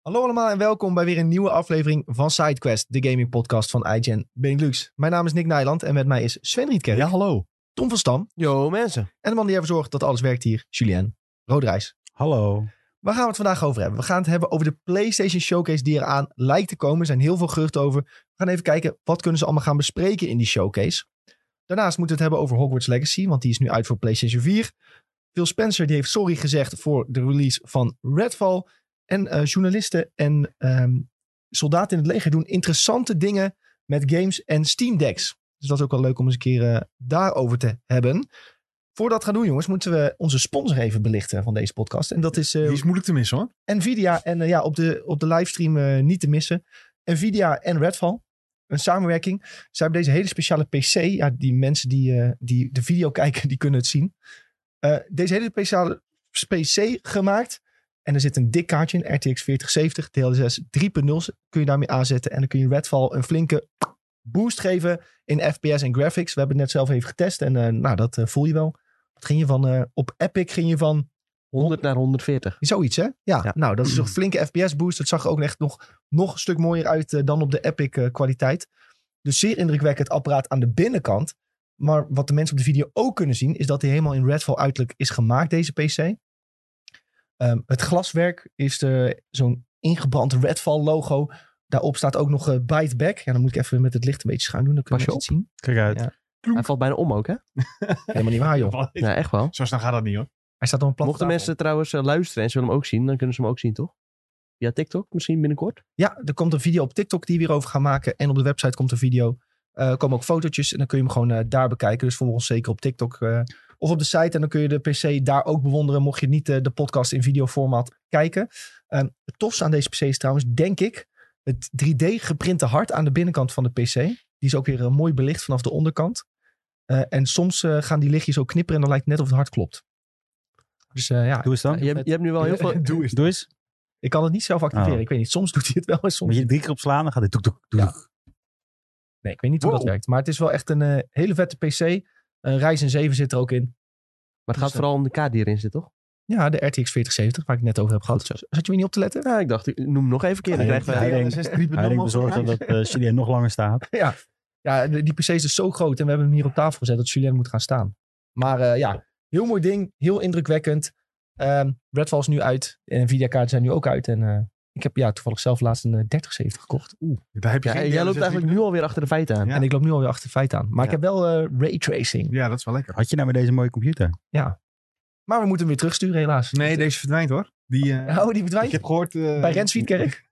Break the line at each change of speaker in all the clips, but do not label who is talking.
Hallo allemaal en welkom bij weer een nieuwe aflevering van SideQuest, de gaming podcast van iGen Benelux. Mijn naam is Nick Nijland en met mij is Sven Rietkerk,
Ja, hallo.
Tom van Stam
Yo mensen.
en de man die ervoor zorgt dat alles werkt hier, Julien Roodrijs.
Hallo.
Waar gaan we het vandaag over hebben? We gaan het hebben over de PlayStation Showcase die eraan lijkt te komen. Er zijn heel veel geruchten over. We gaan even kijken wat kunnen ze allemaal gaan bespreken in die showcase. Daarnaast moeten we het hebben over Hogwarts Legacy, want die is nu uit voor PlayStation 4. Phil Spencer die heeft sorry gezegd voor de release van Redfall. En eh, journalisten en ehm, soldaten in het leger doen interessante dingen met games en Steam Decks. Dus dat is ook wel leuk om eens een keer eh, daarover te hebben. Voordat we gaan doen, jongens, moeten we onze sponsor even belichten van deze podcast. En dat is eh,
Die is moeilijk te missen hoor.
Nvidia en eh, ja, op de, op de livestream eh, niet te missen. Nvidia en Redfall. Een samenwerking. Ze hebben deze hele speciale PC. Ja, die mensen die, eh, die de video kijken, die kunnen het zien. Eh, deze hele speciale PC gemaakt. En er zit een dik kaartje in, RTX 4070, DLSS 3.0. Kun je daarmee aanzetten. En dan kun je Redfall een flinke boost geven in FPS en graphics. We hebben het net zelf even getest. En eh, nou, dat eh, voel je wel. Wat ging je van, eh, op Epic ging je van
100 naar 140.
Zoiets, hè? Ja,
Ja.
nou, dat is een flinke FPS-boost. Dat zag er ook echt nog, nog een stuk mooier uit eh, dan op de Epic-kwaliteit. dus zeer indrukwekkend apparaat aan de binnenkant. Maar wat de mensen op de video ook kunnen zien... is dat hij helemaal in Redfall uiterlijk is gemaakt, deze PC. Ehm, het glaswerk is eh, zo'n ingebrand Redfall-logo. Daarop staat ook nog eh, Bite Back. Ja, dan moet ik even met het licht een beetje schuin doen. Dan kun je
Pas je
het zien.
Kijk uit.
Ja.
Hij valt bijna om ook, hè?
Helemaal niet waar, joh.
Wat?
Ja, echt wel.
Zo snel gaat dat niet hoor.
Hij staat op een plat
Mochten mensen trouwens eh, luisteren en ze willen hem ook zien, dan kunnen ze hem ook zien, toch? Via TikTok misschien binnenkort.
Ja, er komt een video op TikTok die we hierover gaan maken. En op de website komt een video. Eh, Er komen ook fotootjes en dan kun je hem gewoon eh, daar bekijken. Dus volg ons zeker op TikTok eh, of op de site. En dan kun je de PC daar ook bewonderen. Mocht je niet eh, de podcast in videoformaat kijken. Ehm, het tofste aan deze PC is trouwens, denk ik, het 3D geprinte hart aan de binnenkant van de PC. Die is ook weer eh, mooi belicht vanaf de onderkant. Eh, en soms eh, gaan die lichtjes ook knipperen en dan lijkt het net of het hart klopt. Dus eh, ja,
Doe eens
Je, hebt, je hebt nu wel heel veel...
Doe eens.
Doe eens.
ik kan het niet zelf activeren.
Oh.
Ik weet niet, soms doet hij het wel en soms
Moet je drie keer op slaan, dan gaat dit doek doek doek.
Ja. Nee, ik weet niet hoe dat
Wow.
werkt. Maar het is wel echt een eh, hele vette PC. Een Ryzen 7 zit er ook in.
Maar het gaat vooral om de kaart die erin zit, toch?
Ja, de RTX 4070, waar ik het net over heb gehad. Zat je weer niet op te letten?
Ja, ik dacht, ik noem hem nog even een keer. Dan
Nee,
krijgen
hij
wij...
denkt- Hij denkt bezorgd
Ja,
dat eh Julien nog langer staat.
ja, de- die PC is dus zo groot en we hebben hem hier op tafel gezet dat Julien moet gaan staan. Maar eh, ja, heel mooi ding. Heel indrukwekkend. Ehm Redfall is nu uit. En Nvidia-kaarten zijn nu ook uit. En eh, ik heb ja, toevallig zelf laatst een eh, 3070 gekocht.
Daar heb
Ja, en jij loopt eigenlijk nu alweer achter de feiten aan.
Ja.
En ik loop nu alweer achter de feiten aan. Maar ik
Ja.
heb wel eh, raytracing.
Ja, dat is wel lekker. Had je nou met deze mooie computer?
Maar we moeten hem weer terugsturen, helaas.
Nee, deze verdwijnt hoor. Die, eh,
Oh, die
ik
verdwijnt
heb gehoord eh,
bij Renswietkerk.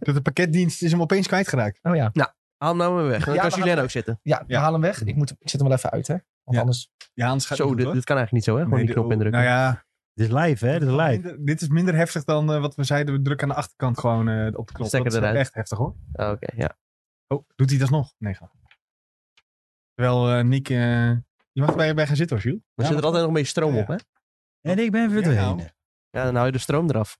dat de pakketdienst is hem opeens kwijtgeraakt.
Oh ja.
Haal hem nou maar weg. Dan
Ja,
kan
we
Julien ook zitten.
Ja, we
Ja.
halen hem weg. Ik, moet, ik zet hem wel even uit, hè? Want
Ja.
anders...
Ja, anders gaat het
Zo,
niet
dit,
goed,
dit kan eigenlijk niet zo, hè?
hoor.
Gewoon
Nee,
die
de-
knop indrukken.
Nou ja,
Dit is live, hè? Dit is live.
minder- dit is minder heftig dan eh, wat we zeiden. We drukken aan de achterkant gewoon eh, op de knop.
Stekker
dat is
eruit.
echt heftig hoor.
Ah, Oké, ja.
Oh, doet hij dat nog? Nee, ga. Terwijl eh, Nick... eh, je mag erbij bij gaan zitten hoor, Jules.
Er
Ja,
zit er
maar-
altijd nog een beetje stroom
Ja,
op, hè?
En ik ben
Ja,
verdwenen.
nou.
Ja, dan hou je de stroom eraf.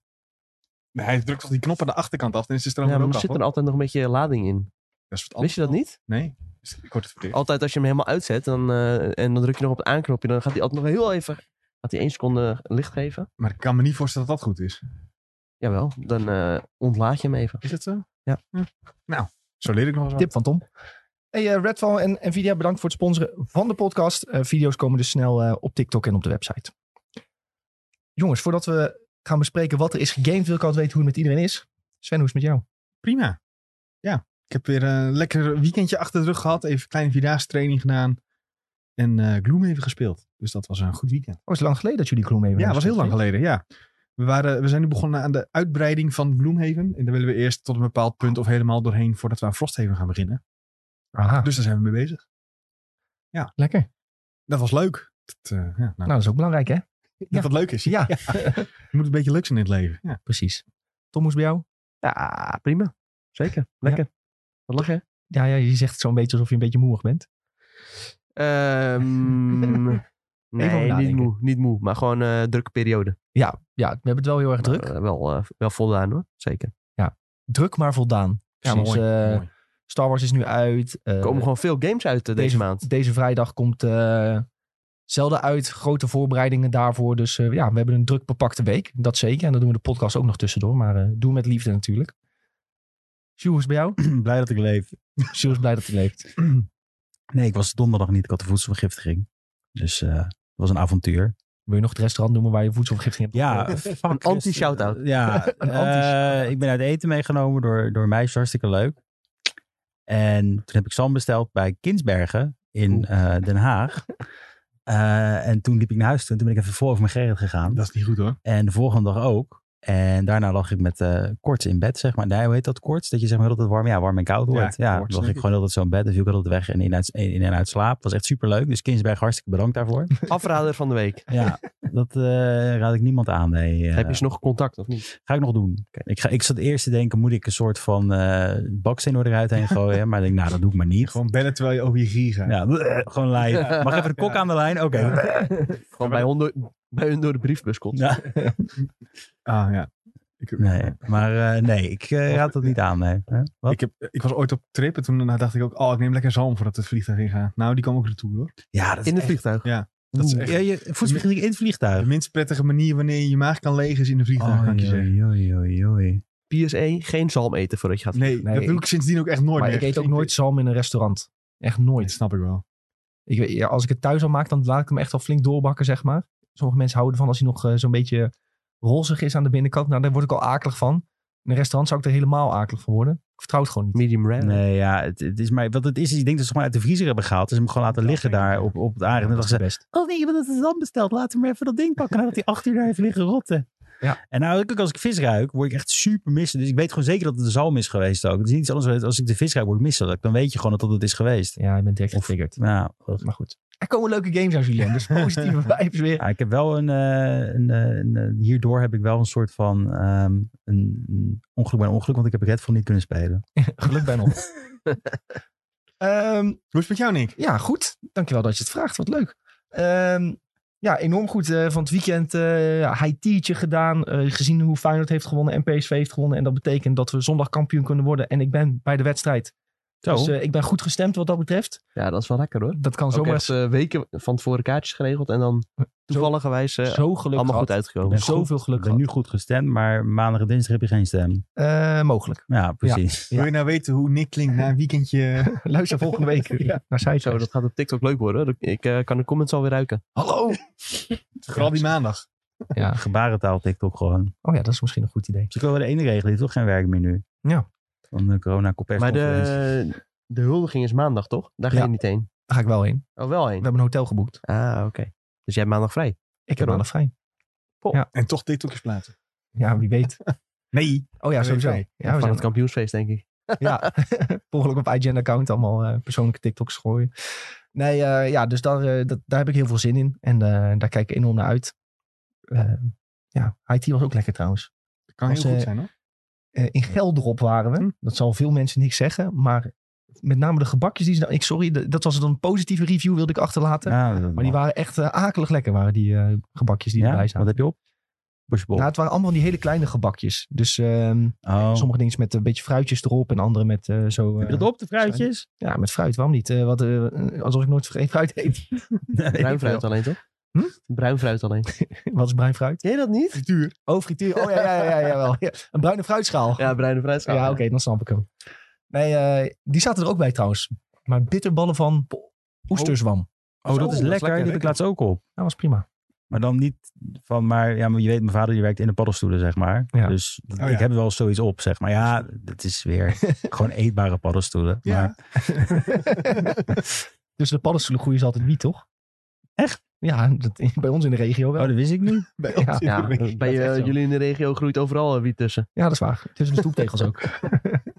Nee, hij drukt toch die knop aan de achterkant af. Dan is de stroom
Ja,
er
maar
ook
er
af,
zit
hoor.
er altijd nog een beetje lading in.
Dat is wat
Wist je dat
anders.
niet?
Nee. Dus Ik word het verkeerd.
Altijd als je hem helemaal uitzet dan, eh, en dan druk je nog op het aanknopje, dan gaat hij altijd nog heel even. Gaat hij één seconde licht geven?
Maar ik kan me niet voorstellen dat dat goed is.
Jawel, dan eh, ontlaat je hem even.
Is dat zo?
Ja.
Nou, zo leer ik nog eens wat.
Tip van Tom. Hey, eh, Redfall en Nvidia, bedankt voor het sponsoren van de podcast. Eh, video's komen dus snel eh, op TikTok en op de website. Jongens, voordat we gaan bespreken wat er is gegamed, wil ik altijd weten hoe het met iedereen is. Sven, hoe is het met jou? Oh,
prima. Ja, ik heb weer een lekker weekendje achter de rug gehad. Even een kleine vierdaagse training gedaan. En eh Gloom even gespeeld. Dus dat was een goed weekend.
Oh, is het lang geleden dat jullie Gloom hebben?
Ja, dat was heel lang
gespeeld,
geleden. Ja. We, waren, we zijn nu begonnen aan de uitbreiding van Gloomhaven. En daar willen we eerst tot een bepaald punt of helemaal doorheen voordat we aan Frosthaven gaan beginnen.
hè? Aha,
Dus daar zijn we mee bezig.
lekker.
Dat was leuk. Dat, eh, ja, nou,
Nou, dat is ook belangrijk, hè? ja.
dat dat leuk is.
Ja,
Je moet een beetje leuk zijn in het leven. Ja.
precies. Tom, hoe is het bij jou?
Ja, prima. Zeker. Lekker. Wat lach je?
Ja, ja, je zegt het zo'n beetje alsof je een beetje moeig bent.
Ehm, nee, niet
nadenken.
moe, niet moe. Maar gewoon een drukke periode.
Ja, we hebben het wel heel erg druk.
Maar, eh, wel, eh, wel voldaan hoor. Zeker.
Nou, druk, maar voldaan.
Ja,
Precies, eh,
mooi.
Star Wars is nu uit. eh,
Er komen gewoon veel games uit eh, deze, maand.
Deze vrijdag komt eh, Zelden uit, grote voorbereidingen daarvoor. Dus eh, ja, we hebben een druk bepakte week. Dat zeker. En dan doen we de podcast ook nog tussendoor. Maar eh doe met liefde natuurlijk. Sjoerd, is bij jou?
Blij dat ik leef.
Sjoerd is blij dat hij leeft.
Nee, ik was donderdag niet. Ik had de voedselvergiftiging. Dus eh, het was een avontuur.
Wil je nog het restaurant noemen waar je voedselvergifting hebt?
Ja, fuck.
Een anti-shout-out.
Christen. Ja,
Een
eh,
anti-shout-out.
ik ben uit eten meegenomen door, door meisjes. Hartstikke leuk. En toen heb ik zalm besteld bij Kinsbergen in eh, Den Haag. Eh, en toen liep ik naar huis toe. En toen ben ik even voor over mijn Gerrit gegaan.
Dat is niet goed hoor.
En de volgende dag ook. En daarna lag ik met eh, koorts in bed, zeg maar. Nee, hoe heet dat koorts? Dat je zeg maar altijd warm, ja, warm en koud wordt. Ja,
koorts,
dan lag
denk
ik gewoon altijd zo in bed. Dan viel ik altijd weg en in, uit, in en uit slaap. was echt superleuk. Dus Kinsberg, hartstikke bedankt daarvoor.
Afrader van de week.
ja, dat eh, raad ik niemand aan. Nee, eh.
Heb je ze nog contact of niet?
Ga ik nog doen. Ik, ga, ik zat eerst te denken, moet ik een soort van eh baksteen door eruit heen gooien? maar ik denk, nou, dat doe ik maar niet.
Gewoon bellen terwijl je over je gier gaat.
ja, gewoon live. Mag even de kok aan de lijn? Oké.
Gewoon bij, hon door- bij hun door de briefbus komt.
Ja.
Ah ja. Ik heb,
Nee, maar eh, nee, ik eh, raad dat niet aan. Nee. Hè? Wat?
Ik, heb, ik was ooit op trip en toen daarna dacht ik ook, oh, ik neem lekker zalm voordat het vliegtuig ingaat. Nou, die kwam ook naartoe hoor.
ja, dat is
In het
echt-
vliegtuig.
Dat is
Oeh.
echt
Ja, je voedselvergiftiging in het
de
vliegtuig.
minst prettige manier wanneer je je maag kan legen is in een vliegtuig, kan ik je zeggen.
Oei, oei, oei, oei.
PSE, geen zalm eten voordat je gaat
Nee,
Nee,
dat doe ik,
ik-
sindsdien ook echt nooit
maar
meer.
ik eet ook nooit zalm in een restaurant. Echt nooit.
Dat snap ik wel.
Ik, weet- ja, als ik het thuis al maak, dan laat ik hem echt al flink doorbakken, zeg maar. Sommige mensen houden ervan als hij nog eh, zo'n beetje rozig is aan de binnenkant. Nou, daar word ik al akelig van. In een restaurant zou ik er helemaal akelig van worden. Ik vertrouw het gewoon niet.
Medium rare.
Nee, ja, het, het is maar, wat het is, is ik denk dat ze gewoon uit de vriezer hebben gehaald. Dus ze hem gewoon laten
Dat
liggen
denk ik,
daar
ja.
op, op het aarde.
Ja,
en dan
dat is het
zeggen
best.
ze, oh nee, wat is dan besteld? Laat hem maar even dat ding pakken nadat hij acht uur daar heeft liggen rotten.
Ja.
En nou, ook als ik vis ruik, word ik echt super misselijk. Dus ik weet gewoon zeker dat het de zalm is geweest ook. Het is niet iets anders dan als ik de vis ruik, word ik misselijk. Dan weet je gewoon dat dat het is geweest. Nou,
Ja, je bent direct getriggerd.
Ja,
Maar goed. Er komen leuke games uit, Julian. Dus positieve vibes weer.
Ja, ik heb wel een, eh, een, eh, een, eh, Hierdoor heb ik wel een soort van. ehm, een, een ongeluk bij een ongeluk, want ik heb Redfall niet kunnen spelen.
Geluk bij nog. Ehm,
Hoe is het met jou, Nick?
ja, goed. Dankjewel dat je het vraagt. Wat leuk. Ehm, ja, enorm goed eh, van het weekend. eh, ja, high tea'tje gedaan. eh, gezien hoe Feyenoord heeft gewonnen en PSV heeft gewonnen. En dat betekent dat we zondag kampioen kunnen worden. En ik ben bij de wedstrijd.
Zo.
Dus eh, ik ben goed gestemd wat dat betreft.
Ja, dat is wel lekker hoor.
Dat kan
Ook
zomaar
echt eh, weken van tevoren kaartjes geregeld en dan toevalligerwijs eh,
zo gelukkig
allemaal goed uitgekomen.
ben
Zo-
Zoveel
ik
geluk
ben nu goed gestemd, maar maandag en dinsdag heb je geen stem.
gehad. Eh, mogelijk.
Ja, precies.
Ja.
Wil je nou weten hoe Nick klinkt na een weekendje?
Luister volgende week
Ja.
naar Sidecast.
Zo, dat gaat op TikTok leuk worden. hoor. Ik eh, kan de comments alweer ruiken.
Hallo!
Vooral die maandag.
Ja.
Gebarentaal TikTok gewoon.
Oh ja, dat is misschien een goed idee.
Dus ik wil de ene regel, heeft toch geen werk meer nu.
Ja.
Van de corona kopers.
Maar de, de huldiging is maandag, toch? Daar ga
Ja.
je niet heen.
Daar ga ik wel heen.
Oh, wel
We
heen.
hebben een hotel geboekt.
Ah, oké. Dus jij hebt maandag vrij.
Ik heb
Kunnen
maandag vrij.
En toch TikTokjes plaatsen.
Ja, wie weet.
Nee.
Oh ja,
Wie weet
sowieso.
wij.
Ja, we
van
zijn
het kampioensfeest, denk ik.
ja. Volgelijk op IGN account allemaal eh, persoonlijke TikToks gooien. Nee, eh, ja, dus daar, eh, dat, daar heb ik heel veel zin in. En eh, daar kijk ik enorm naar uit. Eh, ja, IT was ook lekker trouwens.
Dat kan
Als,
heel goed
eh,
zijn hoor.
Eh, in Geldrop waren
Hm.
we. Dat zal veel mensen niks zeggen. Maar met name de gebakjes die ze... nou- Ik, sorry, de- dat was dan een positieve review wilde ik achterlaten. Maar die waren echt eh, akelig lekker, waren die eh, gebakjes die erbij
Wat
zaten.
heb je op? Bushbol.
Nou, het waren allemaal van die hele kleine gebakjes. Dus ehm,
oh.
sommige dingen met een beetje fruitjes erop en andere met eh, zo...
Heb
eh,
je dat op, de fruitjes?
Ja, met fruit, waarom niet? Eh, wat, eh, alsof ik nooit geen fruit eet.
Nee, weet
Bruin
ik
fruit
veel.
alleen, toch?
Hm?
Bruin fruit alleen.
wat is bruin fruit?
Ken je dat niet?
Duur.
Oh, frituur. Oh ja, ja, ja, ja, jawel. ja. Een bruine fruitschaal. Ja,
Ja, bruine fruit.
oké, dan snap ik hem. Nee, eh, die zaten er ook bij trouwens. Maar bitterballen van oesterzwam.
Oh, dat is
Oh, dat is
lekker. Die heb ik
lekker.
laatst ook op.
Dat was prima.
Maar dan niet van, maar ja, maar je weet, mijn vader die werkt in de paddenstoelen, zeg maar.
Ja.
Dus d-
ja.
ik heb wel zoiets op, zeg maar. Ja, dat is weer gewoon eetbare paddenstoelen.
Ja.
Maar
Dus de paddenstoelen groeien ze altijd niet, toch?
Echt?
Ja, dat, bij ons in de regio wel.
oh, dat wist ik niet.
Bij ons
Ja.
in
Ja,
de week. Dat
bij
is
eh,
echt zo.
jullie in de regio groeit overal eh, wiet tussen.
Ja, dat is waar. Tussen de stoeptegels ook.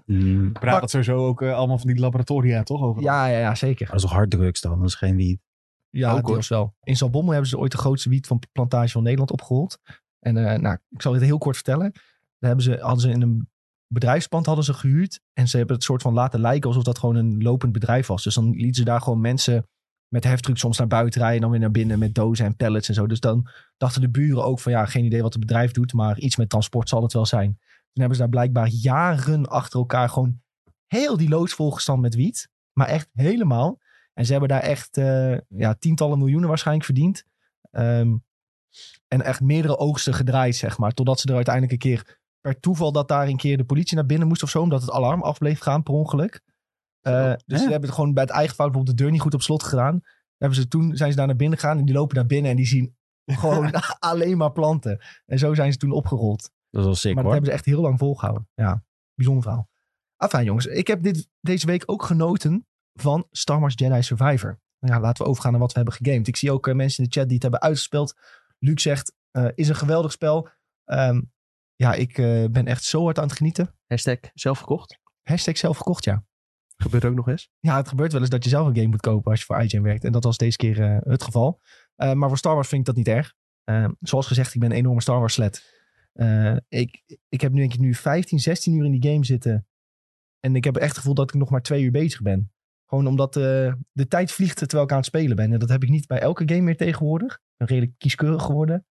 Mm,
Praat dat sowieso ook eh, allemaal van die laboratoria toch over?
Ja, ja, ja zeker.
dat is toch harddrugs dan? Dat is geen wiet.
Ja,
Ook, hoor.
deels wel. In Zalbommel hebben ze ooit de grootste wiet van plantage van Nederland opgerold. En eh, nou, ik zal dit heel kort vertellen. Daar hebben ze, hadden ze in een bedrijfspand hadden ze gehuurd. En ze hebben het soort van laten lijken alsof dat gewoon een lopend bedrijf was. Dus dan lieten ze daar gewoon mensen met heftruck soms naar buiten rijden. En dan weer naar binnen met dozen en pallets en zo. Dus dan dachten de buren ook van ja, geen idee wat het bedrijf doet. Maar iets met transport zal het wel zijn. Toen hebben ze daar blijkbaar jaren achter elkaar gewoon heel die loods volgestampt met wiet. Maar echt helemaal. En ze hebben daar echt eh, ja, tientallen miljoenen waarschijnlijk verdiend. Ehm, en echt meerdere oogsten gedraaid, zeg maar. Totdat ze er uiteindelijk een keer per toeval dat daar een keer de politie naar binnen moest of zo. Omdat het alarm af bleef gaan per ongeluk. Eh, dus
hè?
ze hebben het gewoon bij het eigen fout bijvoorbeeld de deur niet goed op slot gedaan. Hebben ze toen zijn ze daar naar binnen gegaan en die lopen naar binnen en die zien gewoon alleen maar planten. En zo zijn ze toen opgerold
Dat is wel sick
maar dat
hoor.
hebben ze echt heel lang volgehouden. Ja, bijzonder verhaal. Afijn jongens, ik heb dit, deze week ook genoten van Star Wars Jedi Survivor. Ja, laten we overgaan naar wat we hebben gegamed. Ik zie ook eh, mensen in de chat die het hebben uitgespeeld. Luc zegt, eh, is een geweldig spel. Ehm, ja, ik eh, ben echt zo hard aan het genieten.
Hashtag zelf gekocht.
Hashtag zelf gekocht, ja.
Gebeurt ook nog eens.
Ja, het gebeurt wel eens dat je zelf een game moet kopen als je voor IGN werkt. En dat was deze keer eh, het geval. Eh, maar voor Star Wars vind ik dat niet erg. Eh, zoals gezegd, ik ben een enorme Star Wars sled. ik, ik heb nu denk ik nu 15, 16 uur in die game zitten. En ik heb echt het gevoel dat ik nog maar twee uur bezig ben. Gewoon omdat eh, de tijd vliegt terwijl ik aan het spelen ben. En dat heb ik niet bij elke game meer tegenwoordig. Ik ben redelijk kieskeurig geworden.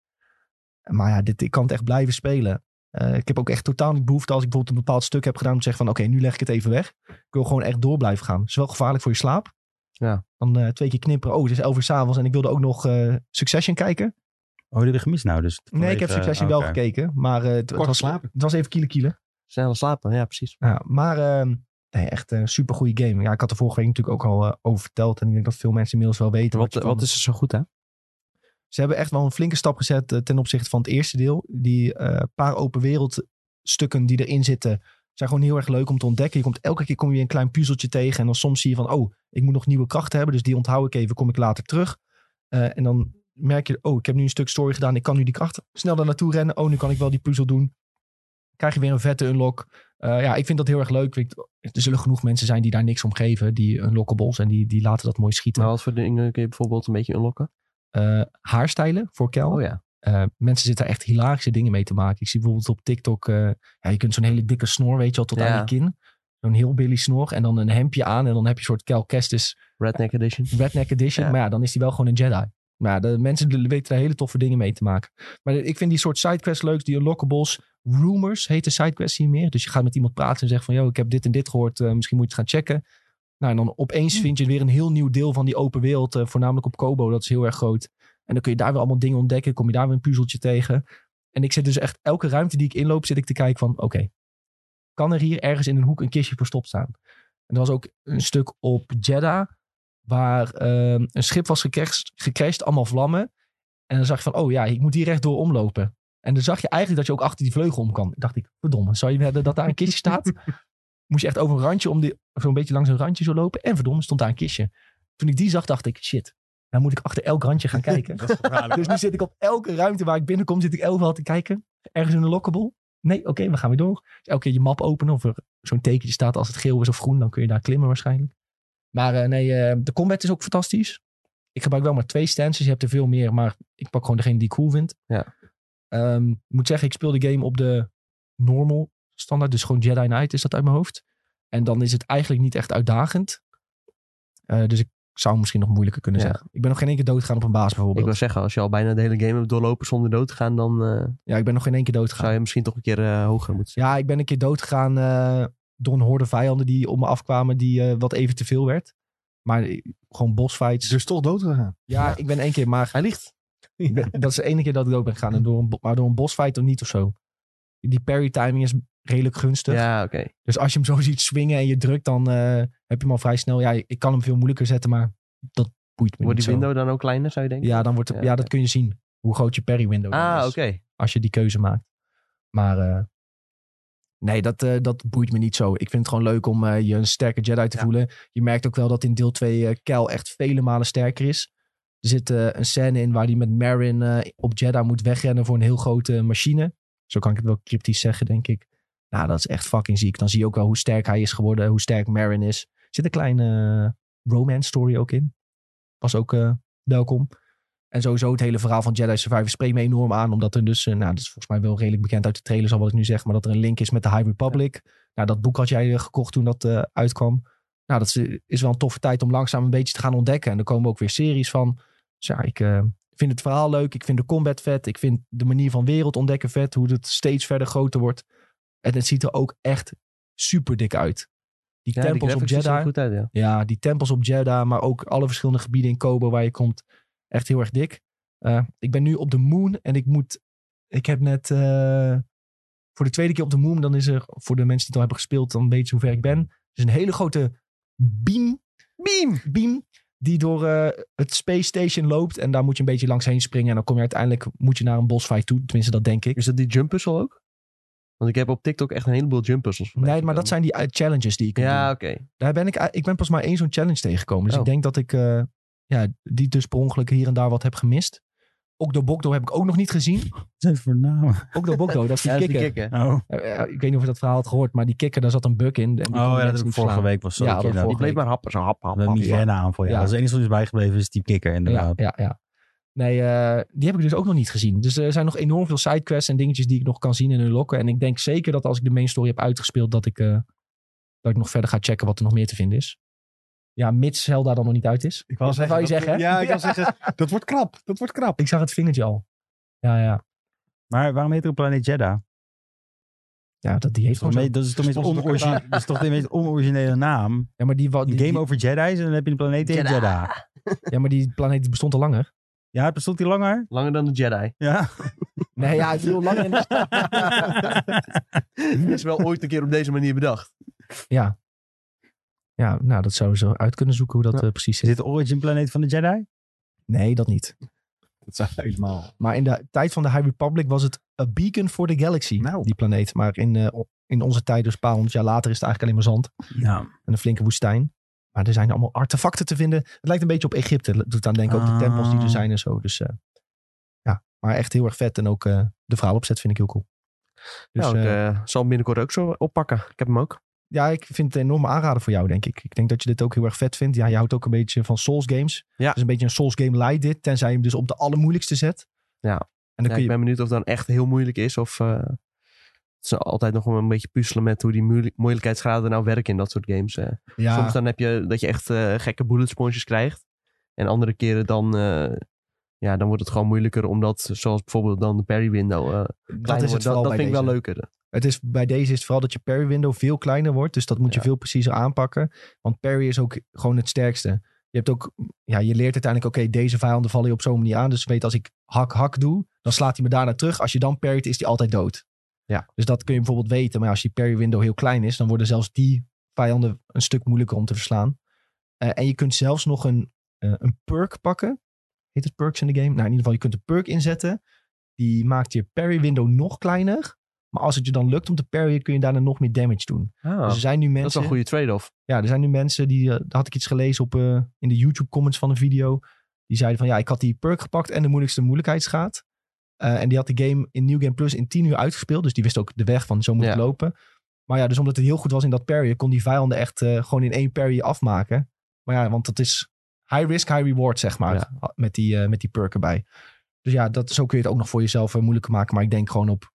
Maar ja, dit, ik kan het echt blijven spelen. Eh, ik heb ook echt totaal niet behoefte als ik bijvoorbeeld een bepaald stuk heb gedaan. Om te zeggen van oké, nu leg ik het even weg. Ik wil gewoon echt door blijven gaan. Het is wel gevaarlijk voor je slaap.
Ja.
Dan eh, twee keer knipperen. Oh, het is elf uur s'avonds en ik wilde ook nog eh, Succession kijken.
Oh, die heb je gemist nou dus.
Nee, ik heb
Vanwege-
Succession
oké.
wel gekeken. Maar eh, het, het
Kort
was,
slapen.
het was even kielen kielen.
Snel aan slapen, ja precies.
Ja, maar eh, nee, echt een super goede game. Ja, ik had er vorige week natuurlijk ook al eh, over verteld. En ik denk dat veel mensen inmiddels wel weten.
Wat, eh,
je van-
wat is er zo goed aan?
Ze hebben echt wel een flinke stap gezet eh, ten opzichte van het eerste deel. Die eh, paar open wereldstukken die erin zitten, zijn gewoon heel erg leuk om te ontdekken. Je komt elke keer kom je weer een klein puzzeltje tegen. En dan soms zie je van, oh, ik moet nog nieuwe krachten hebben. Dus die onthoud ik even, kom ik later terug. Eh, en dan merk je, oh, ik heb nu een stuk story gedaan. Ik kan nu die krachten snel daar naartoe rennen. Oh, nu kan ik wel die puzzel doen. Krijg je weer een vette unlock. Eh, ja, ik vind dat heel erg leuk. Ik- er zullen genoeg mensen zijn die daar niks om geven. Die unlockables en die, die laten dat mooi schieten.
Maar wat voor dingen kun je bijvoorbeeld een beetje unlocken?
Eh, haarstijlen voor Kel.
Oh ja.
Eh, mensen zitten daar echt hilarische dingen mee te maken. Ik zie bijvoorbeeld op TikTok, eh, ja, je kunt zo'n hele dikke snor, weet je wel, tot
Ja.
aan je kin. Zo'n heel billy snor en dan een hemdje aan en dan heb je een soort Cal Kestis
Redneck Edition.
Redneck Edition.
Ja.
Maar ja, dan is hij wel gewoon een Jedi. Maar ja, de mensen de- weten daar hele toffe dingen mee te maken. Maar ik vind die soort sidequests leuk, die unlockables. Rumors heet de sidequests hier meer. Dus je gaat met iemand praten en zegt van, yo, ik heb dit en dit gehoord. eh, misschien moet je het gaan checken. Nou, en dan opeens vind je weer een heel nieuw deel van die open wereld. eh, voornamelijk op Kobo, dat is heel erg groot. En dan kun je daar weer allemaal dingen ontdekken. Kom je daar weer een puzzeltje tegen. En ik zit dus echt elke ruimte die ik inloop, zit ik te kijken van, oké. kan er hier ergens in een hoek een kistje verstopt staan? En er was ook een stuk op Jeddah waar ehm, een schip was gecrashed, gecrashed, allemaal vlammen. En dan zag je van, oh ja, ik moet hier rechtdoor omlopen. En dan zag je eigenlijk dat je ook achter die vleugel om kan. Dacht ik, verdomme, zou je hebben dat daar een kistje staat? Moest je echt over een randje, om die- zo'n beetje langs een randje zo lopen. En verdomme, stond daar een kistje. Toen ik die zag, dacht ik, shit, nou moet ik achter elk randje gaan kijken.
Dat is gevaarlijk.
dus nu zit ik op elke ruimte waar ik binnenkom, zit ik elke te kijken. Ergens een lockable. Nee, oké, we gaan weer door. Dus elke keer je map openen of er zo'n tekentje staat als het geel is of groen, dan kun je daar klimmen waarschijnlijk. Maar eh, nee, eh, de combat is ook fantastisch. Ik gebruik wel maar twee stances, je hebt er veel meer, maar ik pak gewoon degene die ik cool vind.
Ja.
Ehm, ik moet zeggen, ik speel de game op de normal standaard, dus gewoon Jedi Knight is dat uit mijn hoofd. En dan is het eigenlijk niet echt uitdagend. Eh, dus ik zou hem misschien nog moeilijker kunnen
Ja.
zeggen. Ik ben nog geen enkele doodgaan op een baas
Ik
bijvoorbeeld.
wil zeggen, als je al bijna de hele game hebt doorlopen zonder dood te gaan, dan eh,
Ja, ik ben nog geen één keer doodgegaan.
zou je misschien toch een keer eh, hoger moeten zijn.
Ja, ik ben een keer doodgegaan eh, door een horde vijanden die op me afkwamen, die eh, wat even te veel werd. Maar eh, gewoon bosfights.
Dus toch dood gegaan.
ja, ik ben één keer, maar
Hij ligt.
ik ben- dat is de ene keer dat ik dood ben gegaan. En door een, bo- maar door een bosfight of niet of zo. Die parry timing is redelijk gunstig.
Ja, oké.
Dus als je hem zo ziet swingen en je drukt, dan eh, heb je hem al vrij snel. Ja, ik kan hem veel moeilijker zetten, maar dat boeit me
Wordt
niet
die
zo.
window dan ook kleiner, zou je denken?
Ja, dus dan wordt het-
Ja,
ja,
oké.
dat kun je zien. Hoe groot je parry window dan
Ah,
is
oké.
als je die keuze maakt. Maar eh, nee, dat, eh, dat boeit me niet zo. Ik vind het gewoon leuk om eh, je een sterke Jedi te
Ja.
voelen. Je merkt ook wel dat in deel 2 eh Kel echt vele malen sterker is. Er zit eh, een scène in waar hij met Marin eh, op Jeddah moet wegrennen voor een heel grote machine. Zo kan ik het wel cryptisch zeggen, denk ik. Nou, dat is echt fucking ziek. Dan zie je ook wel hoe sterk hij is geworden, hoe sterk Marin is. Er zit een kleine romance story ook in. Was ook eh, welkom. En sowieso het hele verhaal van Jedi Survivor spreekt me enorm aan. Omdat er dus, eh, nou dat is volgens mij wel redelijk bekend uit de trailers al wat ik nu zeg. Maar dat er een link is met de High Republic. Nou dat boek had jij eh, gekocht toen dat eh, uitkwam. Nou dat is, is wel een toffe tijd om langzaam een beetje te gaan ontdekken. En er komen ook weer series van. Dus ja, ik eh, vind het verhaal leuk. Ik vind de combat vet. Ik vind de manier van wereld ontdekken vet. Hoe het steeds verder groter wordt. En het ziet er ook echt super dik uit. Die
Ja, die
tempels op
graphics zien er
Jeddah.
goed uit, ja.
Ja, die tempels op Jeddah, maar ook alle verschillende gebieden in Kobe waar je komt. Echt heel erg dik. Eh, ik ben nu op de Moon en ik moet... Ik heb net eh, voor de tweede keer op de Moon, dan is er voor de mensen die het al hebben gespeeld, dan weten ze hoe ver ik ben. Er is een hele grote beam. Beam! Beam die door eh, het Space Station loopt en daar moet je een beetje langs heen springen en dan kom je uiteindelijk moet je naar een bossfight toe. Tenminste, dat denk ik.
Is dat die jump puzzle ook? Want ik heb op TikTok echt een heleboel jump puzzles.
Nee, maar dat zijn die eh, challenges die ik kan doen.
Ja, oké.
Daar ben ik, eh, ik ben pas maar één zo'n challenge tegengekomen. Dus
Oh.
ik denk dat ik eh, ja, die dus per ongeluk hier en daar wat heb gemist. Ook door Bokdo heb ik ook nog niet gezien.
zijn voor namen?
Ook door Bokdo, dat is die
Ja, dat is
kikker.
die kikker.
Oh,
Eh, eh, ik weet niet of je dat verhaal had gehoord, maar die kikker, daar zat een bug in. En die kon
oh ja,
mensen
dat heb ik
niet
vorige
verslaan.
week was zo.
Ja,
dat je
dat
dat-
vorige
Die bleef Oh, maar happen, zo hap, hap,
Met een
hap,
migraine aanval, ja.
Ja.
Dat is het enige wat is bijgebleven, is die kikker inderdaad.
Ja, ja, ja. Nee, eh, die heb ik dus ook nog niet gezien. Dus er zijn nog enorm veel sidequests en dingetjes die ik nog kan zien en unlocken. En ik denk zeker dat als ik de main story heb uitgespeeld, dat ik, eh, dat ik nog verder ga checken wat er nog meer te vinden is. Ja, mits Zelda dan nog niet uit is.
Ik wou
wou je
dat-
zeggen, hè?
Ja, ik wil zeggen, dat wordt krap. Dat wordt krap.
Ik zag het vingertje al. Ja, ja.
Maar waarom heet er een planeet Jeddah?
Ja, dat, die
Dat is
heeft
toch
gewoon
de
zo.
meest- dat is toch de meest
Sponsor elkaar.
onoriginele- dat is toch de meest onoriginele naam?
Ja, maar Oh, die, wa-
Een
die,
game
die-
over Jedi's en dan heb je een planeet in
Jeddah.
Jeddah.
ja, maar die planeet bestond al langer.
Ja, het bestond die langer?
Langer dan de Jedi.
Ja.
Nee, ja, het is heel lang. en-
Dat is wel ooit een keer op deze manier bedacht.
Ja. Ja, nou, dat zouden ze uit kunnen zoeken hoe dat
Ja.
eh, precies
Is
zit.
dit de origin planeet van de Jedi?
Nee, dat niet.
Dat zou helemaal...
Maar in de tijd van de High Republic was het a beacon for the galaxy,
Nou.
die planeet. Maar in, eh, o- in onze tijd, dus een paar honderd jaar later, is het eigenlijk alleen maar zand
Ja.
en een flinke woestijn. Maar er zijn allemaal artefacten te vinden. Het lijkt een beetje op Egypte. Het Doet aan denken ook de tempels die er
Ah.
zijn en zo. Dus eh, ja, maar echt heel erg vet. En ook eh, de verhaalopzet vind ik heel cool. Dus,
nou,
eh,
ik eh, zal hem binnenkort ook zo oppakken. Ik heb hem ook.
Ja, ik vind het een enorme aanrader voor jou, denk ik. Ik denk dat je dit ook heel erg vet vindt. Ja, je houdt ook een beetje van Souls games.
Ja.
Het is een beetje een Souls game light dit, tenzij je hem dus op de allermoeilijkste zet.
Ja.
En dan
Ja,
kun
ik
je...
ben benieuwd of het dan echt heel moeilijk is. Of eh, het is altijd nog wel een beetje puzzelen met hoe die moeilijk- moeilijkheidsgraden nou werken in dat soort games. eh.
ja,
Soms dan heb je dat je echt eh, gekke bullet sponges krijgt. En andere keren dan, eh, ja, dan wordt het gewoon moeilijker. Omdat, zoals bijvoorbeeld dan de parry window. eh,
dat
kleiner
is het
wordt.
vooral
dat, dat
bij
vind ik wel
deze.
leuker.
Het is, bij deze is het vooral dat je parry window veel kleiner wordt. Dus dat moet je
Ja.
veel preciezer aanpakken. Want parry is ook gewoon het sterkste. Je hebt ook, ja, je leert uiteindelijk, oké, deze vijanden vallen je op zo'n manier aan. Dus weet als ik hak hak doe, dan slaat hij me daarna terug. Als je dan parryt, is hij altijd dood.
Ja.
Dus dat kun je bijvoorbeeld weten. Maar als die parry window heel klein is, dan worden zelfs die vijanden een stuk moeilijker om te verslaan. Eh, en je kunt zelfs nog een, eh, een perk pakken. Heet het perks in de game? Nou, in ieder geval, je kunt een perk inzetten. Die maakt je parry window nog kleiner. Maar als het je dan lukt om te parryen, kun je daarna nog meer damage doen. Dus er zijn nu
Ah, dat is
mensen...
wel een goede trade-off.
Ja, er zijn nu mensen die, eh, daar had ik iets gelezen op, eh, in de YouTube comments van een video. Die zeiden van ja, ik had die perk gepakt en de moeilijkste moeilijkheidsgraad. Eh, en die had de game in New Game Plus in 10 uur uitgespeeld. Dus die wist ook de weg van zo moet
Ja.
het lopen. Maar ja, dus omdat het heel goed was in dat parry, kon die vijanden echt eh, gewoon in één parry afmaken. Maar ja, want dat is high risk, high reward, zeg maar. Met, die, eh, met die perk erbij. Dus ja, dat, zo kun je het ook nog voor jezelf eh, moeilijker maken. Maar ik denk gewoon op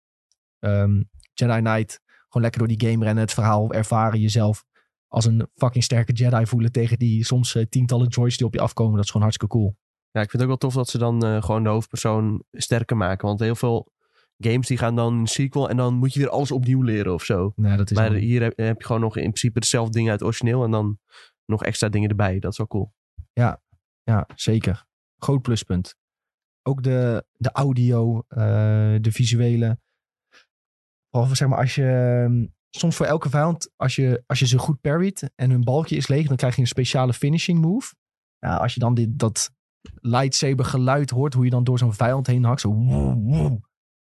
ehm, Jedi Knight. Gewoon lekker door die game rennen, het verhaal ervaren, jezelf als een fucking sterke Jedi voelen tegen die soms eh, tientallen droids die op je afkomen. Dat is gewoon hartstikke cool.
Ja, ik vind het ook wel tof dat ze dan eh, gewoon de hoofdpersoon sterker maken. Want heel veel games die gaan dan een sequel en dan moet je weer alles opnieuw leren of zo.
Nee, Nou, dat is
Maar
wel-
hier heb, heb je gewoon nog in principe dezelfde dingen uit het origineel en dan nog extra dingen erbij. Dat is wel cool.
Ja, zeker. Groot pluspunt. Ook de, de audio, eh, de visuele. Behalve zeg maar als je... ehm, Soms voor elke vijand, als je, als je ze goed parryt en hun balkje is leeg, dan krijg je een speciale finishing move. Nou, als je dan dit, dat lightsaber geluid hoort, hoe je dan door zo'n vijand heen hakt. Zo woe, woe.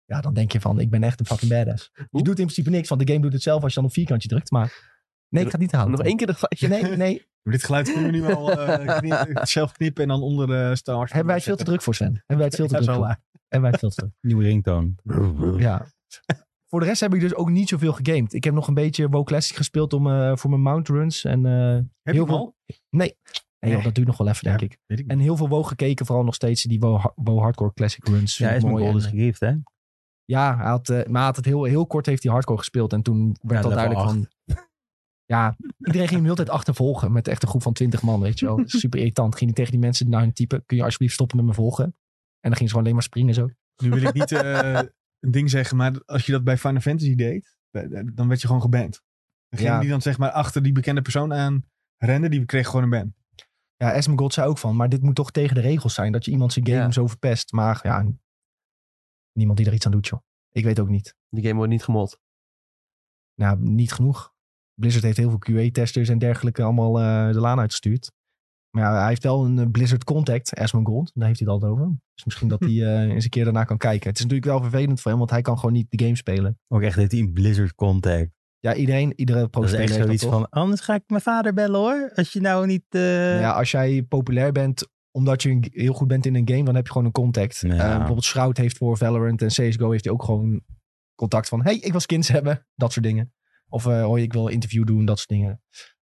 ja, dan denk je van, ik ben echt een fucking badass. Je
Oeh.
doet in principe niks, want de game doet het zelf als je dan op vierkantje drukt. Maar nee, ik ga het niet halen.
Nog één keer dat feitje.
Nee, nee.
Maar dit geluid kunnen we nu al eh, kni- zelf knippen en dan onder de Star Wars.
Hebben wij het veel te druk voor, Sven? Hebben wij het veel te
Ja,
druk
zo
voor?
waar.
Hebben wij het veel te druk?
Nieuwe ringtoon.
Ja. voor de rest heb ik dus ook niet zoveel gegamed. Ik heb nog een beetje WoW Classic gespeeld om, eh, voor mijn mount runs. En, eh,
Heb
Heel
je hem
veel-
al?
en joh, dat duurt nog wel even, denk
Ja.
ik.
Weet ik niet.
En heel veel WoW gekeken, vooral nog steeds die WoW, ha- WoW Hardcore Classic runs.
Ja,
Vind
is
ik
mijn
mooi.
gold is
En, eh,
gegrift, hè?
Ja, hij had, eh, maar hij had het heel, heel kort heeft hij hardcore gespeeld. En toen werd
Ja,
dat
level
duidelijk van... Ja, iedereen ging hem de hele tijd achtervolgen met echt een groep van twintig man, weet je wel. Super irritant. Ging hij tegen die mensen naar hun typen. Kun je alsjeblieft stoppen met me volgen? En dan ging ze gewoon alleen maar springen zo.
Nu wil ik niet eh, een ding zeggen, maar als je dat bij Final Fantasy deed, eh, dan werd je gewoon geband. Degene
Ja.
die dan zeg maar achter die bekende persoon aan rende, die kreeg gewoon een ban.
Ja, Esmagod zei ook van, maar dit moet toch tegen de regels zijn. Dat je iemand zijn game
Ja.
zo verpest. Maar ja, niemand die er iets aan doet, joh. Ik weet ook niet.
Die game wordt niet gemod.
Nou, niet genoeg. Blizzard heeft heel veel QA-testers en dergelijke allemaal eh, de laan uitgestuurd. Maar ja, hij heeft wel een eh, Blizzard Contact, Esmond Daar heeft hij het altijd over. Dus misschien dat hij eh, eens een keer daarna kan kijken. Het is natuurlijk wel vervelend voor hem, want hij kan gewoon niet de game spelen.
Ook echt heeft hij een Blizzard contact.
Ja, iedereen, iedere
Dat is
pro-speler
echt
heeft dat
zoiets
toch?
van, anders ga ik mijn vader bellen hoor. Als je nou niet... eh,
Ja, als jij populair bent omdat je een- heel goed bent in een game, dan heb je gewoon een contact.
Ja.
Eh, bijvoorbeeld Shroud heeft voor Valorant en CSGO heeft hij ook gewoon contact van... hey, ik was kind hebben, dat soort dingen. Of eh hoi, ik wil een interview doen, dat soort dingen.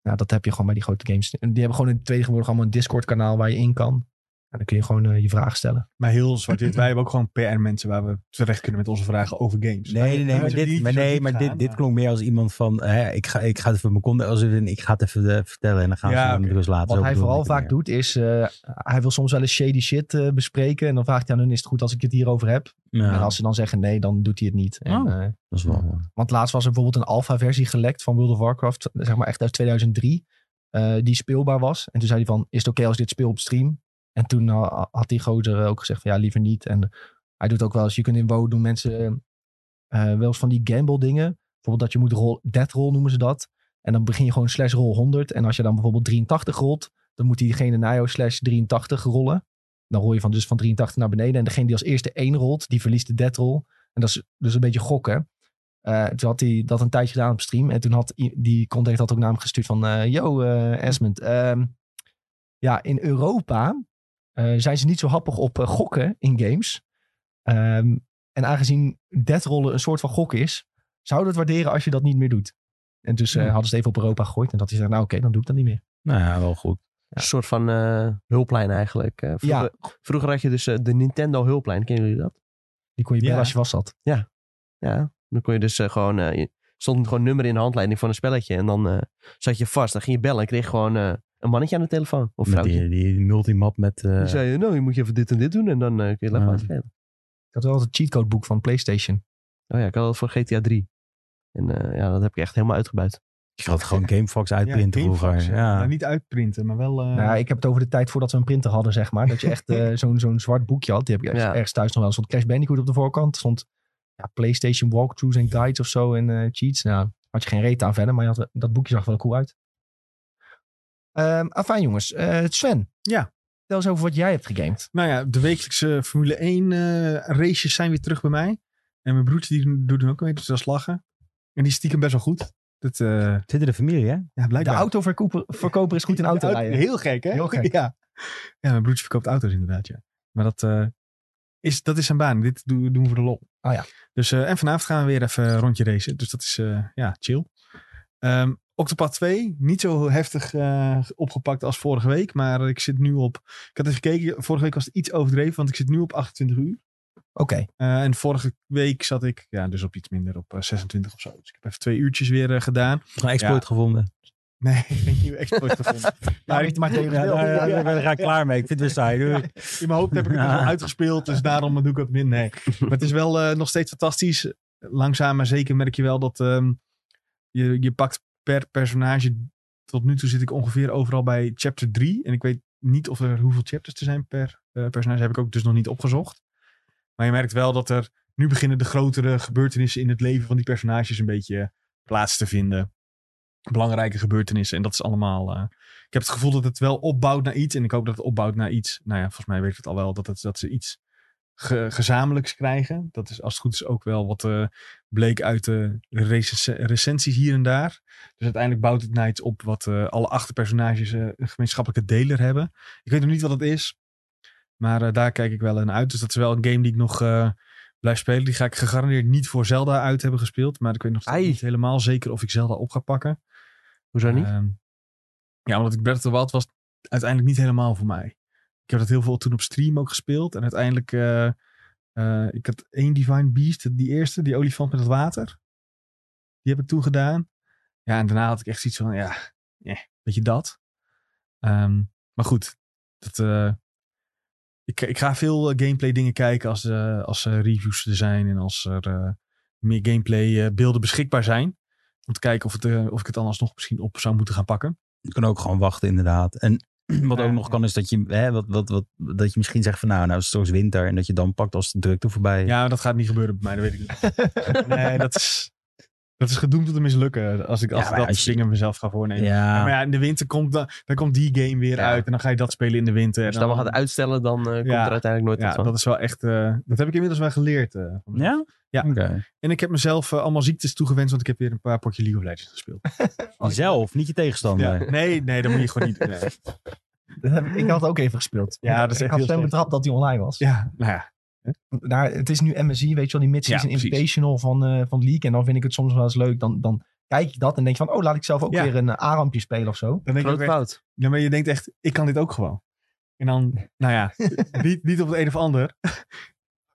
Nou, dat heb je gewoon bij die grote games. En Die hebben gewoon in het tweede geworden allemaal een Discord-kanaal waar je in kan. En dan kun je gewoon eh, je vragen stellen.
Maar heel zwart-wit, wij hebben ook gewoon PR-mensen waar we terecht kunnen met onze vragen over games.
Nee, nee, nee,
Ja,
maar,
zo
dit,
diep-
maar,
zo
nee,
diep
maar dit,
gaan,
dit
maar-
klonk meer als iemand van, hè, ik, ga, ik ga het even mijn kont als in, ik ga het even eh, vertellen en dan gaan dus we
Ja,
het
oké.
gewoon rust laten.
Wat
Zo
hij
bedoelde
vooral
ik het
vaak
meer.
doet is, eh, hij wil soms wel eens shady shit eh, bespreken. En dan vraagt hij aan hun, is het goed als ik het hierover heb?
Ja,
En als ze dan zeggen nee, dan doet hij het niet. En,
Oh.
eh,
dat is wel mooi.
Want laatst was er bijvoorbeeld een alpha-versie gelekt van World of Warcraft, zeg maar echt uit 2003, eh, die speelbaar was. En toen zei hij van, is het oké als ik dit speel op stream? En toen eh, had die gozer ook gezegd van, ja, liever niet. En hij doet ook wel eens, je kunt in WoW doen mensen eh, wel eens van die gamble dingen. Bijvoorbeeld dat je moet roll, death roll noemen ze dat. En dan begin je gewoon slash roll 100. En als je dan bijvoorbeeld 83 rolt, dan moet diegene na jou slash 83 rollen. Dan rol je van, dus van 83 naar beneden. En degene die als eerste 1 rolt, die verliest de death roll. En dat is dus een beetje gokken. Eh, toen had hij dat een tijdje gedaan op stream. En toen had i- die contact had ook naar hem gestuurd van... eh, Yo, eh Esmond. ehm, ja, in Europa eh, zijn ze niet zo happig op eh, gokken in games. Ehm, en aangezien deadrollen een soort van gok is... zouden we het waarderen als je dat niet meer doet. En dus eh,
Ja.
hadden ze het even op Europa gegooid. En dat hij zei, nou oké, dan doe ik dat niet meer.
Nou ja, wel goed.
Een soort van eh, hulplijn eigenlijk. eh. vroeger, vroeger had je dus eh, de Nintendo hulplijn. Kennen jullie dat?
Die kon je bellen
Ja.
als je vast zat.
Ja. Dan kon je dus eh, gewoon... eh, je- stond gewoon een nummer in de handleiding van een spelletje. En dan eh, zat je vast. Dan ging je bellen en kreeg je gewoon eh, een mannetje aan de telefoon. Of
Met
vrouwtje.
die, eh, die multimap met... eh,
Die zei, eh, nou, je moet je even dit en dit doen. En dan eh, kun je lekker
Ja.
gaan spelen.
Ik had wel het cheatcode boek van PlayStation.
Oh ja, ik had dat voor GTA 3. En eh, ja, dat heb ik echt helemaal uitgebuit.
ik had gewoon Gamefox
Ja,
uitprinten
Gamefox,
vroeger.
eh,
Ja.
nou, niet uitprinten, maar wel... eh,
Nou ja, ik heb het over de tijd voordat we een printer hadden, zeg maar. Dat je echt eh, zo'n zo'n zwart boekje had. Die heb ik ergens,
Ja.
ergens thuis nog wel. Er stond Crash Bandicoot op de voorkant. Er stond ja, PlayStation walkthroughs en guides of zo en eh, cheats. Nou, had je geen reet aan verder, maar je had, eh, dat boekje zag wel cool uit. Ehm afijn jongens. Eh, Sven.
Ja.
Vertel eens over wat jij hebt gegamed.
Nou ja, de wekelijkse Formule 1 eh, races zijn weer terug bij mij. En mijn broertje die doet hem ook mee, dus dat is lachen. En die is stiekem best wel goed. Dat, eh,
Zit in de familie, hè?
ja,
De
blijkbaar.
autoverkoper verkoper is goed in
De
auto
auto-
rijden.
Heel gek, hè?
Heel gek.
Ja. ja, mijn broertje verkoopt auto's inderdaad, ja. Maar dat, eh, is, dat is zijn baan. Dit do- doen we voor de lol.
Ah, ja.
Dus, eh, en vanavond gaan we weer even een rondje racen. Dus dat is, eh, ja, chill. Ehm Octopad 2, niet zo heftig eh, opgepakt als vorige week. Maar ik zit nu op... Ik had even gekeken, vorige week was het iets overdreven. Want ik zit nu op 28 uur.
Oké.
Eh, en vorige week zat ik ja, dus op iets minder, op eh, 26 of zo. Dus ik heb even twee uurtjes weer eh, gedaan.
Gewoon exploit gevonden.
Nee, geen nieuwe exploit gevonden.
Nou, ik maak
Ja, daar, daar- daar ben ik klaar mee. Ik vind het weer saai. Doei.
In mijn hoofd heb ik het dus al uitgespeeld, dus daarom doe ik het min. Nee. Maar het is wel eh, nog steeds fantastisch. Langzaam maar zeker merk je wel dat ehm, je, je pakt per personage. Tot nu toe zit ik ongeveer overal bij chapter 3. En ik weet niet of er hoeveel chapters er zijn per eh, personage. Heb ik ook dus nog niet opgezocht. Maar je merkt wel dat er nu beginnen de grotere gebeurtenissen in het leven van die personages een beetje plaats te vinden. Belangrijke gebeurtenissen. En dat is allemaal. eh, ik heb het gevoel dat het wel opbouwt naar iets. En ik hoop dat het opbouwt naar iets. Nou ja, volgens mij weet ik het al wel. Dat, het, dat ze iets ge- gezamenlijks krijgen. Dat is als het goed is ook wel wat eh, bleek uit de recense- recensies hier en daar. Dus uiteindelijk bouwt het naar iets op wat eh, alle acht personages eh, een gemeenschappelijke deler hebben. Ik weet nog niet wat het is. Maar eh, daar kijk ik wel naar uit. Dus dat is wel een game die ik nog eh, blijf spelen. Die ga ik gegarandeerd niet voor Zelda uit hebben gespeeld. Maar ik weet nog steeds
Ai.
niet helemaal zeker of ik Zelda op ga pakken.
Hoezo niet?
Ehm, ja, omdat ik Breath of the Wild was uiteindelijk niet helemaal voor mij. Ik heb dat heel veel toen op stream ook gespeeld. En uiteindelijk, eh, eh, ik had één Divine Beast, die eerste, die olifant met het water. Die heb ik toen gedaan. Ja, en daarna had ik echt zoiets van, ja, eh, weet je dat. Ehm, maar goed, dat, eh, ik, ik ga veel eh, gameplay dingen kijken als, eh, als er reviews er zijn en als er eh, meer gameplay eh, beelden eh, beschikbaar zijn. Om te kijken of, het, eh, of ik het dan alsnog misschien op zou moeten gaan pakken.
Je kan ook gewoon wachten, inderdaad. En wat ook
Ja.
nog kan, is dat je, hè, wat, wat, wat, dat je misschien zegt van nou, nou is het straks winter. En dat je dan pakt als de drukte voorbij is.
Ja, dat gaat niet gebeuren bij mij, dat weet ik niet. nee, dat is, dat is gedoemd om te mislukken. Als ik, als
Ja,
ik
maar
dat
als
soort
je-
dingen mezelf ga voornemen.
Ja.
Maar ja, in de winter komt, dan, dan komt die game weer
Ja.
uit. En dan ga je dat spelen in de winter.
Als
Dus
je
En
dat maar gaat uitstellen, dan eh, komt
Ja.
er uiteindelijk nooit
Ja,
wat van.
dat is wel echt... eh, dat heb ik inmiddels wel geleerd. eh, van mezelf.
Ja?
Ja.
Oké.
En ik heb mezelf eh, allemaal ziektes toegewenst, want ik heb weer een paar potje League of Legends gespeeld.
Zelf, niet je tegenstander.
Ja. Nee, nee, dat moet je gewoon niet doen. nee.
Dat heb ik- ik had ook even gespeeld.
Ja, dat is
ik
echt
had
heel
Sven
slecht.
betrapt dat hij online was.
Ja, nou ja.
Daar, het is nu MSI, weet je wel, die mid-season
Ja, precies.
invitational van, eh, van League. En dan vind ik het soms wel eens leuk. Dan, dan kijk ik dat en denk je van, oh, laat ik zelf ook
Ja.
weer een eh, A-rampje spelen of zo.
Dan denk ik ook
Groot
echt,
fout.
ja, maar je denkt echt, ik kan dit ook gewoon. En dan, nou ja, niet, niet op het een of ander.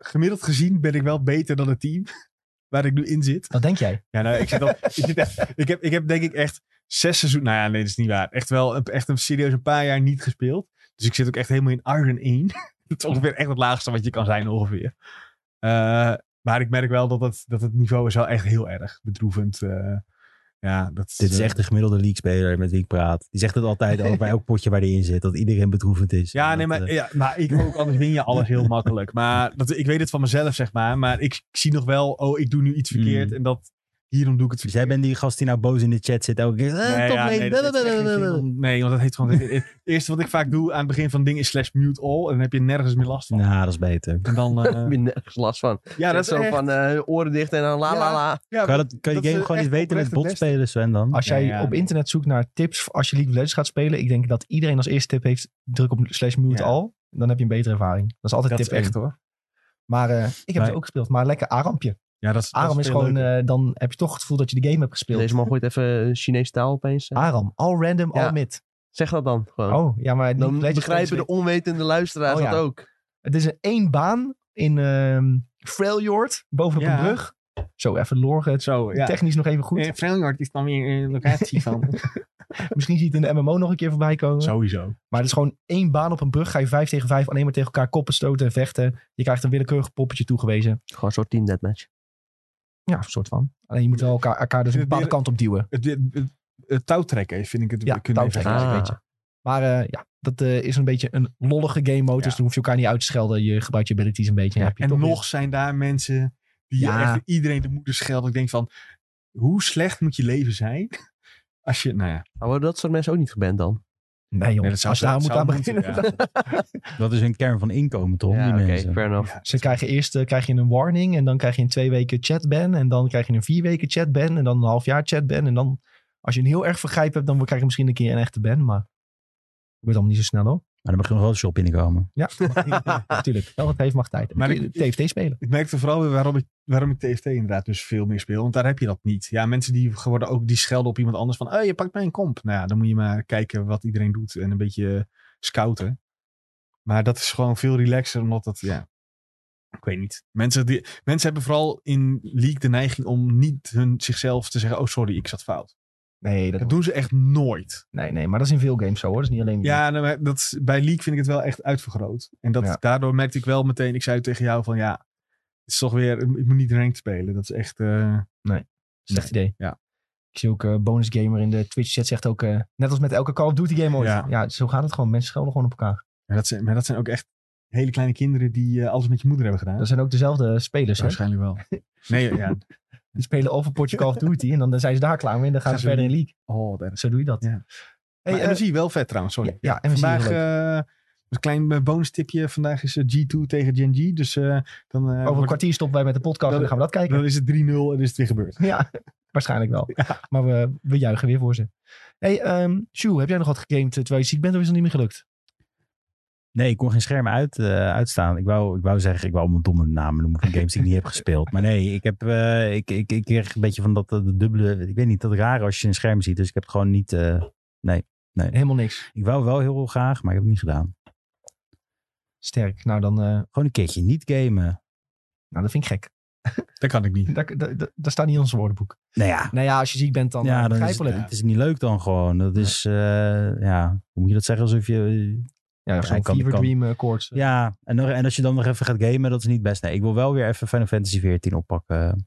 Gemiddeld gezien ben ik wel beter dan het team waar ik nu in zit.
Dat denk jij.
Ja, nou, ik, zit al, ik, zit echt- ik, heb, ik heb denk ik echt zes seizoenen. Nou ja, nee, dat is niet waar. Echt wel een- echt een serieus een paar jaar niet gespeeld. Dus ik zit ook echt helemaal in Iron 1. dat is ongeveer echt het laagste wat je kan zijn ongeveer. Eh, maar ik merk wel dat het, dat het niveau is wel echt heel erg bedroevend. eh. ja, dat
Dit is
eh,
echt de gemiddelde league-speler met wie ik praat. Die zegt het altijd over bij elk potje waar hij in zit. Dat iedereen bedroevend is.
Ja,
En
nee,
dat,
maar,
eh,
ja, maar ik ook, anders win je alles heel makkelijk. Maar dat, ik weet het van mezelf, zeg maar. Maar ik, ik zie nog wel, oh, ik doe nu iets verkeerd.
Mm.
En dat, hierom doe ik het
Dus
verkeerd.
jij bent die gast die nou boos in de chat zit elke keer. eh,
Nee,
top
ja,
één,
nee, dat heeft echt geen zin om- nee, want dat heet gewoon. Het eerste wat ik vaak doe aan het begin van ding is slash mute all. En dan heb je nergens meer last van.
Nou, dat is beter.
En dan, eh,
Daar heb je nergens last van.
ja, dat is
zo
echt-
van eh, oren dicht en dan la la
Ja.
la.
ja,
Kan je, dat, kan je
dat is
game gewoon
echt
niet weten
oprecht
met
het
bot
beste.
spelen, Sven, dan?
Als jij
Ja, ja.
op internet zoekt naar tips voor als je League of Legends gaat spelen. Ik denk dat iedereen als eerste tip heeft, druk op slash mute
Ja.
al. Dan heb je een betere ervaring. Dat is altijd
Dat
tip
is echt
één.
hoor.
Maar eh, ik heb
Maar-
het ook gespeeld. Maar lekker A-rampje.
Ja, dat is, dat
Aram is
veel
gewoon,
leuker.
eh, dan heb je toch het gevoel dat je de game hebt gespeeld.
Deze man gooit even Chinees taal opeens. eh.
Aram, all random,
Ja.
all mid.
Zeg dat dan gewoon.
Ah. Oh, ja, maar League
dan
of Legends
begrijpen
spelers
de onwetende luisteraars
Oh, ja.
dat ook.
Het is een één baan in ehm Freljord, bovenop
Ja.
een brug. Zo, even lore, het is
Zo, ja.
technisch nog even goed.
Eh, Freljord is dan weer een locatie van.
Misschien zie je het in de MMO nog een keer voorbij komen.
Sowieso.
Maar het is gewoon één baan op een brug. Ga je vijf tegen vijf alleen maar tegen elkaar koppen stoten en vechten. Je krijgt een willekeurig poppetje toegewezen.
Gewoon een soort team deathmatch.
Ja, een soort van. Alleen je moet wel elkaar, elkaar dus een
Vind
bepaalde
het weer-
kant op duwen.
Het, het, het- het touwtrekken vind ik het.
Ja,
we kunnen even-
touwtrekken.
Ah.
een beetje. Maar eh, ja, dat eh, is een beetje een lollige game mode.
Ja.
Dus dan hoef je elkaar niet uit te schelden. Je gebruikt je abilities een beetje. En, heb je
En
toch weer-
nog zijn daar mensen die
Ja.
echt iedereen de moeder schelden. Ik denk van, hoe slecht moet je leven zijn? Als je, nou ja.
Maar Ah, worden dat soort mensen ook niet geband dan?
Nee joh,
Nee, dat zou-
als je daar
dat
moet aan
zou moeten,
beginnen.
ja.
Dat is hun kern van inkomen, toch?
ja,
die
oké,
mensen.
fair enough.
Ze krijgen eerst eh, krijg je een warning en dan krijg je een twee weken chatban. En dan krijg je een vier weken chatban en dan een half jaar chatban. En dan, als je een heel erg vergrijp hebt, dan krijg je misschien een keer een echte ban. Maar dat gebeurt allemaal niet zo snel hoor.
Maar dan mag je nog wel de shop binnenkomen.
Ja, natuurlijk. Wel wat heeft mag tijd.
Maar
Maar
ik-
TFT spelen.
Ik merkte vooral weer waarom ik, waarom ik TFT inderdaad dus veel meer speel. Want daar heb je dat niet. Ja, mensen die geworden ook die schelden op iemand anders van... Oh, je pakt mijn komp. Nou ja, dan moet je maar kijken wat iedereen doet. En een beetje scouten. Maar dat is gewoon veel relaxer, omdat dat... Ja, ik weet niet. Mensen, die, mensen hebben vooral in League de neiging om niet hun, zichzelf te zeggen... Oh, sorry, ik zat fout.
Nee, dat,
Dat doen ze echt nooit.
nee, nee, maar dat is in veel games zo hoor. Dat is niet alleen.
Ja, nou, maar dat, is- bij League vind ik het wel echt uitvergroot. En dat,
Ja.
daardoor merkte ik wel meteen... Ik zei tegen jou van ja... Het is toch weer, ik moet niet ranked spelen. Dat is echt... eh,
Slecht idee.
Ja.
Ik zie ook eh, bonus gamer in de Twitch chat zegt ook, eh, net als met elke Call of Duty game ooit. Ja.
Ja.
zo gaat het gewoon. Mensen schelden gewoon op elkaar.
Maar dat zijn, maar dat zijn ook echt hele kleine kinderen die eh, alles met je moeder hebben gedaan.
Dat zijn ook dezelfde spelers. Hè?
waarschijnlijk wel. Nee, ja.
Die spelen over een potje Call of Duty en dan eh, zijn ze daar klaar mee en dan gaan
Gaan
ze
ze
verder in League.
Oh, wat erg.
Zo doe je dat.
Ja.
Hey,
Hey,
eh,
MSI wel vet trouwens, sorry.
ja, ja, MSI
Vandaag
heel leuk.
eh, een klein eh, bonus tipje. Vandaag is eh, G2 tegen Gen G. Dus eh, dan, eh,
over een
wordt-
kwartier stoppen wij met de podcast en
dat-
dan gaan we dat kijken.
dan is het 3-0 en is het weer gebeurd.
ja, waarschijnlijk wel. Maar we, we juichen weer voor ze. Hey, ehm Sjoe, heb jij nog wat gegamed eh, terwijl je ziek bent of is dat niet meer gelukt?
Nee, ik kon geen scherm uit, eh, uitstaan. Ik wou, ik wou zeggen, ik wou allemaal domme namen noemen van games die ik niet heb gespeeld. Maar nee, ik heb eh, ik, ik, ik kreeg een beetje van dat eh, de dubbele... Ik weet niet, dat rare als je een scherm ziet. Dus ik heb het gewoon niet... eh,
Helemaal niks.
ik wou wel heel graag, maar ik heb het niet gedaan.
Sterk. Nou, dan, eh,
Gewoon een keertje niet gamen.
nou dat vind ik gek.
Dat kan ik niet.
Dat, dat, dat, dat staat niet in ons woordenboek.
Nou ja,
Nou ja, als je ziek bent dan
ja,
eh,
dan is het,
begrijpelijk.
het is niet leuk dan gewoon. Dat is, eh, ja, hoe moet je dat zeggen? Alsof je...
Ja,
Ja,
zo'n
ik kan-
Fever
ik kan.
Dream eh, koorts.
Ja, en, nog- en als je dan nog even gaat gamen, dat is niet best. Nee, ik wil wel weer even Final Fantasy 14 oppakken.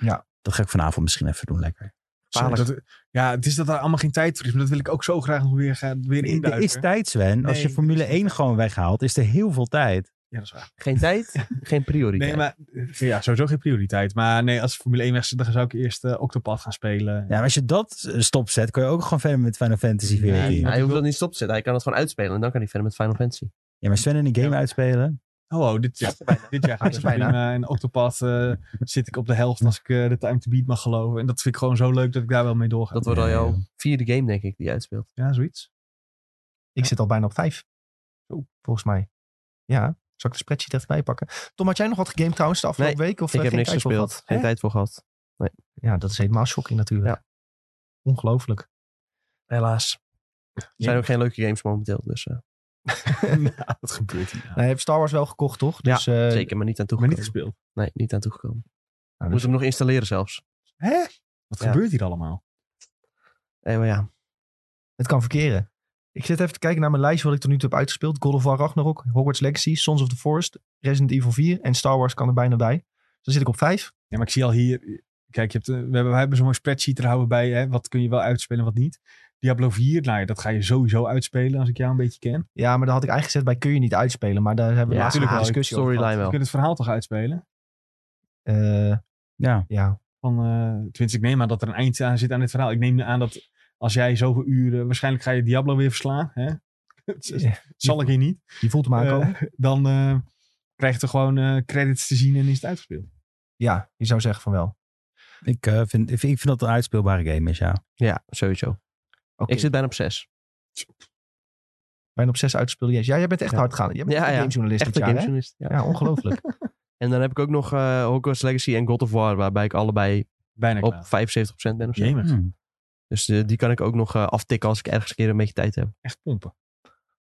Ja.
Dat ga ik vanavond misschien even doen, lekker.
Sorry, dat- ja, het is dat er allemaal geen tijd voor is. Maar dat wil ik ook zo graag nog weer, gaan, weer
Er
induiken.
is tijd, Sven. Als
Nee,
je
er
Formule
is geen
1
tijd.
gewoon weghaalt, is er heel veel tijd.
Ja, dat is waar.
Geen tijd, geen prioriteit.
Nee, maar eh, ja, sowieso geen prioriteit. Maar nee, als Formule 1 weg zit, dan zou ik eerst eh, Octopad gaan spelen.
Ja, maar als je dat eh, stopzet, kun je ook gewoon verder met Final Fantasy
Nee.
14.
maar-
hij hoeft dat niet stop te zetten. Hij kan het gewoon uitspelen en dan kan hij verder met Final Fantasy.
Ja, maar Sven in een game
Ja.
uitspelen.
Oh, oh, dit, ja, dit jaar gaat het
Is
dus
er bijna.
prima. En Octopad eh, zit ik op de helft als ik eh, de time to beat mag geloven. En dat vind ik gewoon zo leuk dat ik daar wel mee doorga.
Dat wordt al
Nee,
jouw
joh.
vierde game, denk ik, die je uitspeelt.
Ja, zoiets.
Ik zit al bijna op vijf.
Zo.
Volgens mij. Ja. Zal ik de spreadsheet erbij pakken? Tom, had jij nog wat gegamed trouwens de afgelopen week? Of
ik
eh,
heb
geen
niks
tijd voor
gespeeld.
gehad?
Geen
Hè?
tijd voor gehad.
Ja, dat is helemaal shocking natuurlijk. Ongelooflijk. Helaas.
Er zijn ook geen leuke games momenteel. Dus eh,
Nou, dat gebeurt hier.
Nou, je hebt Star Wars wel gekocht, toch? Dus, eh,
zeker, maar niet aan
Maar
toegekomen.
niet gespeeld.
Nee, niet aan toegekomen.
nou,
Moet
dus-
hem nog installeren zelfs.
Hè? Wat
Ja.
gebeurt hier allemaal?
Eh, maar ja,
Het kan verkeren. Ik zit even te kijken naar mijn lijstje wat ik tot nu toe heb uitgespeeld. God of War Ragnarok, Hogwarts Legacy, Sons of the Forest, Resident Evil 4 en Star Wars kan er bijna bij. Dus dan zit ik op 5.
Ja, maar ik zie al hier... Kijk, je hebt, eh, we hebben, we hebben zo'n mooi spreadsheet er houden bij. Hè? Wat kun je wel uitspelen en wat niet. Diablo 4, nou ja, dat ga je sowieso uitspelen als ik jou een beetje ken.
Ja, maar dat had ik eigenlijk gezegd bij kun je niet uitspelen. Maar daar hebben we
Ja,
laatst
natuurlijk
een
wel.
discussie over
storyline
Je
wel.
kunt het verhaal toch uitspelen?
gehad. Eh,
Ja.
ja,
Van, eh tenminste, ik neem aan dat er een eind aan zit aan dit verhaal. Ik neem aan dat als jij zoveel uren... Waarschijnlijk ga je Diablo weer verslaan. Hè? Dat Zal ik hier niet.
je voelt hem aankomen.
Eh, dan eh, krijg je er gewoon eh, credits te zien en is het uitgespeeld.
ja, je zou zeggen van wel.
Ik, eh, vind, ik vind ik vind dat het een uitspeelbare game is, ja.
ja sowieso.
Oké.
Ik zit bijna op zes.
Bijna op zes uitspelen. Yes. Ja, jij bent echt
Ja.
hard gaan. Jij bent
Ja,
echt een
ja.
gamejournalist
Echt
dit
een
jaar, hè?
gamejournalist. Ja.
Ja, ongelooflijk.
En dan heb ik ook nog eh Hogwarts Legacy en God of War, waarbij ik allebei
Bijna
op
klaar.
75% ben of zo.
Jemig.
Hmm.
Dus eh, die kan ik ook nog eh, aftikken als ik ergens een keer een beetje tijd heb.
Echt pompen.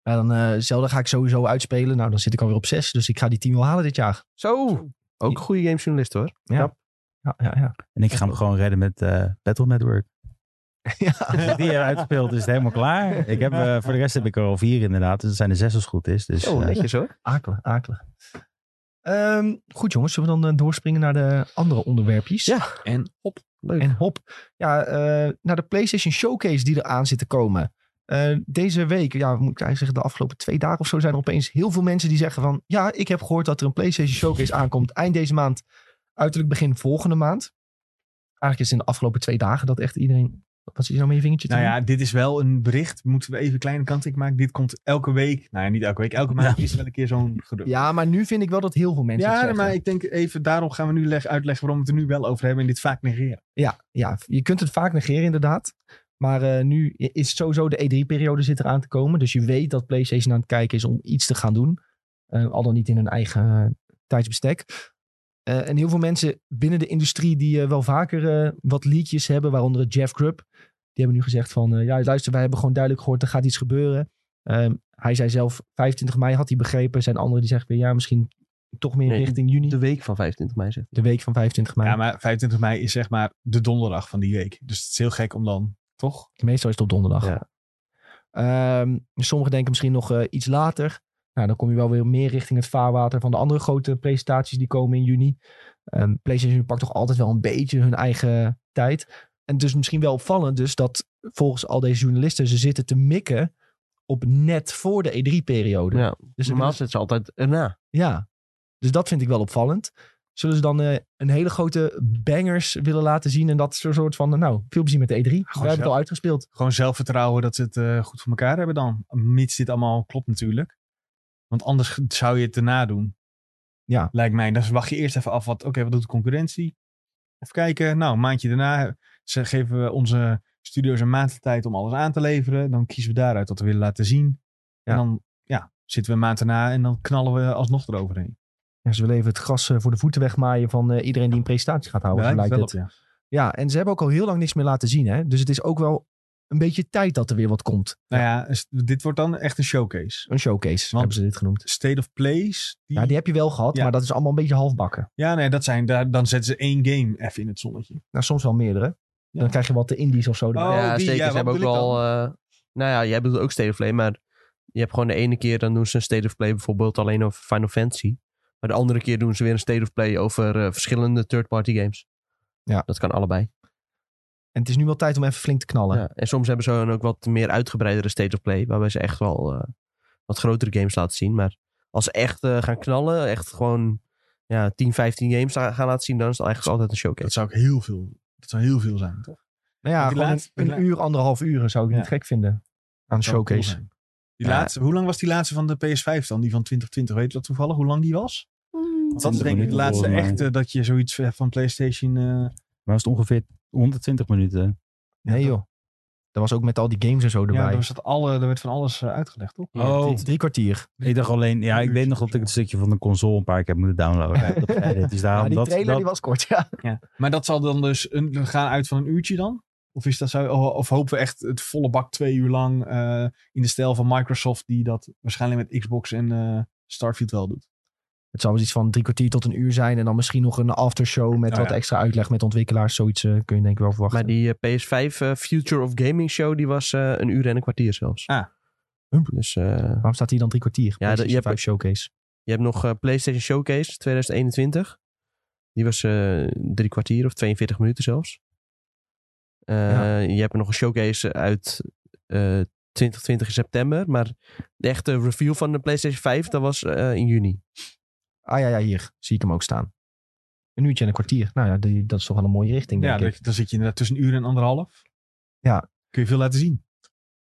ja, dan eh, Zelda ga ik sowieso uitspelen. Nou, dan zit ik alweer op zes. Dus ik ga die team wel halen dit jaar.
Zo! Ook een goede gamejournalist hoor.
Ja, ja, ja.
En ik ga hem gewoon redden met eh, Battle Network. Als ik die eruit speelt, is het helemaal klaar. Ik heb, eh, voor de rest heb ik er al vier inderdaad. Dus dat zijn er zes als het goed is. Dus,
Zo,
eh,
netjes hoor.
Akelig, akelig. Ehm, goed jongens, zullen we dan eh, doorspringen naar de andere onderwerpjes?
Ja.
En op.
Leuk.
En hop, ja, eh, naar de PlayStation Showcase die eraan zit te komen. Eh, deze week, ja, moet ik eigenlijk zeggen, de afgelopen twee dagen of zo zijn er opeens heel veel mensen die zeggen van... Ja, ik heb gehoord dat er een PlayStation Showcase aankomt eind deze maand, uiterlijk begin volgende maand. Eigenlijk is het in de afgelopen twee dagen dat echt iedereen... Wat zit je nou met je vingertje te
Nou
doen?
ja, dit is wel een bericht. Moeten we even een kleine kanttekening maken. Dit komt elke week. Nou ja, niet elke week. Elke maand is er wel een keer zo'n gerucht.
ja, maar nu vind ik wel dat heel veel mensen het
Ja,
zeggen.
maar ik denk even, daarom gaan we nu leg- uitleggen waarom we het er nu wel over hebben en dit vaak negeren.
Ja, ja, je kunt het vaak negeren inderdaad. Maar eh, nu is het sowieso de E3-periode zit eraan te komen. Dus je weet dat PlayStation aan het kijken is om iets te gaan doen. Eh, al dan niet in hun eigen eh, tijdsbestek. Eh, en heel veel mensen binnen de industrie die eh, wel vaker eh, wat leakjes hebben, waaronder het Jeff Grubb. Die hebben nu gezegd van, eh, ja luister, wij hebben gewoon duidelijk gehoord, er gaat iets gebeuren. Ehm, hij zei zelf, 25 mei had hij begrepen. Er zijn anderen die zeggen weer, ja misschien toch meer
Nee,
richting juni.
De
De,
week van 25 mei zeg.
week van 25 mei.
Ja, maar 25 mei is zeg maar de donderdag van die week. Dus het is heel gek om dan, toch?
Meestal is het op donderdag.
Ja.
Ehm, sommigen denken misschien nog eh, iets later. Nou, dan kom je wel weer meer richting het vaarwater van de andere grote presentaties die komen in juni. Ehm, PlayStation pakt toch altijd wel een beetje hun eigen tijd. En dus misschien wel opvallend dus dat volgens al deze journalisten ze zitten te mikken op net voor de E3-periode.
Ja,
dus ze
Normaal
willen-
zit ze altijd erna.
ja, dus dat vind ik wel opvallend. Zullen ze dan eh, een hele grote bangers willen laten zien en dat soort van, nou, veel plezier met de E3. We hebben het
zelf-
al uitgespeeld.
Gewoon zelfvertrouwen dat ze het eh, goed voor elkaar hebben dan. Mits dit allemaal klopt natuurlijk. Want anders g- zou je het daarna doen.
Ja.
Lijkt mij. Dan wacht je eerst even af. wat. Oké, wat doet de concurrentie? Even kijken. Nou, een maandje daarna ze geven we onze studio's een maand de tijd om alles aan te leveren. Dan kiezen we daaruit wat we willen laten zien.
Ja.
En dan ja, zitten we een maand daarna en dan knallen we alsnog eroverheen.
Ja, ze willen even het gras eh, voor de voeten wegmaaien van eh, iedereen die een presentatie gaat houden.
Daar
zo
lijkt
lijkt
het wel
het.
op, ja.
Ja, en ze hebben ook al heel lang niks meer laten zien. Hè? Dus het is ook wel een beetje tijd dat er weer wat komt.
Nou ja, s- dit wordt dan echt een showcase.
Een showcase hebben ze dit genoemd.
State of Place. Die,
Ja, die heb je wel gehad,
Ja.
maar dat is allemaal een beetje halfbakken.
ja nee, dat zijn, daar, dan zetten ze één game even in het zonnetje.
Nou, soms wel meerdere.
Ja.
Dan krijg je wat de indies of zo. erbij.
Oh,
ja,
die,
zeker.
ja,
ze
wat
hebben ook
bedoel ik
wel... eh, nou ja, jij bedoelt ook State of Play, maar je hebt gewoon de ene keer dan doen ze een State of Play bijvoorbeeld alleen over Final Fantasy. Maar de andere keer doen ze weer een State of Play over eh, verschillende third-party games.
Ja.
Dat kan allebei.
En het is nu wel tijd om even flink te knallen.
Ja, En soms hebben ze dan ook wat meer uitgebreidere state of play. Waarbij ze echt wel eh, wat grotere games laten zien. Maar als ze echt eh, gaan knallen, echt gewoon ja, 10, 15 games la- gaan laten zien, dan is het eigenlijk altijd een
Dat
showcase.
zou ik heel veel, dat zou heel veel zijn, toch?
Nou ja,
Want die
gewoon
laatste-
een,
die
een uur, anderhalf uur zou ik
Ja.
niet gek vinden aan een
Dat zou cool
showcase.
zijn. Die
Ja.
laatste, hoe lang was die laatste van de PS5 dan? Die van 2020, weet je dat toevallig? Hoe lang die was? Want dat is
20
denk ik de
minuten
laatste
volgens mij.
echte dat je zoiets eh, van PlayStation... eh,
Maar was het ongeveer 120 minuten?
nee
ja,
joh. Dat was ook met al die games en zo
dat- Ja,
erbij.
daar, was dat alle, daar werd van alles eh, uitgelegd, toch?
Oh.
Drie kwartier.
Ik dacht alleen, ja, ik weet nog dat ik het stukje van de console een paar keer heb moeten downloaden. Dat Reddit. Dus daarom
Ja, die
dat,
trailer
dat-
die was kort, ja.
Maar dat zal dan dus een, we gaan uit van een uurtje dan? Of, is dat zo, of of hopen we echt het volle bak twee uur lang eh, in de stijl van Microsoft, die dat waarschijnlijk met Xbox en eh, Starfield wel doet?
Het zou wel iets van drie kwartier tot een uur zijn. En dan misschien nog een aftershow met
Oh,
wat
ja.
extra uitleg met ontwikkelaars. Zoiets eh, kun je denk ik wel verwachten.
Maar die eh, PS5 eh, Future of Gaming Show, die was eh, een uur en een kwartier zelfs.
Ah.
Dus eh,
Waarom staat hier dan drie kwartier?
Ja, dat- je
je
hebt-
hebt showcase.
je hebt nog eh, PlayStation Showcase 2021. Die was eh, drie kwartier of 42 minuten zelfs. Eh,
Ja.
Je hebt nog een showcase uit eh, 2020 in september. Maar de echte review van de PlayStation 5, dat was eh, in juni.
Ah ja, ja, hier zie ik hem ook staan. Een uurtje en een kwartier. Nou ja, die- dat is toch wel een mooie richting,
Ja,
denk
dat-
ik.
dan, zit je inderdaad tussen een uur en anderhalf.
Ja.
Kun je veel laten zien.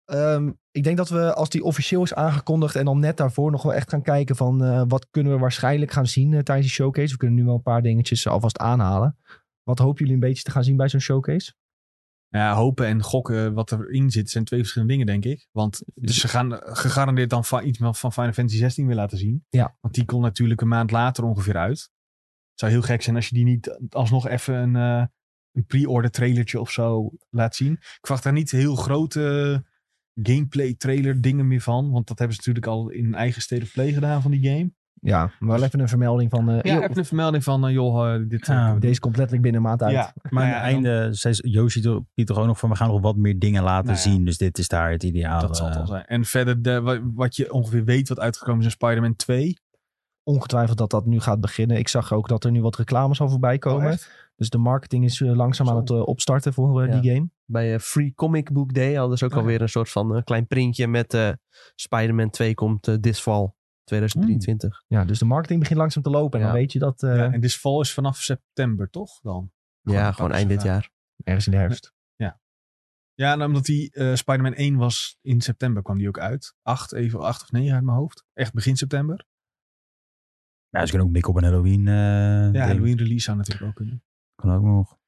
Ehm, ik denk dat we, als die officieel is aangekondigd en dan net daarvoor nog wel echt gaan kijken van eh, wat kunnen we waarschijnlijk gaan zien eh, tijdens die showcase. We kunnen nu wel een paar dingetjes alvast aanhalen. Wat hopen jullie een beetje te gaan zien bij zo'n showcase?
Ja, hopen en gokken wat erin zit zijn twee verschillende dingen, denk ik. Want dus ze gaan eh, gegarandeerd dan van, iets van Final Fantasy 16 weer laten zien.
Ja.
Want die komt natuurlijk een maand later ongeveer uit. Het zou heel gek zijn als je die niet alsnog even een, eh, een pre-order trailertje of zo laat zien. Ik verwacht daar niet heel grote gameplay trailer dingen meer van. Want dat hebben ze natuurlijk al in eigen state of play gedaan van die game.
Ja, maar wel even een vermelding van eh,
Dus- Ja,
joh,
even een vermelding van, eh, joh, eh, dit... eh,
Ah,
Ja,
kunnen we-
deze komt letterlijk binnen een maand uit.
Ja,
Maar
Nou
aan
ja,
het
dan-
einde zei ze- Yoshi er- Piet er ook nog van, we gaan nog wat meer dingen laten
Nou ja.
zien. Dus dit is daar het ideaal.
Dat zal het
eh,
wel zijn. En verder, de, wa- wat je ongeveer weet wat uitgekomen is in Spider-Man 2.
Ongetwijfeld dat dat nu gaat beginnen. Ik zag ook dat er nu wat reclames al voorbij komen. dus de marketing is eh, langzaam aan het eh, opstarten voor eh,
Ja.
die game.
Bij eh, Free Comic Book Day hadden ze ook
Oh ja.
alweer een soort van eh, klein printje met eh, Spider-Man 2 komt eh, this
Hmm.
fall 2023.
Ja, dus de marketing begint langzaam te lopen. En
Ja.
dan weet je dat eh,
Ja, en dit Fall is vanaf september, toch? Dan?
ja,
Gewoon pakken
gewoon eind
ze
dit
daar.
jaar.
ergens in de herfst.
Ja, nou, omdat die eh, Spider-Man 1 was in september, kwam die ook uit. 8, even 8 of 9 uit mijn hoofd. Echt begin september.
Ja, nou, ze kunnen ook mikken op een Halloween. eh,
Ja,
ding.
Halloween release zou natuurlijk ook kunnen.
Kan ook nog.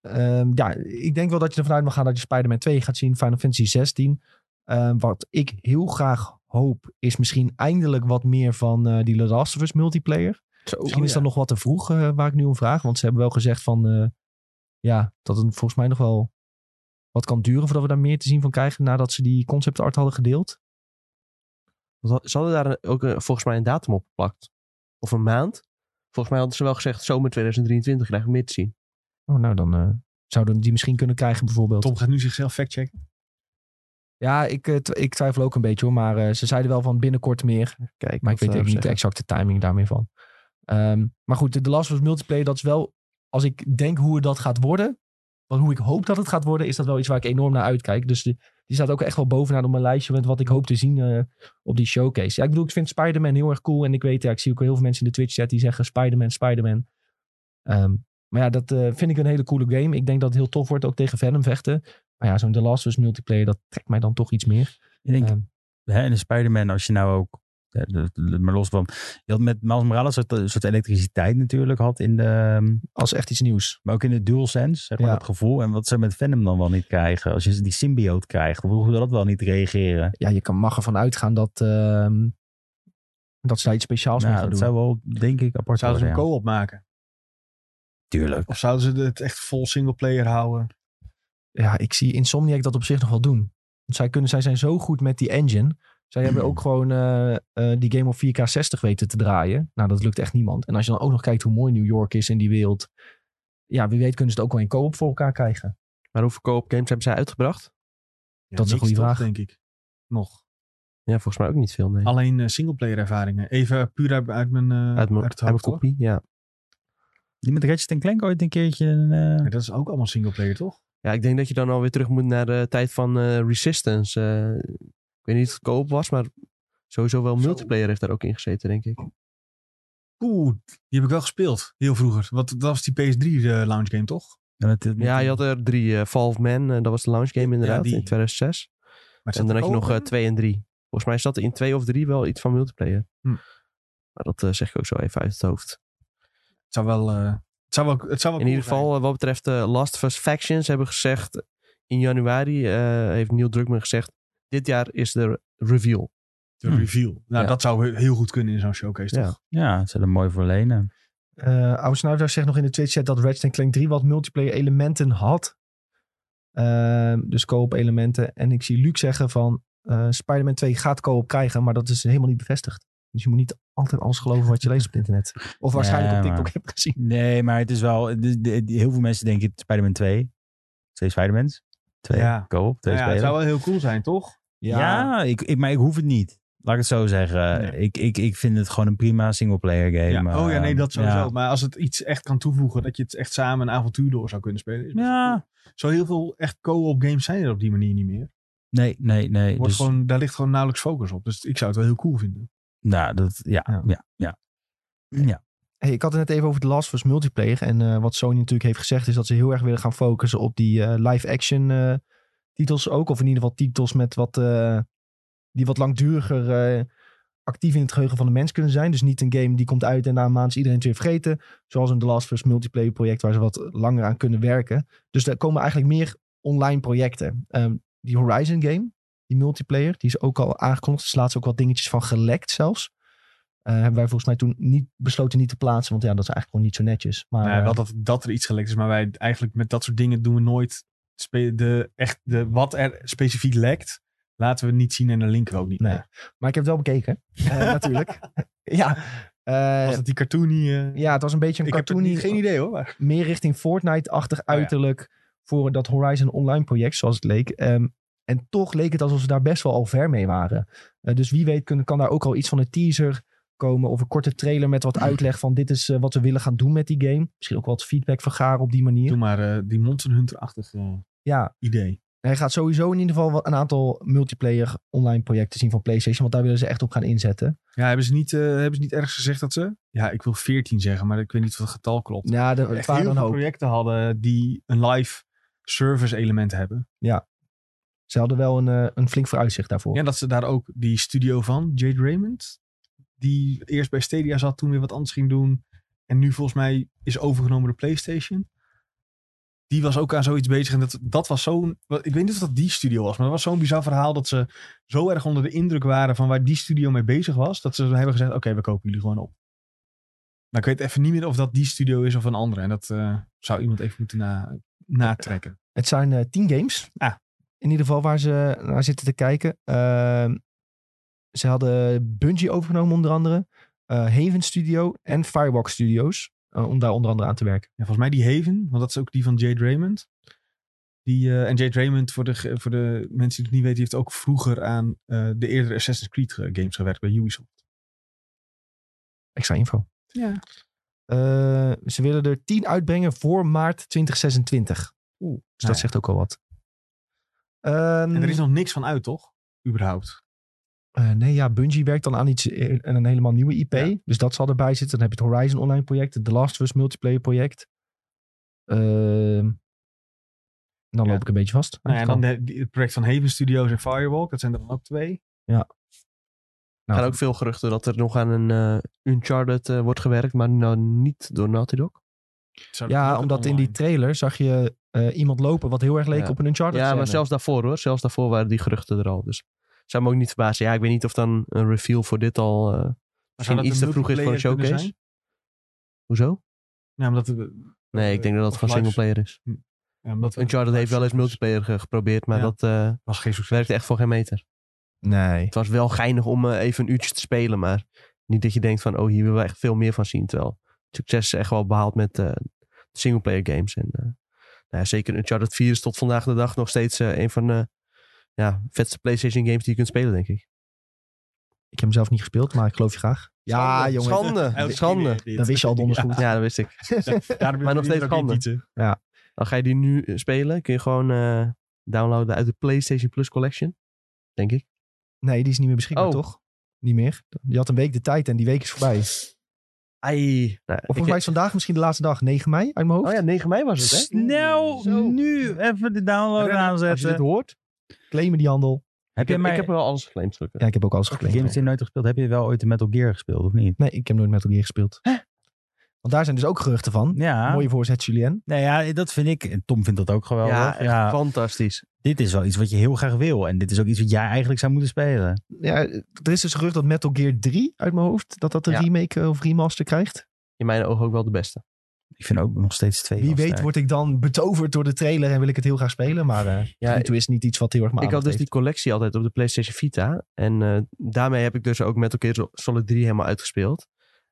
Ehm, ja, ik denk wel dat je ervan uit mag gaan dat je Spider-Man 2 gaat zien, Final Fantasy 16. Ehm, wat ik heel graag hoop, is misschien eindelijk wat meer van eh, die The Last of Us multiplayer. Misschien
Oh,
is dat nog wat te vroeg, eh, waar ik nu om vraag. Want ze hebben wel gezegd van, eh, ja, dat het volgens mij nog wel wat kan duren voordat we daar meer te zien van krijgen nadat ze die concept art hadden gedeeld.
Want Ze hadden daar een- ook eh, volgens mij een datum op geplakt. Of een maand. Volgens mij hadden ze wel gezegd zomer 2023 krijgen we meer te zien.
Oh, nou dan eh, zouden we die misschien kunnen krijgen bijvoorbeeld.
Tom gaat nu zichzelf factchecken.
Ja, ik, eh, tw- ik twijfel ook een beetje hoor, maar eh, ze zeiden wel van binnenkort meer.
Kijk,
Maar ik weet
dat,
even
eh,
niet de exacte timing daarmee van. Ehm, maar goed, de The Last of Us Multiplayer, dat is wel... Als ik denk hoe dat gaat worden, want hoe ik hoop dat het gaat worden, is dat wel iets waar ik enorm naar uitkijk. Dus die, die staat ook echt wel bovenaan op mijn lijstje met wat ik hoop te zien eh, op die showcase. Ja, ik bedoel, ik vind Spider-Man heel erg cool. En ik weet, ja, ik zie ook heel veel mensen in de Twitch-chat die zeggen Spider-Man, Spider-Man. Ehm, maar ja, dat eh, vind ik een hele coole game. Ik denk dat het heel tof wordt, ook tegen Venom vechten. Maar ja, zo'n The Last of Us Multiplayer, dat trekt mij dan toch iets meer.
Ik denk,
Ehm,
hè, en in Spider-Man, als je nou ook, hè, de- de- maar los van, je had met Miles Morales een soort, een soort elektriciteit natuurlijk had in de, ehm,
als echt iets nieuws.
maar ook in de DualSense, zeg maar,
Ja.
dat gevoel. En wat ze met Venom dan wel niet krijgen, als je die symbioot krijgt, hoe hoe dat wel niet reageren.
ja, je kan, mag ervan uitgaan dat, ehm, dat ze daar iets speciaals mee
Nou,
gaan
dat
doen.
zou wel, denk ik, apart
Zouden ze
worden.
een
ja.
co-op maken?
Tuurlijk.
Of zouden ze het echt vol singleplayer houden?
Ja, ik zie Insomniac dat op zich nog wel doen. Want zij, kunnen, zij zijn zo goed met die engine. Zij hebben ook gewoon eh, eh, die game op 4K 60 weten te draaien. Nou, dat lukt echt niemand. En als je dan ook nog kijkt hoe mooi New York is in die wereld. Ja, wie weet kunnen ze het ook wel in co-op voor elkaar krijgen.
Maar hoeveel co-op games hebben zij uitgebracht?
Ja,
Dat is een
niks
goede
toch,
vraag.
denk ik. Nog.
Ja, volgens mij ook niet veel, nee.
Alleen eh, singleplayer ervaringen. Even puur uit, uit mijn, eh,
uit mijn
het
uit mijn
hoofd, hoor.
kopie, ja.
Die met Ratchet Clank ooit een keertje een, eh,
Maar dat is ook allemaal singleplayer, toch?
Ja, ik denk dat je dan alweer terug moet naar de tijd van eh, Resistance. Eh, ik weet niet of het koop was, maar sowieso wel multiplayer heeft daar ook in gezeten, denk ik.
Oeh, die heb ik wel gespeeld. Heel vroeger. Want dat was die PS3-lounge eh, game, toch?
En het- het-
Ja, je had er drie. eh, Fall of Man, eh, dat was de launch game inderdaad,
die.
in 2006.
Maar oh, het
en dan
zat
had je nog
Oh.
eh,
ook-
twee en drie. Volgens mij zat er in twee of drie wel iets van multiplayer.
Hm.
Maar dat eh, zeg ik ook zo even uit het hoofd.
Het zou wel... eh, het zou wel, het zou wel
In
cool
ieder geval, eh, wat betreft eh, Last of Us Factions, hebben gezegd... In januari eh, heeft Neil Druckmann gezegd... Dit jaar is de reveal.
zijn. De reveal. Nou,
hm. Ja.
dat zou he- heel goed kunnen in zo'n showcase,
Ja.
toch?
ja, het zullen mooi voor lenen.
Eh Oude Snuifdaar zegt nog in de Twitch-chat dat Ratchet Clank 3 wat multiplayer elementen had. Ehm, dus co-op elementen. En ik zie Luc zeggen van eh Spider-Man 2 gaat co-op krijgen, maar dat is helemaal niet bevestigd. Dus je moet niet altijd alles geloven wat je leest op het internet. Of waarschijnlijk
Nee,
op TikTok
maar-
hebt gezien.
Nee, maar het is wel... de- de- de- heel veel mensen denken Spider-Man 2. Twee Spider-Mans. Twee
Ja.
co-op. Twee
Nou ja, het
spelers.
zou wel heel cool zijn, toch?
Ja, ik, ik, maar ik hoef het niet. Laat ik het zo zeggen.
Nee.
Ik, ik, ik vind het gewoon een prima singleplayer
Ja.
game.
Oh ja, nee,
eh,
dat sowieso.
ja.
Maar als het iets echt kan toevoegen, dat je het echt samen een avontuur door zou kunnen spelen. is best
Ja.
wel cool. Zo heel veel echt co-op games zijn er op die manier niet meer.
Nee, nee, nee.
Wordt
Dus,
gewoon, daar ligt gewoon nauwelijks focus op. Dus ik zou het wel heel cool vinden.
nou, dat, ja,
Ja.
ja, ja. ja.
Hey, ik had het net even over de Last of Us multiplayer. En eh, wat Sony natuurlijk heeft gezegd is dat ze heel erg willen gaan focussen op die eh, live-action eh, titels ook. Of in ieder geval titels met wat, eh, die wat langduriger eh, actief in het geheugen van de mens kunnen zijn. Dus niet een game die komt uit en na een maand is iedereen het weer vergeten. Zoals een The Last of Us multiplayer project waar ze wat langer aan kunnen werken. Dus daar komen eigenlijk meer online projecten. Ehm, die Horizon game, die multiplayer, die is ook al aangekondigd. Er is laatst ook wat dingetjes van gelekt zelfs. Eh, hebben wij volgens mij toen niet, besloten niet te plaatsen. Want ja, dat is eigenlijk gewoon niet zo netjes. Maar,
Nou ja,
eh,
wel dat, dat er iets gelekt is, maar wij eigenlijk met dat soort dingen doen we nooit spe- de, echt de, wat er specifiek lekt, laten we niet zien en dan linken we ook niet.
Nee.
naar.
Maar ik heb het wel bekeken, eh, natuurlijk. Ja, eh,
Was het die cartoony... eh,
ja, het was een beetje een
ik heb het
cartoony,
niet- geen idee hoor. maar-
meer richting Fortnite-achtig
ja.
uiterlijk voor dat Horizon Online project, zoals het leek. Ehm, en toch leek het alsof ze daar best wel al ver mee waren. Eh, dus wie weet kunnen, kan daar ook al iets van een teaser komen of een korte trailer met wat uitleg van dit is eh, wat we willen gaan doen met die game. Misschien ook wat feedback vergaren op die manier.
Doe maar eh, die Monster Hunter-achtig eh,
Ja,
idee.
Hij gaat sowieso in ieder geval wel een aantal multiplayer online projecten zien van PlayStation. Want daar willen ze echt op gaan inzetten.
Ja, hebben ze, niet, eh, hebben ze niet ergens gezegd dat ze... Ja, ik wil 14 zeggen, maar ik weet niet of het getal klopt.
Ja, er
echt
waren
heel
er een
veel
hoop.
projecten hadden die een live service element hebben.
Ze hadden wel een, eh, een flink vooruitzicht daarvoor.
Ja, dat ze daar ook die studio van, Jade Raymond, die eerst bij Stadia zat, toen weer wat anders ging doen. En nu volgens mij is overgenomen door PlayStation. Die was ook aan zoiets bezig. En dat, dat was zo'n. wel, Ik weet niet of dat die studio was, maar dat was zo'n bizar verhaal dat ze zo erg onder de indruk waren van waar die studio mee bezig was. Dat ze hebben gezegd: Oké, we kopen jullie gewoon op. Maar ik weet even niet meer of dat die studio is of een andere. En dat eh, zou iemand even moeten na, natrekken.
Het zijn eh, tien games.
Ah.
In ieder geval waar ze naar zitten te kijken. Ehm, ze hadden Bungie overgenomen onder andere. eh, Haven Studio en Firewalk Studios. eh, om daar onder andere aan te werken.
Ja, volgens mij die Haven, want dat is ook die van Jade Raymond. Die, eh, en Jade Raymond, voor de, ge- voor de mensen die het niet weten, die heeft ook vroeger aan eh, de eerdere Assassin's Creed ge- games gewerkt bij Ubisoft.
Extra info.
Ja.
Eh, ze willen er tien uitbrengen voor maart 2026. Oeh, dus dat
Nou ja.
zegt ook al wat. Ehm,
En er is nog niks van uit, toch? Überhaupt.
Eh, nee, ja, Bungie werkt dan aan iets, eh, aan een helemaal nieuwe IP.
Ja.
Dus dat zal erbij zitten. Dan heb je het Horizon Online project, het The Last of Us multiplayer project. Ehm, dan
Ja.
loop ik een beetje vast.
Nou ja, en
Dat
dan
kan.
de- die- het project van Haven Studios en Firewalk, dat zijn er dan ook twee.
Er
Nou,
gaan ook veel geruchten dat er nog aan een eh, Uncharted eh, wordt gewerkt, maar nou niet door Naughty Dog.
Zou dat ook
ja,
een
omdat in die
online-
trailer zag je eh, iemand lopen wat heel erg leek
Ja.
op een
Oh,
Uncharted.
Ja, maar
scène.
zelfs daarvoor hoor. Zelfs daarvoor waren die geruchten er al. Dus zou me ook niet verbazen. Ja, ik weet niet of dan een reveal voor dit al eh,
Maar zou
misschien
dat
iets
een
te vroeg is voor een
multiplayer kunnen
showcase.
zijn?
Hoezo?
Ja, omdat, we-
Nee, ik denk dat dat
eh, Of
gewoon
live-
singleplayer is.
ja, omdat we-
Uncharted heeft wel eens multiplayer ge- geprobeerd, maar
Ja.
dat eh
was geen succes.
werkte echt voor geen meter.
Nee.
Het was wel geinig om eh, even een uurtje te spelen, maar niet dat je denkt van, oh, hier willen we echt veel meer van zien. Terwijl het succes is echt wel behaald met eh singleplayer games. En, eh, nou ja, zeker Uncharted 4 is tot vandaag de dag nog steeds eh, een van de ja, vetste PlayStation games die je kunt spelen, denk ik.
Ik heb hem zelf niet gespeeld, maar ik geloof je graag. Ja,
Schande.
jongen.
Schande.
Elke keer
Schande.
weer dit.
Dat wist je al donders goed.
Ja, dat wist ik.
Daarom
Maar nog
wil ik
steeds
ook niet
schande.
bieten.
Dan ga je die nu eh, spelen. Kun je gewoon eh, downloaden uit de PlayStation Plus Collection. Denk ik.
Nee, die is niet meer beschikbaar,
Oh.
toch? Niet meer. Je had een week de tijd en die week is voorbij. Of
Ai. Nou,
volgens mij is vandaag misschien de laatste dag, 9 mei, uit mijn hoofd.
Oh ja, 9 mei was het, hè?
Snel
Zo.
nu even de download
Rennen,
Als je dit
aanzetten.
hoort.
Claimen die handel.
Heb
Ik heb,
je
ik
maar
heb wel alles geclaimd. gelukkig.
Ja, ik heb ook alles geclaimd.
games die je nooit hebt gespeeld? Heb je wel ooit een Metal Gear gespeeld of niet?
Nee, ik heb nooit Metal Gear gespeeld. Want daar zijn dus ook geruchten van.
Ja.
Mooie voorzet, Julien.
Nou ja, dat vind ik. en Tom vindt dat ook geweldig.
Ja,
Ja,
echt fantastisch.
dit is wel iets wat je heel graag wil. En dit is ook iets wat jij eigenlijk zou moeten spelen.
Ja, er is dus gerucht dat Metal Gear 3 uit mijn hoofd, dat dat een
Ja.
remake eh, of remaster krijgt.
In mijn ogen ook wel de beste.
Ik vind ook nog steeds twee.
Wie
wel
weet
sterk.
word ik dan betoverd door de trailer en wil ik het heel graag spelen. Maar eh
Ja,
ja, toe is het niet iets wat heel erg me
ik had dus
aandacht
die collectie altijd op de PlayStation Vita. En eh, daarmee heb ik dus ook Metal Gear Solid 3 helemaal uitgespeeld.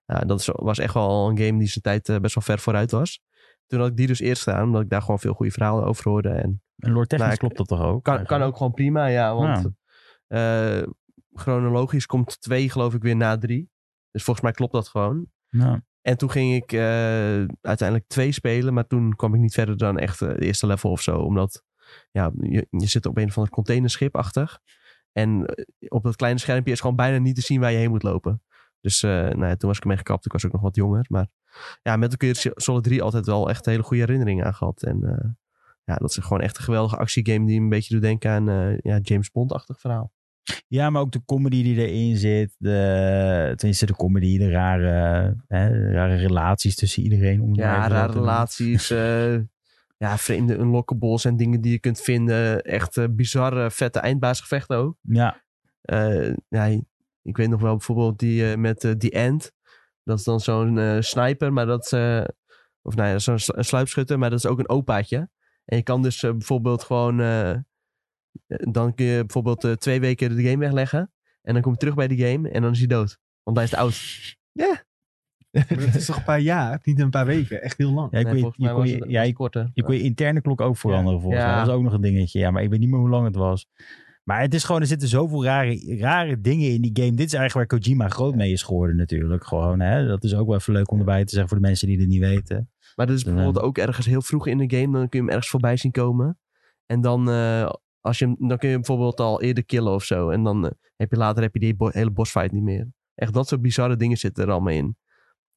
Ja, dat is- was echt wel een game die zijn tijd eh, best wel ver vooruit was. Toen had ik die dus eerst gedaan, omdat ik daar gewoon veel goede verhalen over hoorde. En
En lore technisch
Nou, ik-
klopt dat toch ook?
kan, kan ook gewoon prima, ja. Want eh, chronologisch komt 2 geloof ik weer na 3. Dus volgens mij klopt dat gewoon.
Nou,
En toen ging ik eh, uiteindelijk twee spelen, maar toen kwam ik niet verder dan echt het eerste level of zo. Omdat ja, je, je zit op een of ander containerschip achter. En eh, op dat kleine schermpje is gewoon bijna niet te zien waar je heen moet lopen. Dus eh, nou ja, toen was ik ermee gekapt. Ik was ook nog wat jonger. Maar ja, met Metal Gear Solid 3 altijd wel echt hele goede herinneringen aan gehad. En eh, ja, dat is gewoon echt een geweldige actiegame die me een beetje doet denken aan eh, ja, James Bond-achtig verhaal.
ja, maar ook de comedy die erin zit. De, tenminste, de comedy, de rare, hè, de rare relaties tussen iedereen. Om het maar
Ja,
even zo
rare
te noemen.
relaties. eh, ja, vreemde unlockables en dingen die je kunt vinden. Echt eh, bizarre, vette eindbaasgevechten ook.
Ja,
Eh, ja, ik weet nog wel bijvoorbeeld die eh, met eh, The End. Dat is dan zo'n eh, sniper, maar dat... eh, of nou ja, zo'n slu- een sluipschutter, maar dat is ook een opaatje. En je kan dus eh, bijvoorbeeld gewoon... eh, dan kun je bijvoorbeeld eh, twee weken de game wegleggen. En dan kom je terug bij die game en dan is hij dood. Want hij is te oud.
Maar dat is toch een paar jaar, niet een paar weken. Echt heel lang.
ja, ik
Nee,
weet,
volgens
je
mij
kon
was
je-
het-
ja,
was
je
het korter.
Je kon je interne klok ook veranderen volgens mij.
Ja.
Dat was ook nog een dingetje. Ja, maar ik weet niet meer hoe lang het was. Maar het is gewoon, er zitten zoveel rare, rare dingen in die game. Dit is eigenlijk waar Kojima groot mee is geworden natuurlijk. Gewoon, hè? Dat is ook wel even leuk om erbij te zeggen voor de mensen die het niet weten.
Maar dat is
Dus,
bijvoorbeeld ook ergens heel vroeg in de game. Dan kun je hem ergens voorbij zien komen. En dan, eh, als je hem, dan kun je hem bijvoorbeeld al eerder killen of zo. En dan eh, heb je later heb je die bo- hele bossfight niet meer. Echt dat soort bizarre dingen zitten er allemaal in.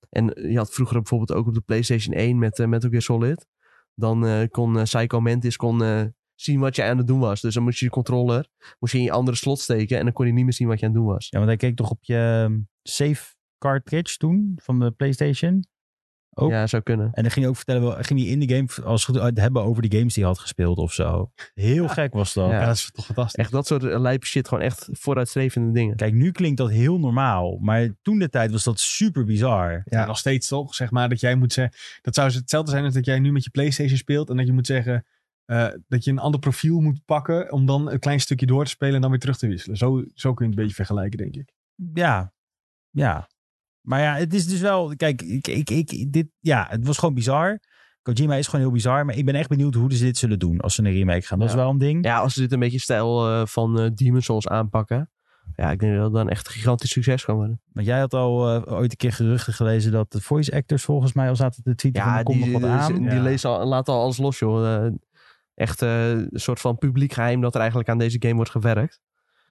En eh, je had vroeger bijvoorbeeld ook op de PlayStation 1 met eh, Metal Gear Solid. Dan eh, kon eh, Psycho Mantis kon, eh, zien wat je aan het doen was. Dus dan moest je je controller moest je in je andere slot steken. En dan kon je niet meer zien wat je aan het doen was.
Ja, want hij keek toch op je um, safe cartridge toen van de PlayStation. Ook.
Ja, zou kunnen.
En dan ging hij ook vertellen, wel- ging hij in de game als het goed het hebben over de games die hij had gespeeld of zo. Heel gek was dat.
Ja.
Ja, dat is toch fantastisch.
Echt dat soort eh, lijpe shit. Gewoon echt vooruitstrevende dingen.
Kijk, nu klinkt dat heel normaal. Maar toen de tijd was dat super bizar.
Ja.
Ja. Nog steeds toch, zeg maar, dat jij moet zeggen... Dat zou hetzelfde zijn als dat jij nu met je Playstation speelt... en dat je moet zeggen eh, dat je een ander profiel moet pakken... om dan een klein stukje door te spelen en dan weer terug te wisselen. Zo, zo kun je het een beetje vergelijken, denk ik.
Ja, ja. Maar ja, het is dus wel. Kijk, ik, ik, ik, dit, ja, het was gewoon bizar. Kojima is gewoon heel bizar. Maar ik ben echt benieuwd hoe ze dit zullen doen als ze een remake gaan. Dat is
Ja.
wel een ding.
Ja, als ze dit een beetje stijl eh, van eh Demon Souls aanpakken. Ja, ik denk dat het dan echt een gigantisch succes kan worden.
Want jij had al eh, ooit een keer geruchten gelezen dat de voice actors volgens mij al zaten te tweeten van
Ja,
er komt
die, eh,
nog wat aan.
die
Ja.
lezen al, laten al alles los, joh. Eh, echt eh, een soort van publiek geheim dat er eigenlijk aan deze game wordt gewerkt.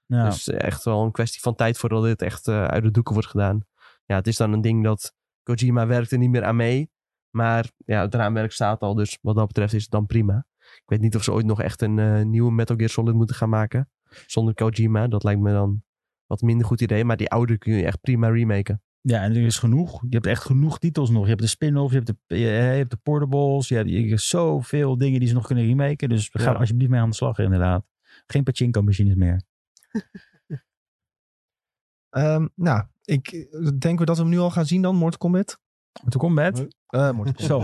Ja.
Dus echt wel een kwestie van tijd voordat dit echt eh, uit de doeken wordt gedaan. Ja, het is dan een ding dat Kojima werkt er niet meer aan mee. Maar ja, het raamwerk staat al, dus wat dat betreft is het dan prima. Ik weet niet of ze ooit nog echt een eh, nieuwe Metal Gear Solid moeten gaan maken. Zonder Kojima, dat lijkt me dan wat minder goed idee. Maar die oude kun je echt prima remaken.
ja, en er is genoeg. Je hebt echt genoeg titels nog. Je hebt de spin-off, je hebt de, eh, je, hebt de portables. Je hebt, je hebt zoveel dingen die ze nog kunnen remaken. Dus ga
Ja.
er alsjeblieft mee aan de slag inderdaad. Geen pachinko-machines meer.
Ehm, nou, ik denk we dat we hem nu al gaan zien dan, Mortal Kombat.
Mortal Kombat.
Nee.
Eh Mortal Kombat.
Zo,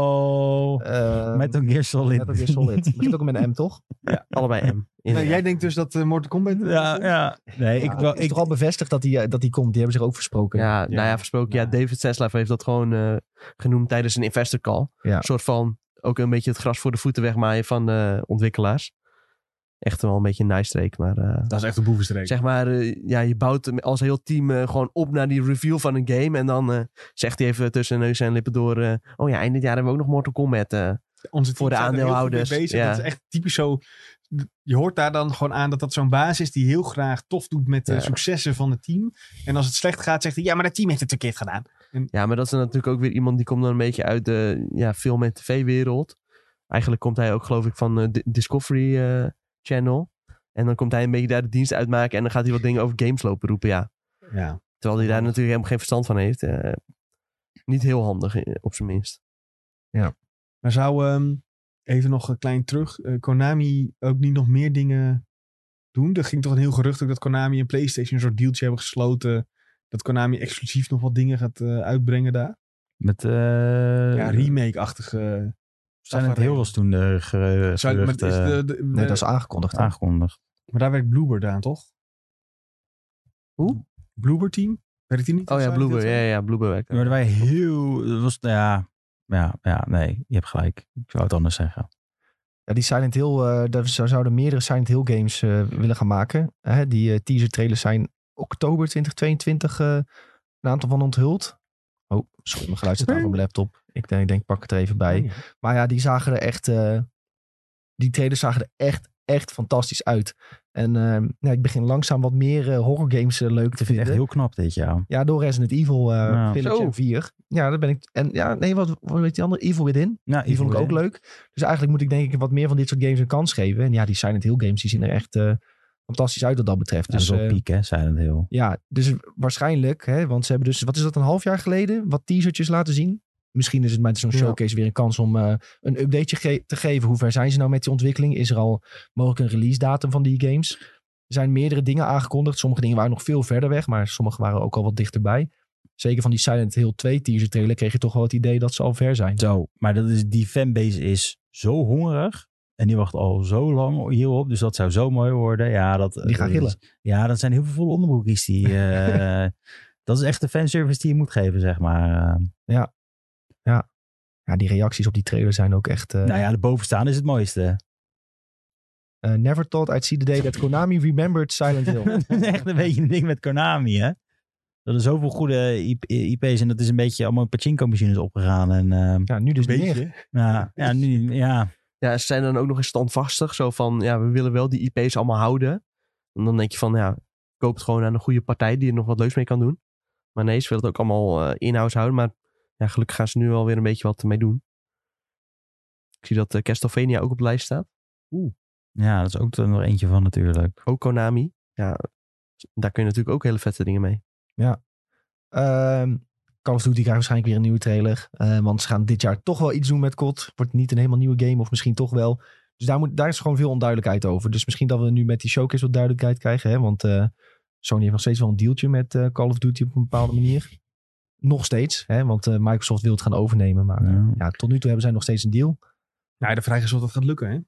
hallo.
Ehm,
Metal Gear Solid.
Metal Gear Solid. Begint ook met een M, toch?
Allebei M.
Nou,
inderdaad.
jij denkt dus dat eh, Mortal Kombat...
Ja, ja. Nee, ik,
Ja,
wel,
het is
ik,
toch al bevestigd dat die, eh, dat die komt. Die hebben zich ook versproken.
ja, nou ja, versproken. Ja,
Ja.
David Zaslav heeft dat gewoon eh, genoemd tijdens een investor call.
Ja.
Een soort van ook een beetje het gras voor de voeten wegmaaien van eh, ontwikkelaars. Echt wel een beetje een nice streek, maar... eh,
Dat is echt een boevenstreek.
Zeg maar, eh, ja, je bouwt als heel team eh, gewoon op naar die reveal van een game. En dan eh, zegt hij even tussen neus en lippen door... eh, oh ja, eind dit jaar hebben we ook nog Mortal Kombat. eh.
Onze
Voor de
teams zijn er heel goed mee
aandeelhouders,
Bezig.
ja.
Dat is echt typisch zo. Je hoort daar dan gewoon aan dat dat zo'n baas is die heel graag tof doet met de
Ja.
successen van het team. En als het slecht gaat, zegt hij: Ja, maar dat team heeft het verkeerd gedaan.
Ja, maar dat is dan natuurlijk ook weer iemand die komt dan een beetje uit de ja, film- en tv-wereld. Eigenlijk komt hij ook, geloof ik, van eh, Di- Discovery eh, Channel. En dan komt hij een beetje daar de dienst uitmaken en dan gaat hij wat dingen over games lopen roepen, ja.
Ja.
Terwijl hij daar natuurlijk helemaal geen verstand van heeft. eh, niet heel handig, eh, op zijn minst.
Maar zou, ehm, even nog een klein terug, eh, Konami ook niet nog meer dingen doen? Er ging toch een heel gerucht ook dat Konami en PlayStation een soort dealtje hebben gesloten. Dat Konami exclusief nog wat dingen gaat eh, uitbrengen daar.
Met eh
ja,
eh,
remake-achtige.
zijn het heel veel toen de ge-
Zou- maar, is
geruchten
de, de-
Nee, dat is aangekondigd. hè?
aangekondigd.
maar daar werkt Bloober aan, toch?
Hoe?
Bloober team? Werkt die niet?
Oh ja,
Zou die
Bloober.
dat
Ja,
zijn?
ja, Bloober werkt.
Maar wij heel... dat was, nou ja, ja, ja, nee, je hebt gelijk. Ik zou het anders zeggen.
Ja, die Silent Hill, eh, daar zou- zouden meerdere Silent Hill games eh, willen gaan maken. Hè, die eh, teaser trailers zijn oktober 2022 eh, een aantal van onthuld. Oh, sorry, mijn geluid zit aan op mijn laptop. Ik denk, ik denk, pak het er even
Oh,
bij. Maar ja, die zagen er echt. eh, die trailers zagen er echt, echt fantastisch uit. En eh, nou, ik begin langzaam wat meer eh, horror games eh, leuk te
Ik vind het
vinden.
echt heel Nou. knap dit jaar.
Ja, door Resident Evil eh
Ja.
Village
Zo.
en 4. Ja, daar ben ik. En ja, nee, wat, wat weet die andere? Evil Within.
Nou,
Die vond ik ook leuk. Dus eigenlijk moet ik denk ik wat meer van dit soort games een kans geven. En ja, die Silent Hill games die zien er echt eh, fantastisch uit wat dat betreft.
dat
dus,
is wel
eh,
piek, hè, Silent Hill.
ja, dus waarschijnlijk, hè, want ze hebben dus, wat is dat, een half jaar geleden? Wat teasertjes laten zien. Misschien is het met zo'n
Ja.
showcase weer een kans om eh, een updateje ge- te geven. Hoe ver zijn ze nou met die ontwikkeling? Is er al mogelijk een release datum van die games? Er zijn meerdere dingen aangekondigd. Sommige dingen waren nog veel verder weg, maar sommige waren ook al wat dichterbij. Zeker van die Silent Hill 2 teaser trailer kreeg je toch wel het idee dat ze al ver zijn.
Zo, maar dat is, die fanbase is zo hongerig. En die wacht al zo lang hierop. Dus dat zou zo mooi worden. Ja, dat, eh,
Die gaan
dat
gillen.
is- ja, dat zijn heel veel volle onderbroekjes. Die, eh, dat is echt de fanservice die je moet geven, zeg maar. Eh,
Ja, die reacties op die trailer zijn ook echt... eh,
nou ja, de bovenstaan is het mooiste.
Uh, never thought I'd see the day that Konami remembered Silent Hill.
Dat is echt een beetje een ding met Konami, hè? Dat er zoveel goede IP IP's en dat is een beetje allemaal pachinko-machines opgegaan. En eh, nou
ja, nu dus
Een
meer.
beetje.
ja, ja, nu, ja,
Ja, ze zijn dan ook nog eens standvastig. Zo van, ja, we willen wel die IP's allemaal houden. En dan denk je van, ja, koop het gewoon aan een goede partij die er nog wat leuks mee kan doen. Maar nee, ze willen het ook allemaal eh, in-house houden. Maar ja, gelukkig gaan ze nu alweer een beetje wat ermee doen. Ik zie dat eh, Castlevania ook op de lijst staat.
ja, dat is ook er nog eentje van natuurlijk.
Ook Konami. Ja, daar kun je natuurlijk ook hele vette dingen mee.
Ehm, Call of Duty krijgt waarschijnlijk weer een nieuwe trailer. eh, want ze gaan dit jaar toch wel iets doen met COD. Wordt niet een helemaal nieuwe game of misschien toch wel. Dus daar, moet, daar is gewoon veel onduidelijkheid over. Dus misschien dat we nu met die showcase wat duidelijkheid krijgen. Hè? Want eh, Sony heeft nog steeds wel een dealtje met eh, Call of Duty op een bepaalde manier. Nog steeds, hè? want eh, Microsoft wil het gaan overnemen. Maar eh,
Ja.
ja, tot nu toe hebben zij nog steeds een deal.
Nou, de vraag is of dat gaat lukken, hè?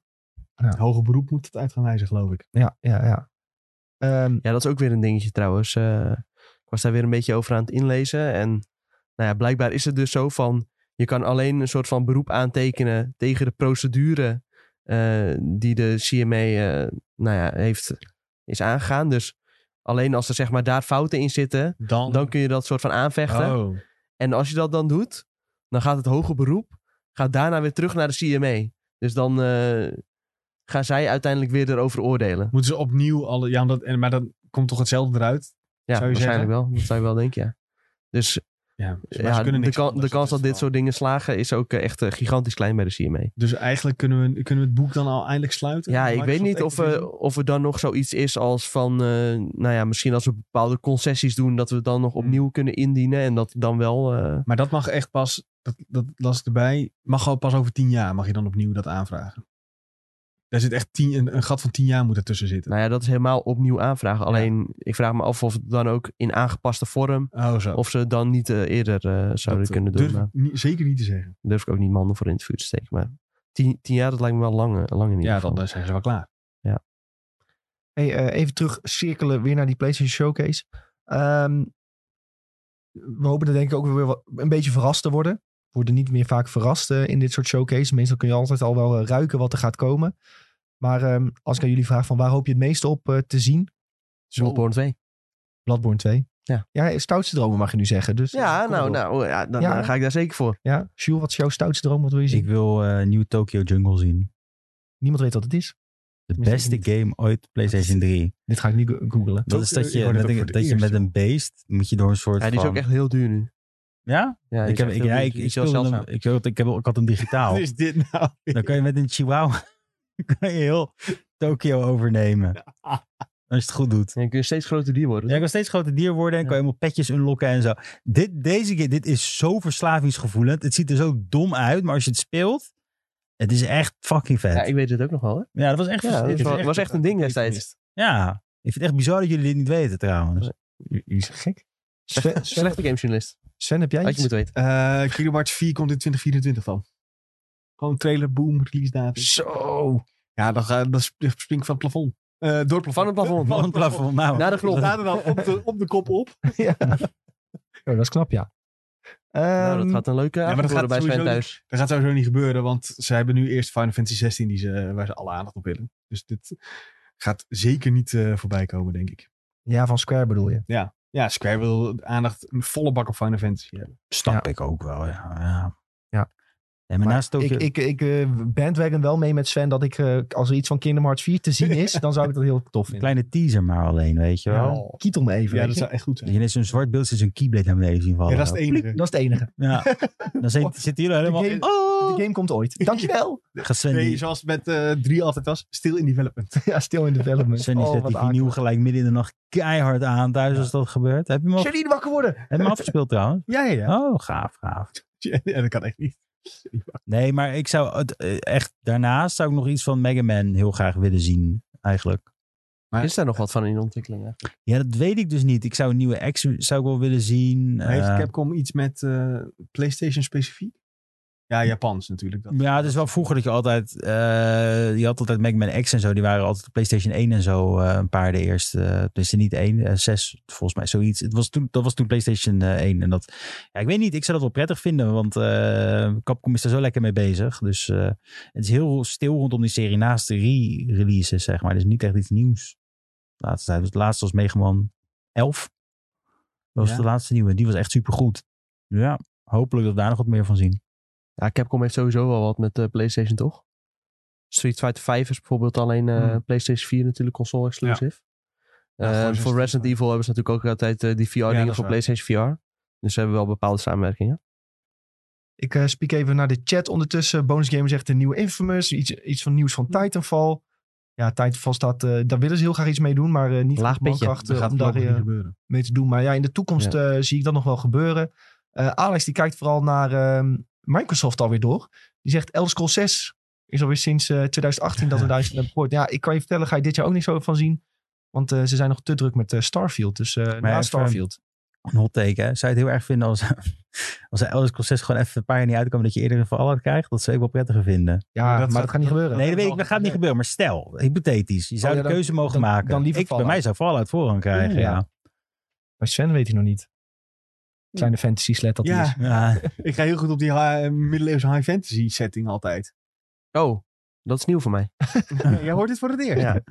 Ja.
Hoger beroep moet het uit gaan wijzen, geloof ik.
Ja, ja, ja. Ehm,
Ja, dat is ook weer een dingetje trouwens. Eh, ik was daar weer een beetje over aan het inlezen. En nou ja, blijkbaar is het dus zo van... Je kan alleen een soort van beroep aantekenen tegen de procedure eh, die de CMA eh, nou ja, heeft, is aangegaan. Dus alleen als er zeg maar daar fouten in zitten,
Dan,
dan kun je dat soort van aanvechten.
Oh.
En als je dat dan doet, dan gaat het hoger beroep, gaat daarna weer terug naar de CMA. Dus dan eh, gaan zij uiteindelijk weer erover oordelen.
Moeten ze opnieuw alle... Ja, omdat, en, maar dan komt toch hetzelfde eruit?
Ja,
Zou je
waarschijnlijk
zeggen?
wel. Dat zou je wel denken, ja. Dus
Ja, maar ze
Ja,
kunnen
de,
niks
kan-
anders,
de kans
is
dat
het verhaal.
dit soort dingen slagen is ook eh, echt eh, gigantisch klein bij de CMA.
Dus eigenlijk kunnen we, kunnen we het boek dan al eindelijk sluiten?
Ja, ik
Microsoft
weet niet of, eh,
Activision?
we of er dan nog zoiets is als van, eh, nou ja, misschien als we bepaalde concessies doen, dat we het dan nog
Hmm.
opnieuw kunnen indienen en dat dan wel... eh,
Maar dat mag echt pas, dat, dat las ik erbij, mag al pas over tien jaar mag je dan opnieuw dat aanvragen. Daar zit echt tien, een, een gat van tien jaar moet ertussen zitten.
nou ja, dat is helemaal opnieuw aanvragen. Alleen, ik vraag me af of het dan ook in aangepaste vorm,
Oh zo.
of ze het dan niet eh, eerder eh, zouden
Dat, eh,
kunnen doen.
durf ik
Maar
niet- zeker niet te zeggen.
durf ik ook niet mannen voor in het vuur te steken. Maar tien, tien jaar, dat lijkt me wel lang, eh, lang in ieder
Ja,
geval.
dan eh, zijn ze wel klaar.
Hey, eh, even terugcirkelen weer naar die PlayStation Showcase. Ehm, we hopen er denk ik ook weer wat- een beetje verrast te worden. We worden niet meer vaak verrast eh, in dit soort showcases. Meestal kun je altijd al wel eh, ruiken wat er gaat komen. Maar ehm, als ik aan jullie vraag van waar hoop je het meest op eh, te zien?
Bloodborne 2.
Bloodborne 2. Ja, stoutste dromen mag je nu zeggen. Dus
Ja,
kom
nou,
erop.
nou ja, dan
Ja.
dan ga ik daar zeker voor.
Ja, Jules, wat is jouw stoutste droom? Wat wil je zien?
Ik wil eh, nieuw Tokyo Jungle zien.
Niemand weet wat het is.
De
Tenminste,
beste
niet.
game ooit op PlayStation 3.
Dit ga ik niet go- googlen.
Dat
Ook,
is
eh,
dat
ik
je,
hoorde
met
het ook
een,
voor
dat
het
je met
eerst,
een beest moet je door een soort
Ja, die is
van...
ook echt heel duur nu.
Ja?
Ja, die
Ik
is
heb,
echt
ik,
heel
ja,
duur.
ik,
Die
ik,
is wel
speelde
zelf-
hem- ik, had- ik, heb, ook- ik had hem digitaal.
Wat is dit nou?
Dan kan je met een chihuahua kan je heel Tokio overnemen. Als je het goed doet.
Ja, dan kun je steeds groter dier worden.
Ja, ik wil steeds groter dier worden en kan je helemaal petjes unlocken en zo. Dit, deze keer, dit is zo verslavingsgevoelend. Het ziet er zo dom uit, maar als je het speelt, het is echt fucking vet.
Ja,
Ja,
ik weet het ook nog wel. Hè?
dat was echt...
Ja, dat
dit is
was, was echt een ding destijds.
Ja, ik vind het echt bizar dat jullie dit niet weten trouwens.
Jullie zijn gek. Sven,
Slechte
Sven,
slechte gamejournalist.
Sven, heb jij
Had
iets?
je moeten weten.
Eh, Kingdom Hearts 4 komt in 2024 dan. Gewoon trailer, boom, release datum.
Zo.
Ja, dan, ga- dan sp- spring ik van het plafond. Eh, door het plafond.
Van het plafond.
Van het plafond. Nou,
Naar de
Dan
knop.
staat er dan op de, op de kop op.
ja. Oh, dat is knap, ja.
Nou,
Ehm,
dat gaat een leuke
maar
avond
dat
worden bij
gaat
Sven
sowieso
thuis.
Dat gaat sowieso niet gebeuren, want ze hebben nu eerst Final Fantasy 16 die ze, waar ze alle aandacht op willen. Dus dit gaat zeker niet eh, voorbij komen, denk ik.
Ja, van Square bedoel je.
Ja, Square wil de aandacht een volle bak op Final Fantasy hebben.
Snap ik ook wel, ja. ja.
Ja.
Nee, maar, naast Tokyo...
Ik, ik, ik eh, bandwagon wel mee met Sven dat ik, eh, als er iets van Kingdom Hearts 4 te zien is, dan zou ik dat heel tof
Een
vinden.
kleine teaser maar alleen, weet je wel.
Kietel me even.
Ja,
weet
dat
je.
zou echt goed
Dat
zijn.
je net zo'n zwart beeld zit, zo'n keyblade naar beneden zien vallen.
Ja, dat is het enige.
dat is het enige.
Ja. Dan zit- zitten jullie helemaal...
game-
oh!
De game komt ooit. Dankjewel.
Gaat Sven
Nee,
die,
zoals het met eh drie altijd was, still in development.
ja, stil in development.
Sven die
Oh,
zet
wat
die
akelig.
vinyl gelijk midden in de nacht keihard aan thuis als dat gebeurt. Heb je hem, af, heb
Janine, wakker worden.
je hem afgespeeld trouwens?
Ja, ja, ja.
Oh, gaaf, gaaf.
Ja, dat kan echt niet.
Nee, maar ik zou het, eh, echt... Daarnaast zou ik nog iets van Mega Man heel graag willen zien, eigenlijk.
Is daar nog wat van in de ontwikkeling? hè?
Ja, dat weet ik dus niet. Ik zou een nieuwe X zou ik wel willen zien.
Maar heeft
Eh,
Capcom iets met eh, PlayStation specifiek? Ja, Japans natuurlijk. Dat.
Ja, het is wel vroeger dat je altijd... eh, je had altijd Mega Man X en zo. Die waren altijd op PlayStation 1 en zo eh, een paar de eerste. eh, tenminste niet één, eh, zes volgens mij, zoiets. Het was toen, dat was toen PlayStation eh, 1. En dat, ja, ik weet niet, ik zou dat wel prettig vinden. Want eh, Capcom is daar zo lekker mee bezig. Dus eh, het is heel stil rondom die serie naast de re-releases, zeg maar. Dus niet echt iets nieuws. De laatste tijd. Dus het laatste was Mega Man 11. Dat was
Ja.
de laatste nieuwe. Die was echt supergoed. Ja, hopelijk dat we daar nog wat meer van zien.
Ja, Capcom heeft sowieso wel wat met eh, PlayStation, toch? Street Fighter 5 is bijvoorbeeld alleen eh,
Hmm.
PlayStation 4 natuurlijk console-exclusief.
Ja, gewoon
Eh, voor
16.
Resident Evil hebben ze natuurlijk ook altijd eh, die VR-dingen
dat is
voor
waar.
PlayStation VR. Dus ze hebben wel bepaalde samenwerkingen.
Ik eh spiek even naar de chat ondertussen. Bonus Gamer zegt een nieuwe Infamous. Iets, iets van nieuws van Titanfall. Ja, Titanfall staat... eh, daar willen ze heel graag iets mee doen, maar eh, niet
Laag
van de
pitje.
mankracht,
Dat
eh,
gaat
om daar
voorlopig
eh,
niet gebeuren.
mee te doen. Maar ja, in de toekomst eh, zie ik dat nog wel gebeuren. Eh, Alex die kijkt vooral naar ehm, Microsoft alweer door. Die zegt Elder Scrolls 6 is alweer sinds eh, 2018 dat we daar iets van hebben gehoord. Ja, ik kan je vertellen, ga je dit jaar ook niks over van zien. Want eh, ze zijn nog te druk met eh, Starfield. Dus eh, na
even-
Starfield.
Een hot take, hè? Zou je het heel erg vinden als, als de Elders Proces gewoon even een paar jaar niet uitkomen dat je eerder een verallen krijgt? Dat zou ik wel prettiger vinden.
Ja,
dat
maar
zou-
dat gaat niet
dat-
gebeuren.
Nee, dat, weet ik,
is
dat gaat niet
wel-
gebeuren. Maar stel, hypothetisch, je zou
ja,
de
dan-
keuze mogen
dan-
maken.
dan liever
ik, bij
Fallout.
mij zou Fallout voorrang krijgen,
Oeh,
ja.
Maar Sven weet hij nog niet. Kleine fantasy sled dat hij
Ja.
is.
ja.
Ik ga heel goed op die ha- middeleeuwse high fantasy setting altijd.
Oh, dat is nieuw voor mij.
Jij hoort dit voor het eerst.
Ja.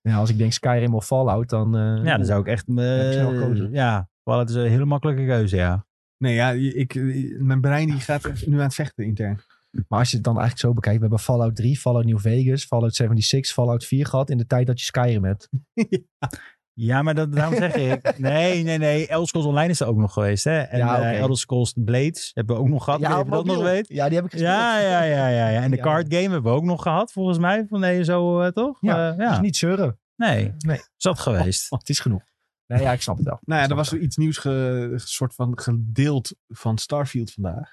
Ja, als ik denk Skyrim of Fallout, dan... eh,
ja, dan zou ik echt... eh,
ik snel gekozen.
ja, Fallout is een hele makkelijke keuze, ja.
Nee, ja, ik, mijn brein die gaat nu aan het vechten intern.
Maar als je het dan eigenlijk zo bekijkt, we hebben Fallout 3, Fallout New Vegas, Fallout 76, Fallout 4 gehad in de tijd dat je Skyrim hebt.
Ja, maar dat, daarom zeg ik... Nee, nee, nee. Elder Scrolls Online is er ook nog geweest, hè? En
Ja,
ja,
oké.
Elder Scrolls Blades hebben we ook nog gehad. Ja,
op
je dat nog
mobiel.
weet.
Ja, die heb ik gespeeld.
Ja, ja, ja, ja, ja. En de
Ja.
card game hebben we ook nog gehad, volgens mij. Van nee, zo eh, toch?
Ja,
Eh,
Dus niet zeuren.
Nee.
Nee.
Zat geweest.
Het is genoeg. Nee, ja, ik snap het wel.
Nou
Ik
ja, er
snap
was
het
er iets nieuws ge- soort van gedeeld van Starfield vandaag.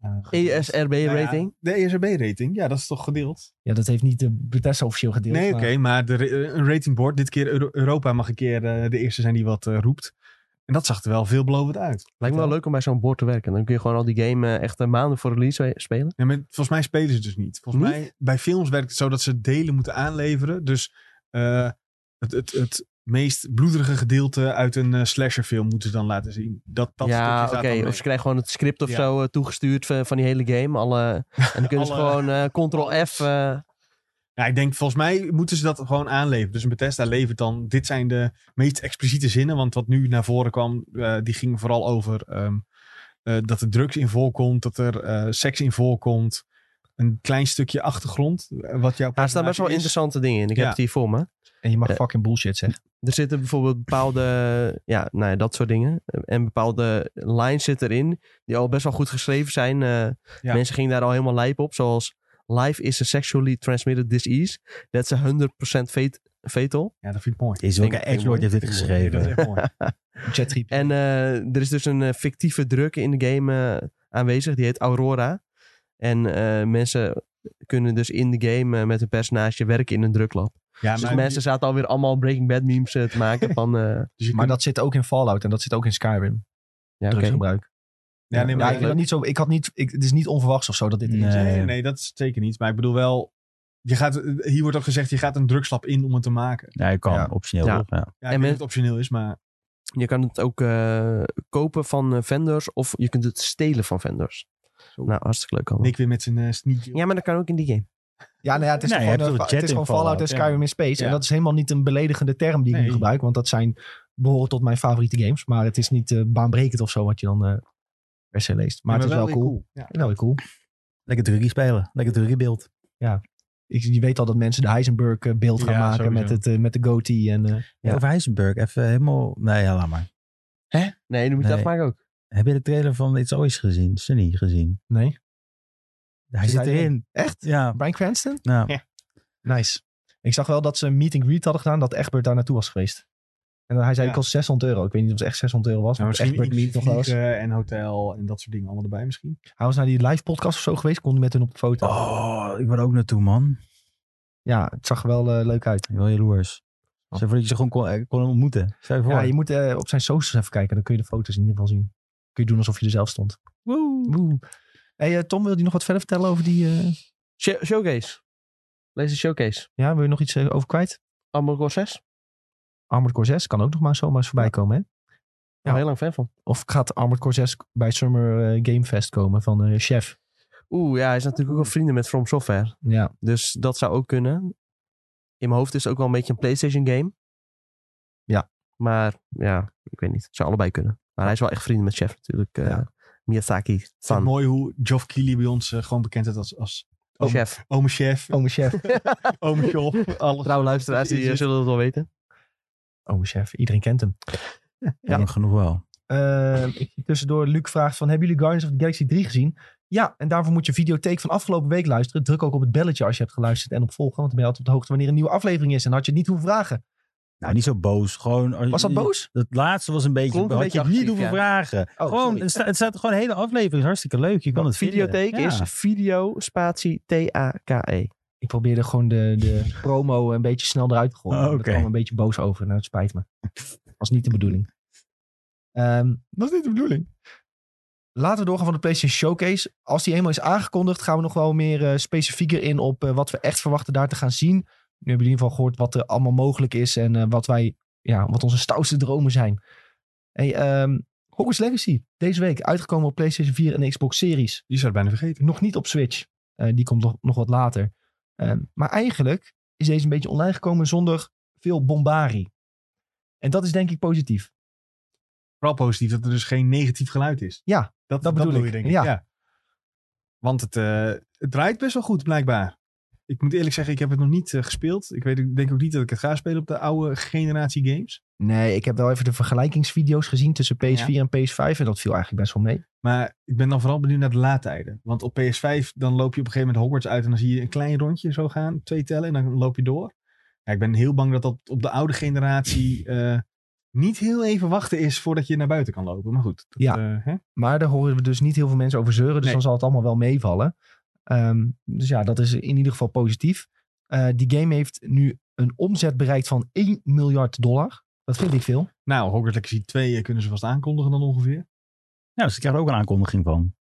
E
Nou ja,
ESRB-rating.
de ESRB-rating, ja, dat is toch gedeeld?
wel. Ja, dat heeft niet de Bethesda officieel gedeeld.
nee, oké,
maar-
maar de, ra- eh, een ratingboard. Dit keer Euro- Europa mag een keer eh, de eerste zijn die wat eh, roept. En dat zag er wel veelbelovend uit.
Lijkt me wel leuk om bij zo'n board te werken. Dan kun je gewoon al die game eh, echt een maanden voor release we- spelen.
Ja, maar volgens mij spelen ze dus niet. Volgens
Niet?
mij, bij films werkt het zo dat ze delen moeten aanleveren. Dus eh, het, het, het meest bloederige gedeelte uit een eh, slasherfilm moeten ze dan laten zien. Dat, dat
ja,
stukje
oké.
gaat dan mee.
Of ze krijgen gewoon het script of
Ja.
zo eh, toegestuurd van, van die hele game. Alle, en dan kunnen ze
Alle-
gewoon eh, Ctrl-F... eh,
Ja, ik denk, volgens mij moeten ze dat gewoon aanleveren. Dus een Bethesda levert dan, dit zijn de meest expliciete zinnen. Want wat nu naar voren kwam, eh, die ging vooral over ehm, eh, dat er drugs in voorkomt. Dat er eh, seks in voorkomt. Een klein stukje achtergrond. eh, Wat jouw
Daar staan best wel
personage is.
interessante dingen in. Ik
Ja.
heb het hier voor me.
En je mag
Eh.
fucking bullshit zeggen.
Er zitten bijvoorbeeld bepaalde, ja, nou ja, dat soort dingen. En bepaalde lines zitten erin, die al best wel goed geschreven zijn. Eh,
Ja.
Mensen gingen daar al helemaal lijp op, zoals... Life is a sexually transmitted disease. That's a 100% fate- fatal.
Ja, dat vind ik mooi.
Is ook
Denk-
echt nooit heeft dit
Dat is
geschreven.
echt mooi.
ChatGPT.
En eh, er is dus een eh, fictieve druk in de game eh, aanwezig. Die heet Aurora. En eh, mensen kunnen dus in de game eh, met een personage werken in een druklab.
Ja,
Dus
maar,
mensen zaten alweer allemaal Breaking Bad memes eh, te maken van... eh
dus je
maar
kunt-
dat zit ook in Fallout en dat zit ook in Skyrim.
ja, oké.
Drugsgebruik.
ja, nee, maar
Ja,
dat-
ik, wil niet zo, ik had niet, ik, het is niet onverwachts of zo dat dit erin
Nee.
zit.
Nee, nee, dat is zeker niet. Maar ik bedoel wel, je gaat, hier wordt ook gezegd, je gaat een drugslab in om het te maken.
Ja, je kan
Ja.
optioneel.
Ja.
toch? Ja.
Ja,
En
ik weet
men-
niet of het optioneel is, maar
Je kan het ook eh, kopen van eh, vendors of je kunt het stelen van vendors. Nou, hartstikke leuk allemaal.
Nick weer met zijn eh, sneak.
Ja, maar dat kan ook in die game.
Ja, nou ja, het is
Nee, je
gewoon,
hebt
eh,
toch
fa-
een
het is
chat in
gewoon Fallout en
Fallout, ja.
Skyrim in Space. En
Ja.
dat is helemaal niet een beledigende term die ik nu
Nee.
gebruik. Want dat zijn, behoren tot mijn favoriete games. Maar het is niet eh, baanbrekend of zo wat je dan eh, per se leest. Maar het is wel,
weer
cool.
Ja.
Wel weer cool.
Lekker druggie spelen. Lekker druggiebeeld.
Ik, je weet al dat mensen de Heisenberg eh, beeld gaan
Ja,
maken
sowieso.
met, het, eh, met de goatee. En, eh,
Ja.
Ja.
Over Heisenberg, even helemaal... Nee, ja, laat maar.
Nee, dan moet je
Nee.
dat maken ook.
Heb je de trailer van It's Always gezien? Sunny gezien?
nee.
Hij
Zit
zit
hij erin?
erin.
Echt?
Ja.
Brian Cranston?
Nou,
Nice. Ik zag wel dat ze een meeting greet hadden gedaan. Dat Egbert daar naartoe was geweest. En hij zei,
Ja.
ik kost 600 euro. Ik weet niet of het echt 600 euro was.
Nou,
maar
misschien eh.
Egbert meet nog wel eens.
vliegen en hotel en dat soort dingen allemaal erbij misschien.
Hij was naar die live podcast of zo geweest. Kon hij met hun op de foto.
oh, ik wil er ook naartoe, man.
Ja, het zag er wel eh, leuk uit.
Ik ben wel jaloers. Stel voor dat je ze gewoon kon, eh, kon ontmoeten. Stel je voor.
Ja, je moet eh, op zijn socials even kijken. Dan kun je de foto's in ieder geval zien. Kun je doen alsof je er zelf stond. Woe. Hey, eh, Tom, wil je nog wat verder vertellen over die... eh,
Show- showcase. Lees de showcase.
ja, wil je nog iets eh, over kwijt?
Armored Core 6.
Armored Core 6 kan ook nog maar zomaar eens voorbij komen, hè? Ja.
Ja. Heel lang fan van.
Of gaat Armored Core 6 bij Summer eh, Game Fest komen van eh, Chef?
Oeh, ja, hij is natuurlijk ook al vrienden met From Software.
Ja,
Dus dat zou ook kunnen. In mijn hoofd is het ook wel een beetje een PlayStation game.
Ja.
Maar ja, ik weet niet. Het zou allebei kunnen. Maar hij is wel echt vrienden met Chef natuurlijk. eh,
Ja.
Miyazaki.
Het is
Van
mooi hoe Geoff Keighley bij ons eh, gewoon bekend is als, als ook-
Chef.
ome chef,
ome Chef.
ome Joff, alles.
Oh.
dus
Trouwe luisteraars, die eh, zullen het wel weten.
Ome Chef, iedereen kent hem.
ja. nog genoeg wel.
Eh, ik zie tussendoor Luc vraagt van, hebben jullie Guardians of the Galaxy 3 gezien? Ja, en daarvoor moet je videotheek van afgelopen week luisteren. Druk ook op het belletje als je hebt geluisterd en op volgen. Want dan ben je altijd op de hoogte wanneer een nieuwe aflevering is. En had je het niet hoeven vragen.
Nou, niet zo boos. Gewoon,
Was dat boos?
Dat laatste was een beetje...
Klonk een
had
beetje
je het niet
agressief,
hoeven vragen.
Oh,
gewoon,
sorry.
het, sta- het staat gewoon een hele aflevering. is hartstikke leuk. Je kan het vinden.
Videotheek
Ja.
is video spatie T-A-K-E.
Ik probeerde gewoon de, de promo een beetje snel eruit te gooien.
Ah,
Oh,
Ik
oké.
kwam een beetje boos over. Nou, het spijt me. Was niet de bedoeling. Ehm,
Dat is niet de bedoeling.
laten we doorgaan van de PlayStation Showcase. Als die eenmaal is aangekondigd, gaan we nog wel meer eh, specifieker in op eh, wat we echt verwachten daar te gaan zien. Nu hebben jullie in ieder geval gehoord wat er allemaal mogelijk is en eh, wat wij, ja, wat onze stoutste dromen zijn. Hey, ehm, Hogwarts Legacy, deze week uitgekomen op PlayStation 4 en Xbox Series.
Die zou het bijna vergeten.
Nog niet op Switch, Eh, die komt nog, nog wat later. Ehm, maar eigenlijk is deze een beetje online gekomen zonder veel bombarie. En dat is denk ik positief.
Vooral positief dat er dus geen negatief geluid is.
Ja,
dat, dat,
bedoel
bedoel
ik.
je denk ik.
Ja.
Ja. Want het, eh, het draait best wel goed blijkbaar. Ik moet eerlijk zeggen, ik heb het nog niet eh, gespeeld. Ik weet, ik denk ook niet dat ik het ga spelen op de oude generatie games.
Nee, ik heb wel even de vergelijkingsvideo's gezien tussen PS4
Ja.
en PS5. En dat viel eigenlijk best wel mee.
Maar ik ben dan vooral benieuwd naar de laadtijden. Want op PS5 dan loop je op een gegeven moment Hogwarts uit en dan zie je een klein rondje zo gaan. Twee tellen en dan loop je door. Ja, ik ben heel bang dat dat op de oude generatie eh, niet heel even wachten is voordat je naar buiten kan lopen. Maar goed. dat,
Ja.
eh, hè?
Maar daar horen we dus niet heel veel mensen over zeuren. Dus
Nee.
dan zal het allemaal wel meevallen. Ehm, dus ja, dat is in ieder geval positief. Eh, die game heeft nu een omzet bereikt van 1 miljard dollar. Dat vind ik veel.
Nou, Hogwarts Legacy 2 eh, kunnen ze vast aankondigen dan ongeveer.
Nou, ze krijgen er ook een aankondiging van.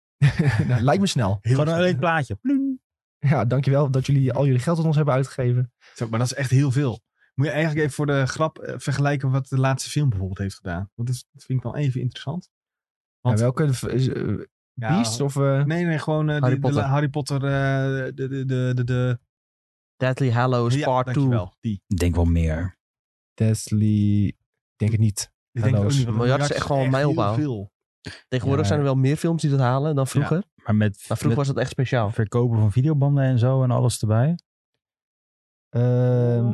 Nou, lijkt me snel.
Heel
gewoon een
veel.
leuk plaatje. Ploem.
Ja, dankjewel dat jullie al jullie geld aan ons hebben uitgegeven.
Zo, maar dat is echt heel veel. Moet je eigenlijk even voor de grap eh, vergelijken wat de laatste film bijvoorbeeld heeft gedaan. Want dat, is- dat vind ik wel even interessant.
Ja,
Want-
welke? Is, eh,
Ja,
Beast of... eh,
Nee, nee, gewoon eh,
Harry
die- de,
Potter.
la- Harry Potter. eh, de, de, de, de, de,
Deadly Hallows
Ja,
Part 2.
dankjewel. Die.
Ik denk wel meer.
Deathly... Ik denk het niet.
Die denk ik ook
Hallows.
niet, want een
Miljard is echt wel een
heel
mijlpaal.
veel.
Tegenwoordig
Ja.
zijn er wel meer films die dat halen dan vroeger.
Maar met,
Maar vroeger was dat echt speciaal.
met verkopen van videobanden en zo en alles erbij.
Ehm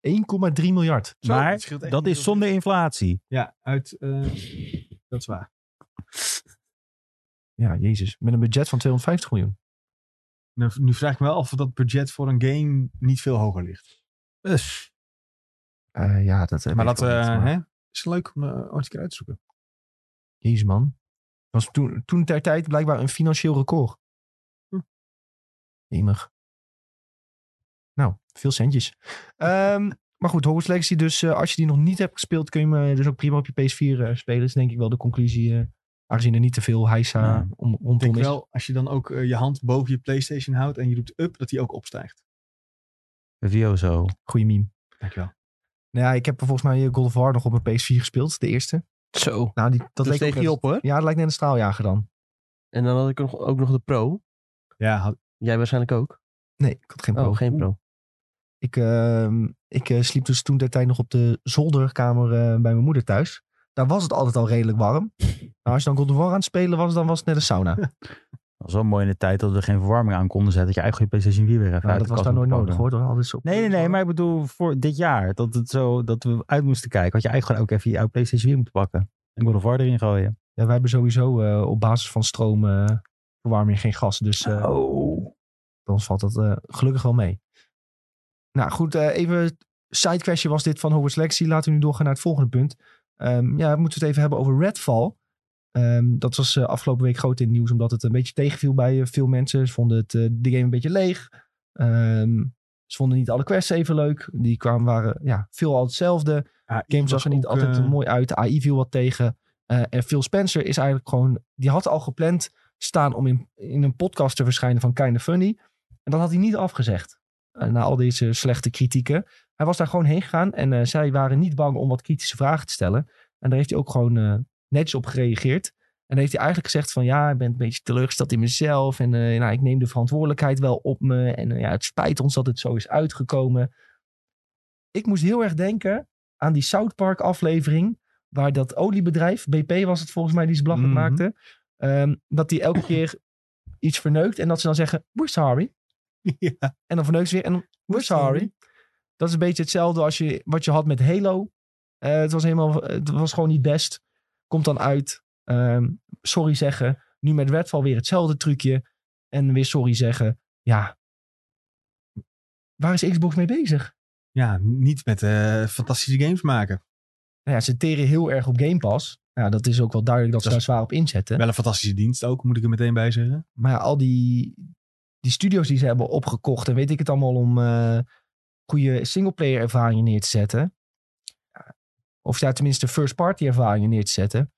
1,3 miljard.
Zo, dat
maar
scheelt echt
dat
niet
is
heel veel.
zonder inflatie.
Ja, uit... eh, dat is waar.
Ja, jezus. Met een budget van 250 miljoen.
Nu, nu vraag ik me wel af of dat budget voor een game niet veel hoger ligt.
Dus,
Eh, ja, dat eh,
Maar
weet
dat
ik ook niet,
eh,
maar-
hè, is leuk om eh, ooit een keer uit te zoeken.
Jezus, man. Was toen, toen ter tijd blijkbaar een financieel record.
Hm.
Jemig. Nou, veel centjes. Ehm, maar goed, Hogwarts Legacy dus. eh, als je die nog niet hebt gespeeld, kun je hem eh, dus ook prima op je PS4 eh, spelen. Is denk ik wel de conclusie. eh, aangezien er niet te veel heisa
Ja.
om,
Ik denk
rondom is.
wel, als je dan ook eh, je hand boven je Playstation houdt en je roept up, dat die ook opstijgt.
Vio zo.
Goeie meme.
Dankjewel.
Nou ja, ik heb volgens mij eh, God of War nog op mijn PS4 gespeeld. De eerste.
Zo.
Nou, die,
Dat
dat
steeg
leek ook
Dus je
net-
op hoor.
Ja, dat lijkt net een straaljager dan.
En dan had ik nog- ook nog de Pro.
Ja, had-
Jij waarschijnlijk ook.
Nee, ik had geen
Oh,
pro.
geen Pro.
Ik, ehm, ik eh, sliep dus toen de tijd nog op de zolderkamer eh, bij mijn moeder thuis. Daar was het altijd al redelijk warm. Maar als je dan God of War aan het spelen was, dan was het net een sauna. Nou,
Dat was wel mooi in de tijd dat we geen verwarming aan konden zetten. Dat je eigenlijk je PlayStation 4 weer even
Maar
uit
Nou, dat
de
was
kast
daar nooit
moet
nodig
pakken.
hoor. Door al dit soort-
Nee, nee, nee. Maar ik bedoel, voor dit jaar. Dat, het zo, dat we uit moesten kijken. Had je eigenlijk gewoon ook even je oude PlayStation 4 moeten pakken. En God of War erin gooien.
Ja, wij hebben sowieso eh, op basis van stroom eh, verwarming geen gas. Dus eh,
Oh.
bij ons valt dat eh, gelukkig wel mee. Nou goed, eh, even sidequestje was dit van Hogwarts Legacy. Laten we nu doorgaan naar het volgende punt. Ehm, ja, we moeten het even hebben over Redfall. Ehm, dat was eh, afgelopen week groot in het nieuws, omdat het een beetje tegenviel bij eh, veel mensen. Ze vonden het, eh, de game een beetje leeg. Ehm, ze vonden niet alle quests even leuk. Die kwamen, waren ja, veelal hetzelfde.
ja,
De game
was
zag er niet
ook,
altijd
eh,
mooi uit. De AI viel wat tegen. Eh, en Phil Spencer is eigenlijk gewoon... Die had al gepland staan om in, in een podcast te verschijnen van Kinda Funny. En dat had hij niet afgezegd. eh, na al deze slechte kritieken. Hij was daar gewoon heen gegaan. En eh, zij waren niet bang om wat kritische vragen te stellen. En daar heeft hij ook gewoon eh, netjes op gereageerd. En heeft hij eigenlijk gezegd van... Ja, ik ben een beetje teleurgesteld in mezelf. En eh, nou, ik neem de verantwoordelijkheid wel op me. En eh, ja, het spijt ons dat het zo is uitgekomen. Ik moest heel erg denken aan die South Park aflevering. Waar dat oliebedrijf, BP was het volgens mij, die ze belachelijk
Mhm.
maakte. ehm, dat die elke keer iets verneukt. En dat ze dan zeggen, we're sorry.
ja,
En dan verneukt ze weer en dan, we're sorry. Dat is een beetje hetzelfde als je, wat je had met Halo. Eh, het, was helemaal, het was gewoon niet best. Komt dan uit. ehm, sorry zeggen. Nu met Redfall weer hetzelfde trucje. En weer sorry zeggen. Ja. Waar is Xbox mee bezig?
ja, niet met eh, fantastische games maken.
Nou ja, ze teren heel erg op Game Pass. Nou, dat is ook wel duidelijk dat,
Dat
ze
is-
daar zwaar op inzetten.
Wel een fantastische dienst ook, moet ik er meteen bij zeggen.
Maar ja, al die, die studio's die ze hebben opgekocht... en weet ik het allemaal om eh goede singleplayer ervaringen neer te zetten. Ja, Of ja, tenminste first party ervaringen neer te zetten.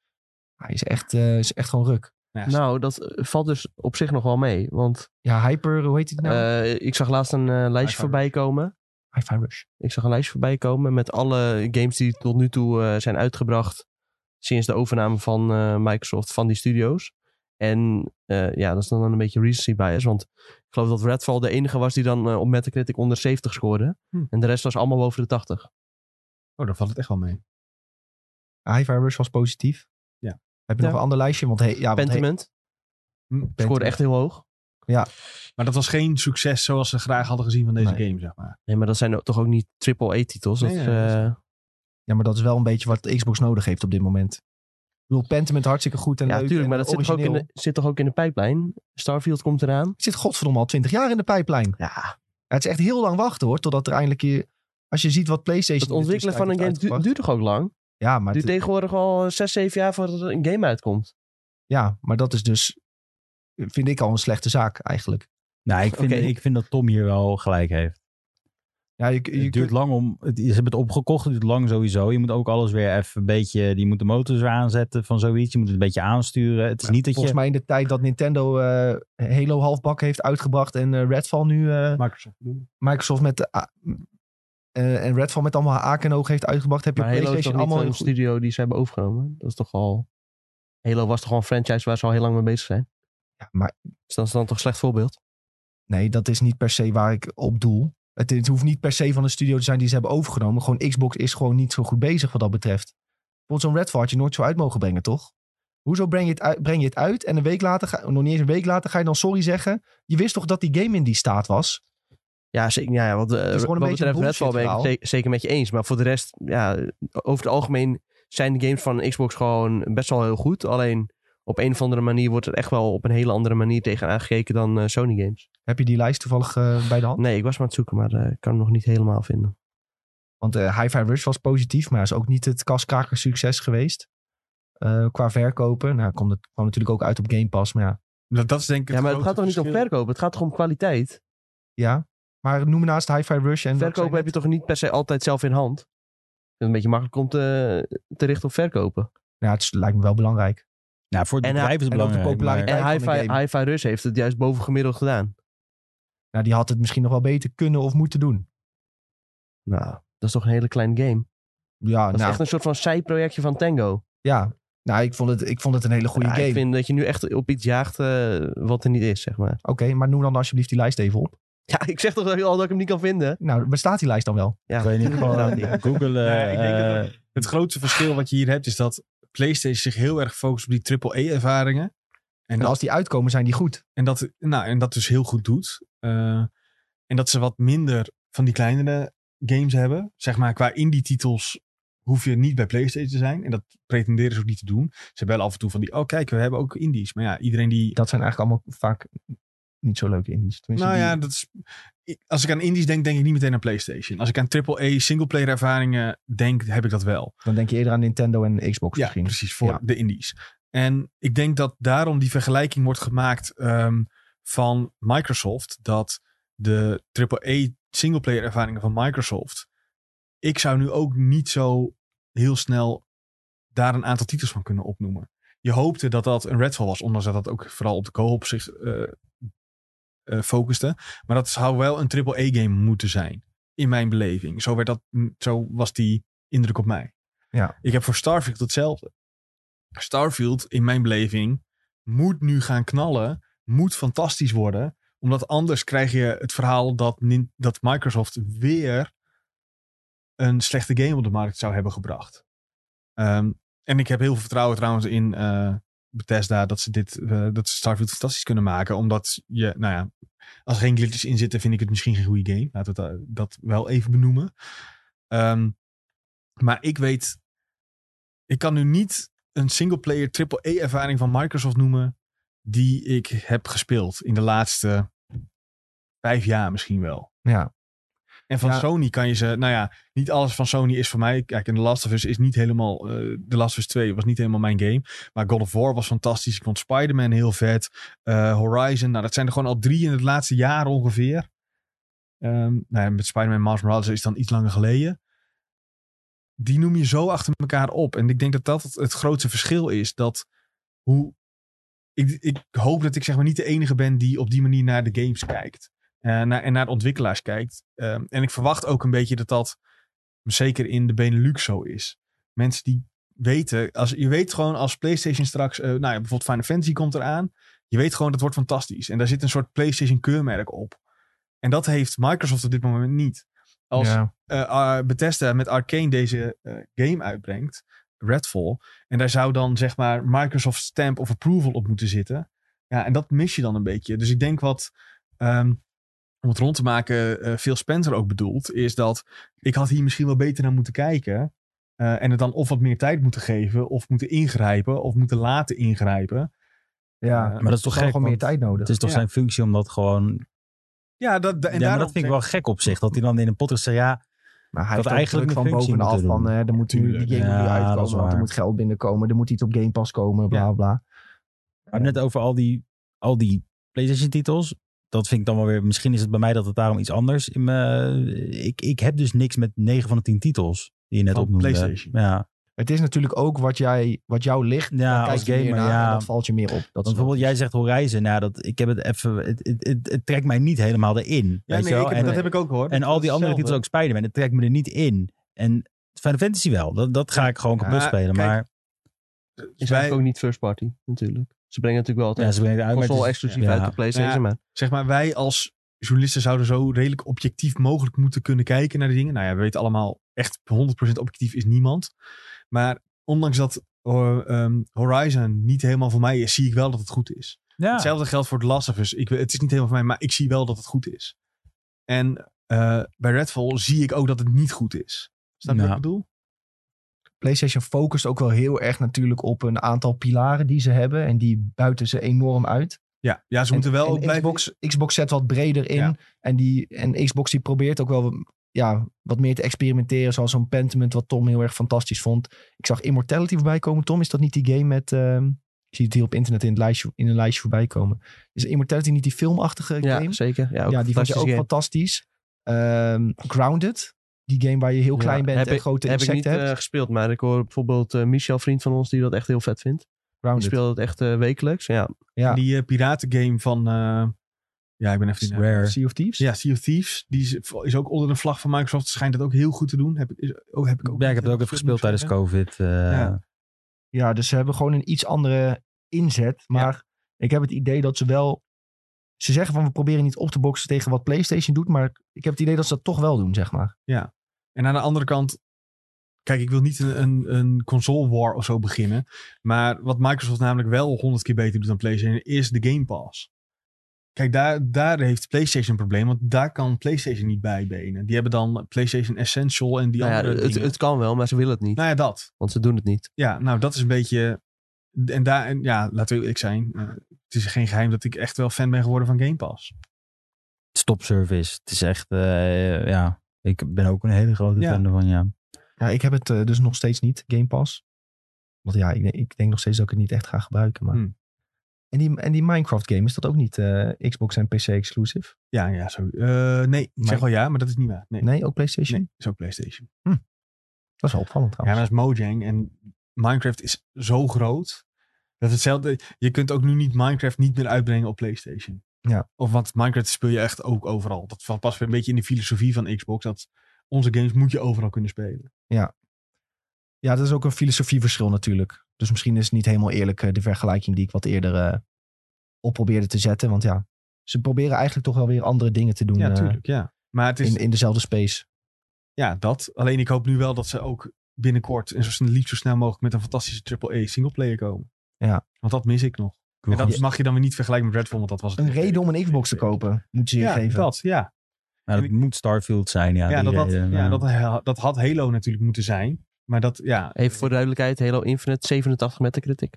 Hij is echt, eh, is echt gewoon ruk.
Ja,
Nou, dat eh, valt dus op zich nog wel mee. Want
Ja, Hyper, hoe heet het nou?
eh, ik zag laatst een eh, lijstje
Hi-Fi
voorbij komen.
Hi-Fi Rush.
Ik zag een lijstje voorbij komen met alle games die tot nu toe eh, zijn uitgebracht. Sinds de overname van eh, Microsoft van die studio's. En eh, ja, dat is dan een beetje recency bias. Want ik geloof dat Redfall de enige was die dan eh, op Metacritic onder 70 scoorde.
Hm.
En de rest was allemaal boven de 80.
Oh, dan valt het echt wel mee.
Hi-Fi Rush was positief.
Ja.
Heb je
Ja.
nog een ander lijstje? Want hey, ja, want hey,
Pentiment
Hm,
scoorde echt heel hoog.
Maar dat was geen succes zoals ze graag hadden gezien van deze
Nee.
game, zeg maar.
Nee, maar dat zijn toch ook niet AAA-titels?
Nee,
dat,
nee, dat
eh,
Ja, maar dat is wel een beetje wat de Xbox nodig heeft op dit moment. Ik bedoel, Pentiment hartstikke goed en
ja,
leuk.
natuurlijk,
en
maar dat zit toch, ook in
origineel.
de, zit toch ook in de pijplijn? Starfield komt eraan. Dus
Ik zit godverdomme al twintig jaar in de pijplijn.
Ja,
Ja, het is echt heel lang wachten hoor, totdat er eindelijk je... Als je ziet wat PlayStation...
het
in de
ontwikkelen van een game
tussentijd
du-
heeft
duurt toch ook lang?
uitgebracht. Ja maar,
duurt
het-
tegenwoordig al 6, 7 jaar voordat er een game uitkomt.
ja, maar dat is dus... Vind ik al een slechte zaak eigenlijk.
Nou, ik vind,
Oké.
ik vind dat Tom hier wel gelijk heeft.
Ja, je, je
het duurt
kunt-
lang om. Het, ze hebben het opgekocht, het duurt lang sowieso. Je moet ook alles weer even een beetje. Die moet de motors weer aanzetten van zoiets. Je moet het een beetje aansturen. Het is niet dat
volgens
je.
mij in de tijd dat Nintendo eh, Halo halfbak heeft uitgebracht... en eh, Redfall nu eh,
Microsoft bedoelde.
Microsoft met... de a- eh, en Redfall met allemaal haken en ogen heeft uitgebracht... heb je
Maar
op
Halo is toch
PlayStation
niet
allemaal...
van
een
een
eh, goed-
studio die ze hebben overgenomen? Dat is toch al... Halo was toch al een franchise waar ze al heel lang mee bezig zijn?
Ja, maar
Dus dat is dan toch een slecht voorbeeld?
Nee, dat is niet per se waar ik op doel. Het, het hoeft niet per se van een studio te zijn die ze hebben overgenomen. Gewoon Xbox is gewoon niet zo goed bezig wat dat betreft. Bijvoorbeeld zo'n Redfall had je nooit zo uit mogen brengen, toch? Hoezo breng je het uit, breng je het uit en een week later, ga, nog niet eens een week later, ga je dan sorry zeggen? Je wist toch dat die game in die staat was?
Ja, zeker. Ja, ja, want, eh,
is gewoon een
wat
beetje
betreft
een
Redfall ben ik het
bullshit
ze- zeker met je eens. Maar voor de rest, ja, over het algemeen zijn de games van Xbox gewoon best wel heel goed. Alleen op een of andere manier wordt er echt wel op een hele andere manier tegen aangekeken dan eh, Sony games.
Heb je die lijst toevallig eh, bij de hand?
Nee, ik was maar aan het zoeken, maar eh, ik kan hem nog niet helemaal vinden.
Want eh High Five Rush was positief, maar is ook niet het kaskraker succes geweest. Eh, qua verkopen. Nou, kwam, het, kwam natuurlijk ook uit op Game Pass, maar ja.
Dat, dat is denk ik
Ja, maar het
grote
gaat toch niet om
verschil.
verkoop? Het gaat toch om kwaliteit?
ja. Maar noem naast High Five Rush en...
Verkopen heb je toch niet per se altijd zelf in hand? Ik vind Het een beetje makkelijk om te, te richten op verkopen.
Ja, het is- lijkt me wel belangrijk.
Nou, voor het
En, eh,
bedrijf is het
en ook de
belangrijk.
populariteit.
maar-
Tijd
En
van de
Hi-Fi
game.
Hi-Fi Rush heeft het juist bovengemiddeld gedaan.
Nou, die had het misschien nog wel beter kunnen of moeten doen.
Nou, dat is toch een hele klein game.
Ja,
Dat is
Ah, nou,
echt een soort van zijprojectje van Tango.
ja. nou ik, vond het, ik vond het een hele goede
Ja,
game.
Ik vind dat je nu echt op iets jaagt eh, wat er niet is, zeg maar.
Oké, maar noem dan alsjeblieft die lijst even op.
Ja, ik zeg toch dat ik- al dat ik hem niet kan vinden.
Nou, bestaat die lijst dan wel?
Ja, Nou,
Kan je niet
inderdaad
gewoon
niet.
googlen?
Nee, ik denk dat
eh,
dat- Het grootste verschil wat je hier hebt is dat PlayStation zich heel erg focust op die AAA-ervaringen. En,
En
dat,
als die uitkomen, zijn die goed.
en, dat, nou, en dat dus heel goed doet. Eh, en dat ze wat minder van die kleinere games hebben. Zeg maar qua indie-titels hoef je niet bij PlayStation te zijn. En dat pretenderen ze ook niet te doen. Ze hebben wel af en toe van die, oh kijk, we hebben ook indies. Maar ja, iedereen die...
Dat zijn eigenlijk allemaal vaak niet zo leuke indies. Tenminste,
nou
die-
ja, dat is, als ik aan indies denk, denk ik niet meteen aan PlayStation. Als ik aan AAA singleplayer ervaringen denk, heb ik dat wel.
Dan denk je eerder aan Nintendo en Xbox
ja,
misschien.
precies, voor
Ja.
de indies. En ik denk dat daarom die vergelijking wordt gemaakt ehm, van Microsoft. Dat de AAA singleplayer ervaringen van Microsoft. Ik zou nu ook niet zo heel snel daar een aantal titels van kunnen opnoemen. Je hoopte dat dat een Redfall was, ondanks dat dat ook vooral op de co-op zich eh, eh, focuste. Maar dat zou wel een AAA-game moeten zijn, in mijn beleving. Zo, werd dat, zo was die indruk op mij. Ik heb voor Starfield hetzelfde. Starfield, in mijn beleving, moet nu gaan knallen. Moet fantastisch worden. Omdat anders krijg je het verhaal dat, Nin- dat Microsoft weer een slechte game op de markt zou hebben gebracht. Ehm, en ik heb heel veel vertrouwen trouwens in eh, Bethesda dat ze, dit, eh, dat ze Starfield fantastisch kunnen maken. Omdat je, nou ja, als er geen glitches in zitten, vind ik het misschien geen goede game. Laten we dat, dat wel even benoemen. Ehm, maar ik weet ik kan nu niet een single-player AAA-ervaring van Microsoft noemen die ik heb gespeeld in de laatste vijf jaar misschien wel.
Ja.
En van
Ja.
Sony kan je ze, nou ja, niet alles van Sony is voor mij. Kijk, en The Last of Us is niet helemaal, eh The Last of Us 2 was niet helemaal mijn game. Maar God of War was fantastisch. Ik vond Spider-Man heel vet. Eh, Horizon, nou dat zijn er gewoon al drie in het laatste jaar ongeveer. Ehm, nou ja, met Spider-Man Miles Morales is dan iets langer geleden die noem je zo achter elkaar op. En ik denk dat dat het, het grootste verschil is. Dat hoe. Ik, ik hoop dat ik zeg maar niet de enige ben die op die manier naar de games kijkt. Eh, naar, en naar de ontwikkelaars kijkt. Ehm, en ik verwacht ook een beetje dat dat zeker in de Benelux zo is. Mensen die weten, als, je weet gewoon als PlayStation straks, eh, nou ja, bijvoorbeeld Final Fantasy komt eraan. Je weet gewoon dat wordt fantastisch. En daar zit een soort PlayStation keurmerk op. En dat heeft Microsoft op dit moment niet. Als,
Ja.
eh, Ar- Bethesda met Arkane deze eh, game uitbrengt, Redfall. En daar zou dan zeg maar Microsoft stamp of approval op moeten zitten. Ja, en dat mis je dan een beetje. Dus ik denk wat, ehm, om het rond te maken, eh, Phil Spencer ook bedoelt, is dat ik had hier misschien wel beter naar moeten kijken. eh, en het dan of wat meer tijd moeten geven, of moeten ingrijpen, of moeten laten ingrijpen.
Ja, maar
Eh,
maar dat is
toch
toch
gewoon
gek?
meer
want
tijd nodig.
Het is toch
Ja.
zijn functie om dat gewoon...
Ja, dat, da- en
ja, maar
daarom
dat vind
zeg-
ik wel gek op zich. Dat hij dan in een podcast zegt, ja,
maar hij
dat
heeft ook
eigenlijk
druk
een
van
functie
bovenaf
moeten
van
doen.
eh, er moet nu die game
Tuurlijk.
moet nu
Ja, dat is
uitkomen, want er
waar.
moet geld binnenkomen, er moet iets op Game Pass komen, bla
Ja.
bla.
we hebben net over al die, al die PlayStation titels. Dat vind ik dan wel weer... Misschien is het bij mij dat het daarom iets anders in mijn... Ik, ik heb dus niks met 9 van de 10 titels die je net
Van
opnoemde.
Oh, PlayStation.
Ja,
Het is natuurlijk ook wat, jij, wat jou ligt,
Ja,
daar kijk
als
je meer
gamer,
naar en
ja.
dat valt je meer op. Dat
Want
snap ik.
bijvoorbeeld, jij zegt Horizon. Nou, dat, ik heb het even. Het, het, het, het trekt mij niet helemaal erin.
Ja,
weet
nee,
je wel?
ik heb-
en,
dat heb ik ook hoor.
en al die andere titels,
ook.
ook Spider-Man, het trekt me er niet in. En Final Fantasy wel. Dat, dat ga ik gewoon
Ja,
kapot spelen.
kijk,
maar
Is
Dus Wij-
eigenlijk ook niet first party, natuurlijk. Ze brengen natuurlijk wel
ja,
altijd
ze brengen het uit. maar het
console
is-
exclusief
ja.
uit de PlayStation.
Ja.
Maar
zeg maar, wij als journalisten zouden zo redelijk objectief mogelijk moeten kunnen kijken naar de dingen. Nou ja, we weten allemaal, echt 100% objectief is niemand. Maar ondanks dat eh, ehm, Horizon niet helemaal voor mij is, zie ik wel dat het goed is.
Ja.
Hetzelfde geldt voor The Last of Us. Ik, we- het is niet helemaal voor mij, maar ik zie wel dat het goed is. En eh, bij Redfall zie ik ook dat het niet goed is. Snap je
Nou.
wat ik bedoel?
PlayStation focust ook wel heel erg natuurlijk op een aantal pilaren die ze hebben. En die buiten ze enorm uit.
Ja, ja ze
En-
moeten wel
en
ook blijven...
Xbox, Xbox zet wat breder in.
Ja.
En, die, en Xbox die probeert ook wel ja, wat meer te experimenteren. Zoals zo'n Pentiment, wat Tom heel erg fantastisch vond. Ik zag Immortality voorbij komen. Tom, is dat niet die game met... ehm, ik zie het hier op internet in, het lijstje, in een lijstje voorbij komen. Is Immortality niet die filmachtige
Ja,
game?
zeker. Ja, ook
ja, die vond je ook
fantastische game.
fantastisch. Ehm, Grounded, die game waar je heel
Ja,
klein bent
heb
en
ik-
grote
Heb ik
insecten
niet
hebt.
eh, gespeeld, maar ik hoor bijvoorbeeld eh, Michel, vriend van ons, die dat echt heel vet vindt. Die
Grounded.
speelt het echt eh, wekelijks. Ja,
Ja.
Die eh, piratengame van... eh, ja, ik ben even... die naam-
Rare.
Sea of Thieves?
Ja, Sea of Thieves. Die is, is ook onder de vlag van Microsoft. Schijnt dat ook heel goed te doen. Heb, ik- is, oh, heb ik ook niet
Ja, ik heb het ook
heel
even
veel
gespeeld
moeten
tijdens
zeggen.
COVID. eh,
Ja.
Ja, dus ze hebben gewoon een iets andere inzet. Maar ik heb het idee dat ze wel... Ze zeggen van we proberen niet op te boksen tegen wat PlayStation doet. Maar ik heb het idee dat ze dat toch wel doen, zeg maar.
En aan de andere kant... Kijk, ik wil niet een, een, een console war of zo beginnen. Maar wat Microsoft namelijk wel honderd keer beter doet dan PlayStation... is de Game Pass. Kijk, daar, daar heeft PlayStation een probleem. Want daar kan PlayStation niet bij benen. Die hebben dan PlayStation Essential en die
nou ja
andere
het,
dingen.
het kan wel, maar ze willen het niet.
nou ja, dat.
Want ze doen het niet.
Ja, nou dat is een beetje... En daar, en ja, laten we eerlijk zijn. eh, het is geen geheim dat ik echt wel fan ben geworden van Game Pass.
Stopservice. Het is echt, eh, ja. Ik ben ook een hele eh, grote
Ja.
fan ervan, ja.
Ja, ik heb het eh, dus nog steeds niet, Game Pass. Want ja, ik, ik denk nog steeds dat ik het niet echt ga gebruiken. Maar...
Hmm.
En, die, en die Minecraft game, is dat ook niet eh, Xbox en PC exclusief?
Ja, ja, zo. eh, nee, ik
Maar-
zeg wel ja, maar dat is niet waar. Nee, nee.
Nee, Oh. ook PlayStation?
is ook PlayStation.
Dat is wel opvallend
Ja, maar
trouwens.
dat is Mojang en Minecraft is zo groot. Dat is hetzelfde. Je kunt ook nu niet Minecraft niet meer uitbrengen op PlayStation.
Ja.
Of want Minecraft speel je echt ook overal. Dat valt pas weer een beetje in de filosofie van Xbox. Dat onze games moet je overal kunnen spelen.
Ja, dat is ook een filosofieverschil natuurlijk. Dus misschien is het niet helemaal eerlijk eh, de vergelijking die ik wat eerder eh, op probeerde te zetten. Want ja, ze proberen eigenlijk toch wel weer andere dingen te doen
Ja,
eh,
tuurlijk. Ja. Maar het is,
in, in dezelfde space.
Ja, dat. Alleen ik hoop nu wel dat ze ook binnenkort en zo snel, liefst zo snel mogelijk met een fantastische AAA singleplayer komen.
Ja.
Want dat mis ik nog.
Ik wil
En dat
gewoon-
mag je dan weer niet vergelijken met Redfall, want dat was het
Een
niet.
reden om een Xbox te kopen, moeten ze je
Ja,
geven.
dat. Ja,
nou, dat moet Starfield zijn, ja.
ja,
die eh, nou.
dat, dat,
eh,
reden,
ja
nou-
maar-
dat, dat had Halo natuurlijk moeten zijn. Maar dat, ja.
Even voor duidelijkheid, Halo Infinite, 87 met de kritiek.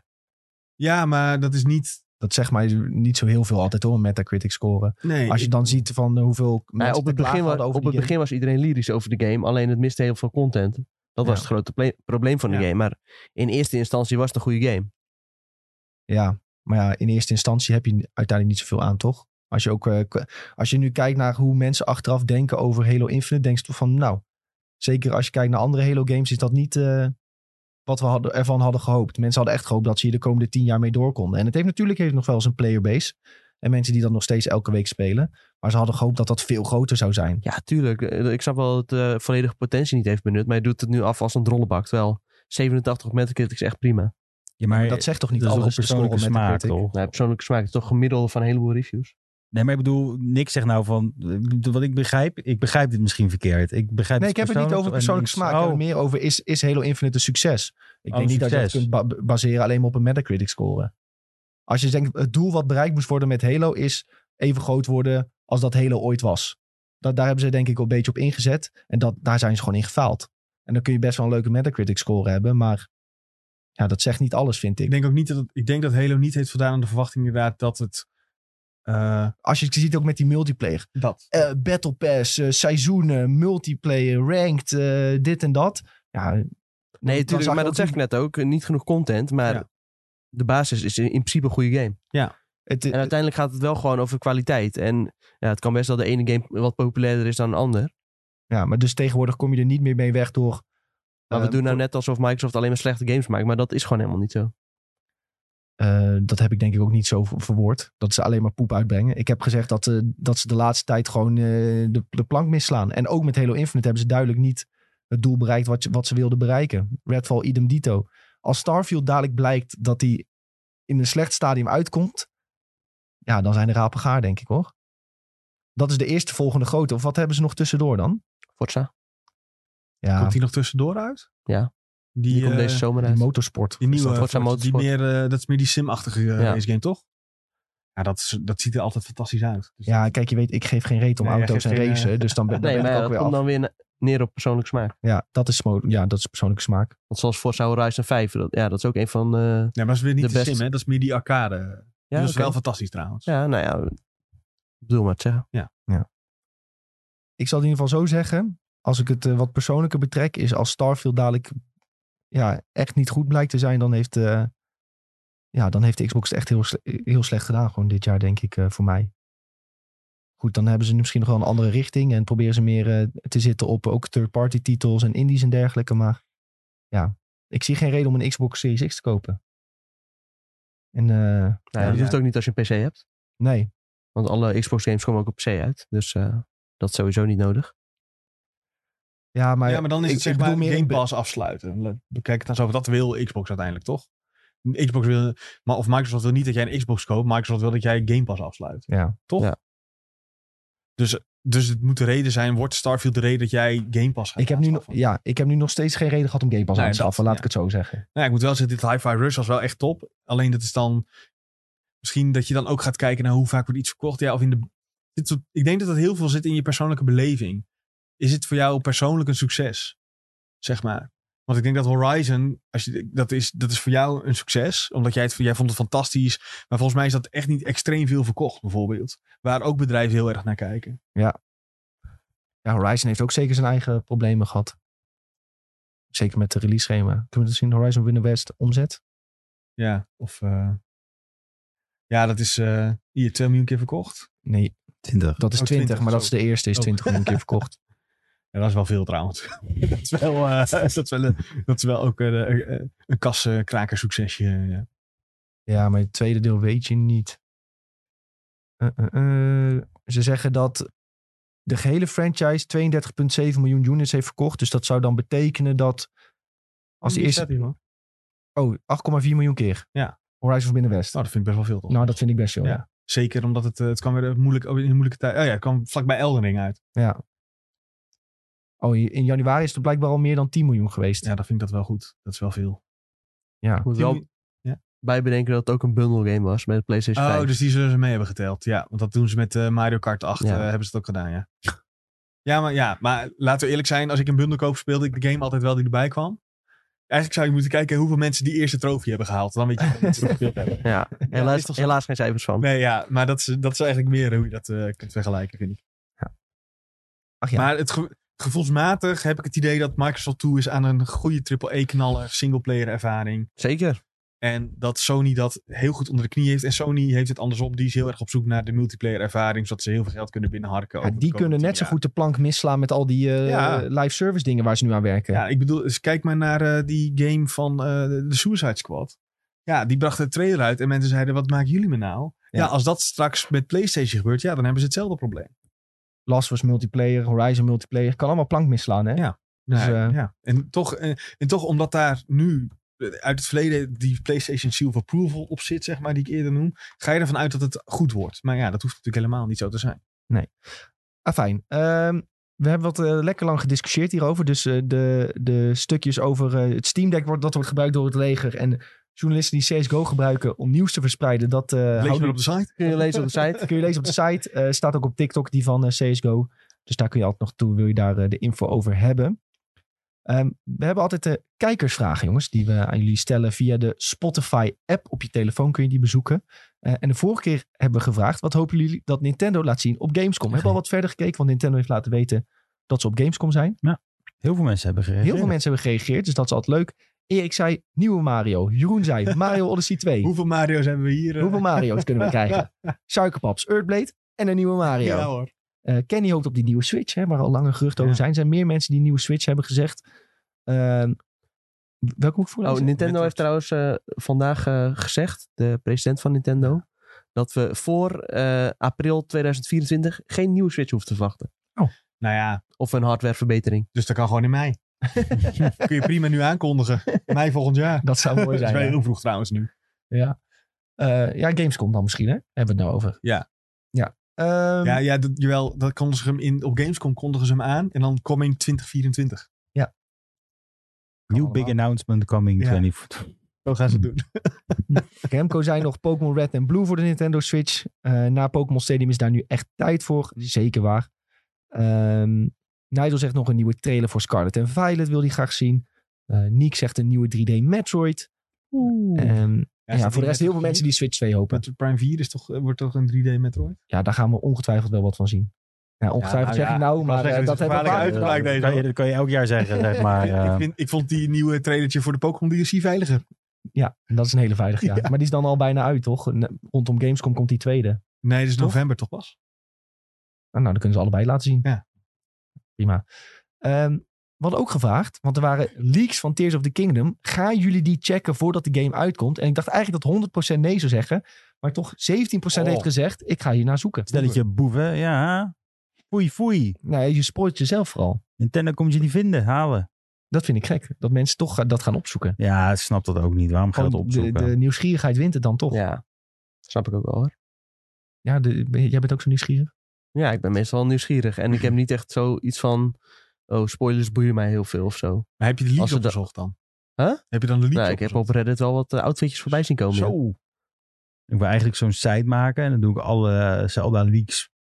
Ja, maar dat is niet...
Dat zegt mij niet zo heel veel altijd hoor, een Metacritic scoren.
Nee,
Als je dan ziet van eh, hoeveel mensen
op het,
te klagen
begin, wa-
hadden over
op
die
het
game.
begin was iedereen lyrisch over de game, alleen het miste heel veel content. Dat
Ja.
was het grote ple- probleem van de
Ja.
game. Maar in eerste instantie was het een goede game.
Ja, maar ja, in eerste instantie heb je uiteindelijk niet zoveel aan, toch? Als je, ook, eh, k- als je nu kijkt naar hoe mensen achteraf denken over Halo Infinite, denk je toch van, nou, zeker als je kijkt naar andere Halo games, is dat niet eh, wat we hadden, ervan hadden gehoopt. Mensen hadden echt gehoopt dat ze hier de komende tien jaar mee door konden. En het heeft natuurlijk heeft het nog wel eens een playerbase. En mensen die dat nog steeds elke week spelen. Maar ze hadden gehoopt dat dat veel groter zou zijn.
Ja, tuurlijk. Eh, Ik snap wel dat het eh, volledige potentie niet heeft benut, maar je doet het nu af als een drollenbak. Terwijl 87 met de kritiek is echt prima.
ja, maar
dat zegt toch niet
dat is toch
alles,
op
de score
persoonlijke
op
smaak,
Metacritic?
toch?
Nou, persoonlijke smaak is toch gemiddelde van een heleboel reviews.
Nee, maar ik bedoel, niks zegt nou van, wat ik begrijp, ik begrijp dit misschien verkeerd. Ik begrijp
Nee, ik heb het niet over persoonlijke smaak. Ik heb het
Oh,
meer over is, is Halo Infinite een succes? Ik
Oh,
denk niet dat je dat
succes.
kunt ba- baseren alleen maar op een Metacritic score. Als je denkt, het doel wat bereikt moest worden met Halo is even groot worden als dat Halo ooit was. Dat, daar hebben ze denk ik een beetje op ingezet. En dat, daar zijn ze gewoon in gefaald. En dan kun je best wel een leuke Metacritic score hebben, maar ja, dat zegt niet alles, vind
ik
ik.
denk ook niet dat... het- ik denk dat Halo niet heeft voldaan aan de verwachting inderdaad dat het... eh,
Als je het ziet ook met die multiplayer.
dat.
eh, battle Pass, eh, seizoenen, multiplayer, ranked, eh, dit en dat. Ja,
Nee,
Dan zag
tuurlijk,
je
maar dat
ook
zeg ik net ook. eh, Niet genoeg content, maar
Ja.
de basis is in in principe een goede game.
het,
En uiteindelijk gaat het wel gewoon over kwaliteit. En ja, het kan best dat de ene game wat populairder is dan een ander.
Ja, maar dus tegenwoordig kom je er niet meer mee weg door.
Maar we
eh,
doen nou net alsof Microsoft alleen maar slechte games maakt. Maar dat is gewoon helemaal niet zo.
eh, dat heb ik denk ik ook niet zo ver- verwoord. Dat ze alleen maar poep uitbrengen. Ik heb gezegd dat, eh, dat ze de laatste tijd gewoon eh, de, de plank misslaan. En ook met Halo Infinite hebben ze duidelijk niet het doel bereikt wat, ze- wat ze wilden bereiken. Redfall idem dito. Als Starfield dadelijk blijkt dat hij in een slecht stadium uitkomt. Ja, dan zijn de rapen gaar, denk ik hoor. Dat is de eerste volgende grote. Of wat hebben ze nog tussendoor dan?
Forza.
Ja,
Komt die nog tussendoor uit?
Ja.
Die,
Die, komt
eh,
deze zomer
die
uit.
motorsport.
die nieuwe
dat Forza
Forza Die
Motorsport?
meer, eh, dat is meer die sim-achtige eh,
Ja.
race game, toch? Ja, dat, is, dat ziet er altijd fantastisch uit. Dus
Ja, kijk, je weet, ik geef geen reet om
Nee, jij
auto's en
geeft geen,
racen. Dus dan ben, daar
eh, Nee,
ben
maar ja,
ik ook
dat
weer
komt
af.
dan weer na- neer op persoonlijk smaak.
Ja, dat is, smo- ja, dat is persoonlijke smaak.
Want zoals Forza Horizon 5, dat, ja, dat is ook een van... eh,
Nee, maar dat is weer niet
De
de,
best-
sim, hè? Dat is meer die arcade.
ja,
dat is
oké.
wel fantastisch trouwens.
ja, nou ja, ik bedoel maar te zeggen.
Ik zal het in ieder geval zo zeggen. Als ik het eh, wat persoonlijker betrek, is als Starfield dadelijk ja, echt niet goed blijkt te zijn, dan heeft, eh, ja, dan heeft de Xbox het echt heel, sle- heel slecht gedaan. Gewoon dit jaar, denk ik, eh, voor mij. Goed, dan hebben ze nu misschien nog wel een andere richting en proberen ze meer eh, te zitten op ook third-party titels en indies en dergelijke. Maar ja, ik zie geen reden om een Xbox Series X te kopen. En eh,
Nou, ja,
Ja,
dat
ja.
hoeft ook niet als je een PC hebt.
nee,
Want alle Xbox games komen ook op PC uit. Dus eh, dat is sowieso niet nodig.
Ja, maar,
ja, maar dan is
ik-
het zeg
ik bedoel
maar
meer
Game
in be-
Pass afsluiten. Le- Bekijk het dan zo. Dat wil Xbox uiteindelijk, toch? Xbox wil, maar of Microsoft wil niet dat jij een Xbox koopt. Microsoft wil dat jij Game Pass afsluit.
Ja.
Toch?
Ja.
Dus, dus het moet de reden zijn, wordt Starfield de reden dat jij Game Pass gaat
ik, heb nu, nog-
afschaffen?
ja, ik heb nu nog steeds geen reden gehad om Game Pass
Nee,
aan te
dat-
schaffen, laat
ja.
ik het zo zeggen.
Nou, ja, ik moet wel zeggen, dit Hi-Fi Rush was wel echt top. Alleen dat is dan... Misschien dat je dan ook gaat kijken naar hoe vaak wordt iets verkocht. Ja, of in de, dit soort- ik denk dat dat heel veel zit in je persoonlijke beleving. Is het voor jou persoonlijk een succes? Zeg maar. Want ik denk dat Horizon, als je, dat, is, dat is voor jou een succes. Omdat jij, het, jij vond het fantastisch. Maar volgens mij is dat echt niet extreem veel verkocht, bijvoorbeeld. Waar ook bedrijven heel erg naar kijken.
Ja, Horizon heeft ook zeker zijn eigen problemen gehad. Zeker met de release schema. Kunnen we dat zien? Horizon Winter West omzet.
Ja, of... eh, ja, dat is eh hier 2 miljoen keer verkocht.
Nee,
20.
dat is
Oh,
20,
20,
maar dat
zo.
is de eerste, is
Oh.
20 miljoen keer verkocht.
Ja, dat is wel veel trouwens. dat, is wel, eh, dat, is wel, een- dat is wel ook een, een, een kassenkraker succesje. Ja.
Ja, maar het tweede deel weet je niet. Eh, eh, eh. Ze zeggen dat de gehele franchise 32,7 miljoen units heeft verkocht. Dus dat zou dan betekenen dat als de eerste...
man.
Oh, 8,4 miljoen keer.
Ja.
Horizon Forbidden West.
Nou, dat vind ik best wel veel toch?
Nou, dat vind ik best veel,
Ja.
ja.
Zeker omdat het, eh, het kwam weer een moeilijk, in een moeilijke tijd. Oh ja, het kwam vlakbij Elden Ring uit.
Ja. Oh, in januari is het blijkbaar al meer dan 10 miljoen geweest.
Ja, dan vind ik dat wel goed. Dat is wel veel.
Ja.
Moet wel bijbedenken dat het ook een bundle game was met de PlayStation 5.
Oh, dus die zullen ze mee hebben geteld. Ja, want dat doen ze met eh, Mario Kart 8.
Ja.
eh, hebben ze het ook gedaan, ja. Ja maar, ja, maar laten we eerlijk zijn. Als ik een bundel koop, speelde ik de game altijd wel die erbij kwam. Eigenlijk zou je moeten kijken hoeveel mensen die eerste trofee hebben gehaald. Dan weet je hoeveel mensen gespeeld hebben.
Ja,
is
helaas,
toch zo?
helaas geen cijfers van.
Nee, ja, maar dat is, dat is eigenlijk meer hoe je dat eh, kunt vergelijken, vind ik.
Ach ja.
Maar het ge- gevoelsmatig heb ik het idee dat Microsoft toe is aan een goede AAA-knaller, singleplayer ervaring.
Zeker.
En dat Sony dat heel goed onder de knie heeft. En Sony heeft het andersom. Die is heel erg op zoek naar de multiplayer ervaring, zodat ze heel veel geld kunnen binnenharken.
Ja,
over de
die
komende
kunnen net
tien
zo
jaar.
goed de plank misslaan met al die eh,
Ja.
live service dingen waar ze nu aan werken.
Ja, ik bedoel, dus kijk maar naar eh, die game van eh, de Suicide Squad. Ja, die bracht de trailer uit en mensen zeiden, wat maken jullie me nou? Ja,
Ja.
als dat straks met PlayStation gebeurt, ja, dan hebben ze hetzelfde probleem.
Last was multiplayer, Horizon multiplayer. Kan allemaal plank misslaan, hè?
Ja.
Dus,
Nee,
eh,
ja. en, toch, eh, en toch omdat daar nu eh, uit het verleden die PlayStation Seal of Approval op zit, zeg maar, die ik eerder noem, ga je ervan uit dat het goed wordt. Maar ja, dat hoeft natuurlijk helemaal niet zo te
Eh,
zijn.
Afijn. Ehm, we hebben wat eh, lekker lang gediscussieerd hierover. Dus eh, de, de stukjes over eh, het Steam Deck, wordt, dat wordt gebruikt door het leger. En journalisten die CSGO gebruiken om nieuws te verspreiden, dat eh,
Lees
houden
maar op de site.
Kun je lezen op de site.
kun je lezen op de site. Eh, staat ook op TikTok die van eh, CSGO. Dus daar kun je altijd nog toe, wil je daar eh, de info over hebben. Ehm, we hebben altijd de kijkersvragen, jongens, die we aan jullie stellen via de Spotify-app. Op je telefoon kun je die bezoeken. Eh, en de vorige keer hebben we gevraagd, wat hopen jullie dat Nintendo laat zien op Gamescom? We hebben al wat verder gekeken, want Nintendo heeft laten weten dat ze op Gamescom zijn.
Heel veel mensen hebben gereageerd.
Heel veel mensen hebben gereageerd, dus dat is altijd leuk. Erik zei, nieuwe Mario. Jeroen zei, Mario Odyssey 2.
Hoeveel Mario's hebben we hier? eh?
Hoeveel Mario's kunnen we krijgen? Suikerpaps, Earthblade en een nieuwe Mario.
Ja hoor.
Eh, Kenny hoopt op die nieuwe Switch, hè, waar al lange geruchten
Ja.
over zijn. Er zijn meer mensen die een nieuwe Switch hebben gezegd. Ehm, welke moet ik
Oh,
voorlezen?
Nintendo heeft trouwens eh, vandaag eh, gezegd, de president van Nintendo, dat we voor eh, april 2024 geen nieuwe Switch hoeven te verwachten.
Nou ja,
Of een hardwareverbetering.
dus dat kan gewoon in mei. Kun je prima nu aankondigen. Mei volgend jaar.
Dat zou mooi
Dat is wel
zijn. ja.
heel vroeg trouwens nu.
ja. Eh, ja, Gamescom dan misschien, hè? Hebben we het nou over.
Ja.
ja. Ehm,
Ja, ja dat, jawel, dat konden ze hem in, op Gamescom kondigen ze hem aan. En dan coming 2024.
New
allemaal.
big announcement coming
Ja.
24.
Zo gaan ze het doen.
Remco zei nog Pokémon Red en Blue voor de Nintendo Switch. Eh, na Pokémon Stadium is daar nu echt tijd voor. Zeker waar. Ehm Nigel zegt nog een nieuwe trailer voor Scarlet en Violet wil hij graag zien. Eh Niek zegt een nieuwe 3D Metroid.
Eh,
Ehm, ja, voor de rest heel veel mensen die Switch 2 hopen.
Met Prime 4 is toch, eh, wordt toch een 3D Metroid?
Ja, daar gaan we ongetwijfeld wel wat van zien. Ja, ongetwijfeld
nou
zeg
ja,
ik nou,
ik wou
maar
zeggen,
eh,
dit
dat
is een
hebben we
gevaarlijke
vaker
uitspraak
gedaan.
deze.
Dat kan, je, dat kan je elk jaar zeggen, zeg maar.
ik,
eh,
vind, ik vond die nieuwe trailertje voor de Pokémon DLC veiliger.
Ja, en dat is een hele veilige ja.
Ja.
Maar die is dan al bijna uit, toch? N- Rondom Gamescom komt die tweede. Nou,
Nee, dat is
Toch?
november toch pas?
nou, dan kunnen ze allebei laten zien.
Ja.
Prima. Ehm, we hadden ook gevraagd, want er waren leaks van Tears of the Kingdom. Gaan jullie die checken voordat de game uitkomt? En ik dacht eigenlijk dat 100% nee zou zeggen. Maar toch 17% heeft
Oh.
gezegd, ik ga hier naar zoeken.
stelletje boeven, ja. Foei, foei.
Nee, je spoort jezelf vooral.
Nintendo komt je niet vinden, halen.
Dat vind ik gek. Dat mensen toch eh, dat gaan opzoeken.
Ja, ik snap dat ook niet. Waarom ga je dat
Gewoon de,
opzoeken?
de nieuwsgierigheid wint het dan toch. Ja,
Ja, snap ik ook wel hoor.
de- ben- jij bent ook zo nieuwsgierig.
Ja, ik ben meestal wel nieuwsgierig. En ik heb niet echt zoiets van... Oh, spoilers boeien mij heel veel of zo.
Maar heb je de
Als
leaks
ze dat-
opgezocht dan?
Huh?
Heb je dan de leaks
Nou, ik heb op
opgezocht?
Reddit wel wat eh, outfitjes voorbij zien komen. ja.
Zo.
Ik wil eigenlijk zo'n site maken en dan doe ik alle eh,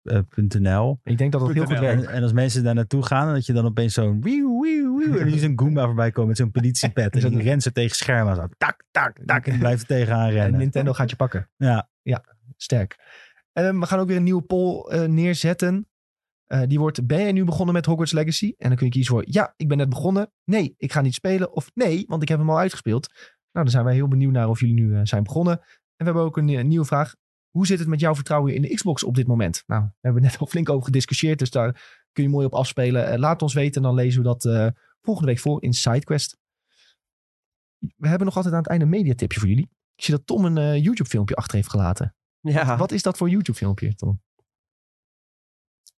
zeldaleaks.nl.
Ik denk dat dat heel goed
.nl.
werkt.
En, en als mensen daar naartoe gaan, en dat je dan opeens zo'n wieuw, wieuw, wieuw, en nu is een Goomba voorbij komen met zo'n politiepet. En die rent zo tegen schermen. Zo, tak, tak, tak. En blijft er tegenaan
En
rennen.
Eh, Nintendo gaat je pakken.
Ja,
Sterk. En we gaan ook weer een nieuwe poll eh, neerzetten. Eh, die wordt, ben jij nu begonnen met Hogwarts Legacy? En dan kun je kiezen voor, ja, ik ben net begonnen. Nee, ik ga niet spelen. Of nee, want ik heb hem al uitgespeeld. Nou, dan zijn wij heel benieuwd naar of jullie nu eh, zijn begonnen. En we hebben ook een, eh, nieuwe vraag. Hoe zit het met jouw vertrouwen in de Xbox op dit moment? Nou, daar hebben we net al flink over gediscussieerd. Dus daar kun je mooi op afspelen. Eh, laat ons weten en dan lezen we dat eh, volgende week voor in SideQuest. We hebben nog altijd aan het einde een mediatipje voor jullie. Ik zie dat Tom een eh, YouTube filmpje achter heeft gelaten.
Ah.
Ja.
Wat is dat voor YouTube-filmpje, Tom?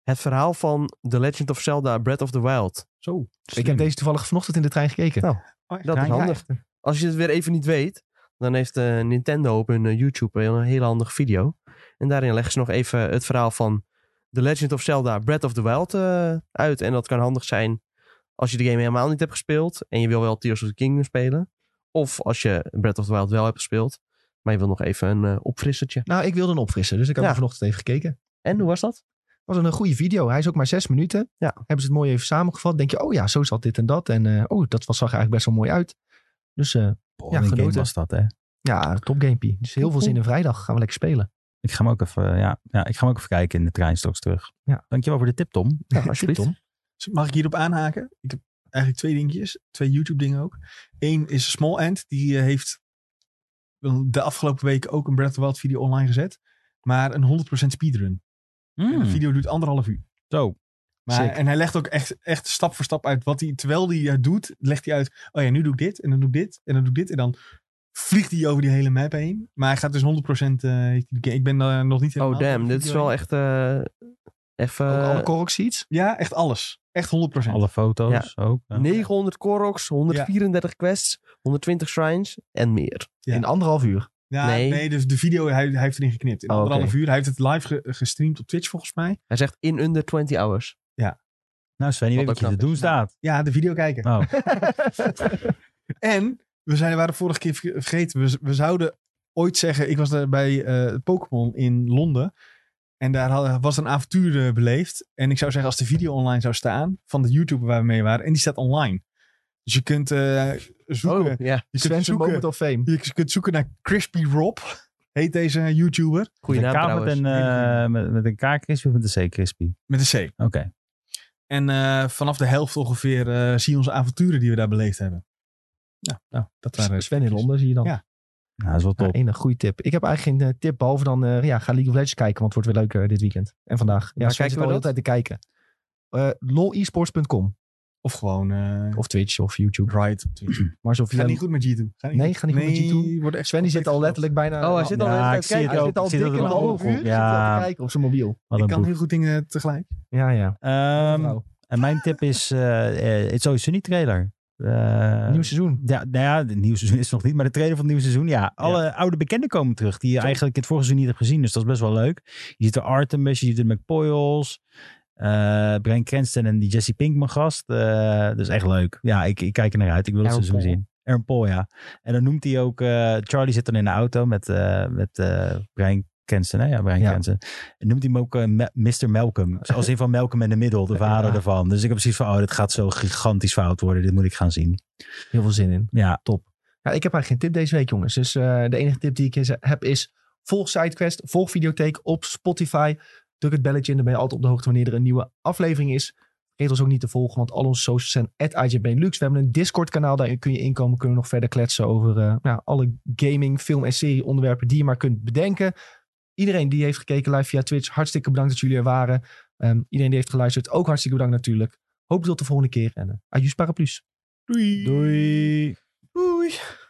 Het verhaal van The Legend of Zelda Breath of the Wild.
Zo. Ik heb deze toevallig vanochtend in de trein gekeken.
Nou,
Oh, echt?
Dat is
Ja, ja.
handig. Als je het weer even niet weet, dan heeft eh, Nintendo op hun eh, YouTube een hele handige video. En daarin leggen ze nog even het verhaal van The Legend of Zelda Breath of the Wild eh, uit. En dat kan handig zijn als je de game helemaal niet hebt gespeeld en je wil wel Tears of the Kingdom spelen. Of als je Breath of the Wild wel hebt gespeeld, maar je wil nog even een eh, opfrissertje.
Nou, ik wilde hem opfrissen, dus ik heb
Ja.
hem vanochtend even gekeken.
En hoe was dat?
was een eh, goede video. Hij is ook maar zes minuten.
Ja.
Hebben ze het mooi even samengevat. Denk je, oh ja, zo zat dit en dat. En eh, oh, dat was, zag er eigenlijk best wel mooi uit. Dus eh,
ja,
Ja, genoten.
was dat, hè.
ja, topgamepie. Dus heel veel zin in vrijdag. Gaan we lekker spelen.
Ik ga hem ook even, ja, ja, ik ga hem ook even kijken in de trein straks terug.
Ja.
Dankjewel voor de tip, Tom.
Nou,
alsjeblieft.
Tom.
Mag ik hierop aanhaken? Ik heb eigenlijk twee dingetjes. Twee YouTube dingen ook. Eén is Small End. Die eh, heeft de afgelopen week ook een Breath of the Wild video online gezet. Maar een 100% speedrun. En
Hmm.
de
Mm.
video duurt anderhalf uur.
Zo,
Maar,
Sick.
en hij legt ook echt, echt stap voor stap uit wat hij, terwijl hij het doet, legt hij uit, oh ja, nu doe ik dit en dan doe ik dit en dan doe ik dit. En dan vliegt hij over die hele map heen. Maar hij gaat dus 100% eh, heeft hij de game- ik ben daar nog niet helemaal...
Oh damn,
door de
dit is
video
wel
heen.
echt eh, even...
Eh,
Ook alle Korok seeds.
Ja, echt alles. Echt 100%.
alle foto's ook. hè.
900 Koroks, 134 quests, 120 shrines en meer.
Ja.
In anderhalf uur.
Ja,
Nee.
nee. dus de video, hij, hij heeft erin geknipt. In
Oh, oké.
anderhalf uur. Hij heeft het live ge- gestreamd op Twitch volgens mij.
Hij zegt in under 20 hours.
Nou, Sven, je
Wat
weet wat je
ook
te
knap
doen
is.
staat.
Ja, de video kijken.
Oh.
En we zijn, waren vorige keer verge- vergeten. We, z- we zouden ooit zeggen. Ik was daar bij eh, Pokémon in Londen. En daar had- was een avontuur eh, beleefd. En ik zou zeggen, als de video online zou staan. van de YouTuber waar we mee waren. en die staat online. Dus je kunt eh, zoeken.
Oh, ja.
je, kunt
Sven's
zoeken
Moment of Fame.
je kunt zoeken naar Crispy Rob. Heet deze eh, YouTuber.
Goeie
Met
naam
een K
trouwens.
met een, eh, met, met een K-crispy of met een C-crispy?
Met een C.
Oké.
En eh, vanaf de helft ongeveer eh, zie je onze avonturen die we daar beleefd hebben. Ja, nou, dat waren
Sven in Londen zie je dan.
Ja.
Nou, dat is wel
Ja,
top.
enige goede tip. Ik heb eigenlijk geen eh, tip, behalve dan eh, ja, ga League of Legends kijken, want het wordt weer leuk eh, dit weekend. En vandaag. Ja,
Waar
Sven
kijken
zit
we
al de hele tijd
dat?
te kijken. Eh lolesports.com
Of gewoon eh
of Twitch of YouTube.
Riot op Twitch.
Maar zo via...
Ga niet goed met G2. Ga niet
Nee, ga niet goed met G2.
Nee, wordt echt
Sven die zit al letterlijk bijna...
Oh, hij zit al
Ja,
even
ik
te
zie het
kijken.
hij
ook.
zit al
Ik zie
dik
dat
in
er
een
wel
half
op-
uur. zit hij al
Ja.
te kijken op zijn mobiel.
Wat
Ik
een
kan
boef.
heel goed dingen tegelijk.
Ja, ja.
Ehm,
Vrouw.
en mijn tip is, eh eh, It's Always Sunny trailer. Eh,
Nieuw seizoen.
ja, nou ja, het nieuwe seizoen is het nog niet, maar de trailer van het nieuwe seizoen, ja. Alle oude bekenden komen terug, die je eigenlijk het vorige seizoen niet hebt gezien. Dus dat is best wel leuk. Je ziet de Artemis, je ziet de McPoyles, eh Brian Cranston en die Jesse Pinkman gast. Eh, dat is echt leuk. Ja, ik, ik kijk er naar uit. Ik wil het
Aaron
seizoen
Paul.
zien. Aaron Paul, ja. En dan noemt hij ook, eh, Charlie zit dan in de auto met, eh, met eh, Brian Cranston, hè? Ja, Brian
Ja.
Cranston. En noemt hij hem ook eh, Ma- Mr. Malcolm. Als in van Malcolm in the Middle, de vader
Ja.
ervan. Dus ik heb precies van, oh, dit gaat zo gigantisch fout worden. Dit moet ik gaan zien.
Heel veel zin in.
Ja,
Ja, ik heb eigenlijk geen tip deze week, jongens. Dus eh, de enige tip die ik is- heb is... volg SideQuest, volg Videotheek op Spotify. Druk het belletje in, dan ben je altijd op de hoogte wanneer er een nieuwe aflevering is. Vergeet ons ook niet te volgen, want al onze socials zijn at IJBenelux. We hebben een Discord-kanaal, daar kun je inkomen. Kunnen we nog verder kletsen over eh, nou, alle gaming, film en serie onderwerpen die je maar kunt bedenken. Iedereen die heeft gekeken live via Twitch, hartstikke bedankt dat jullie er waren. Ehm, iedereen die heeft geluisterd, ook hartstikke bedankt natuurlijk. Hopelijk tot de volgende keer en eh, adieu, paraplu's.
Doei.
Doei.
Doei.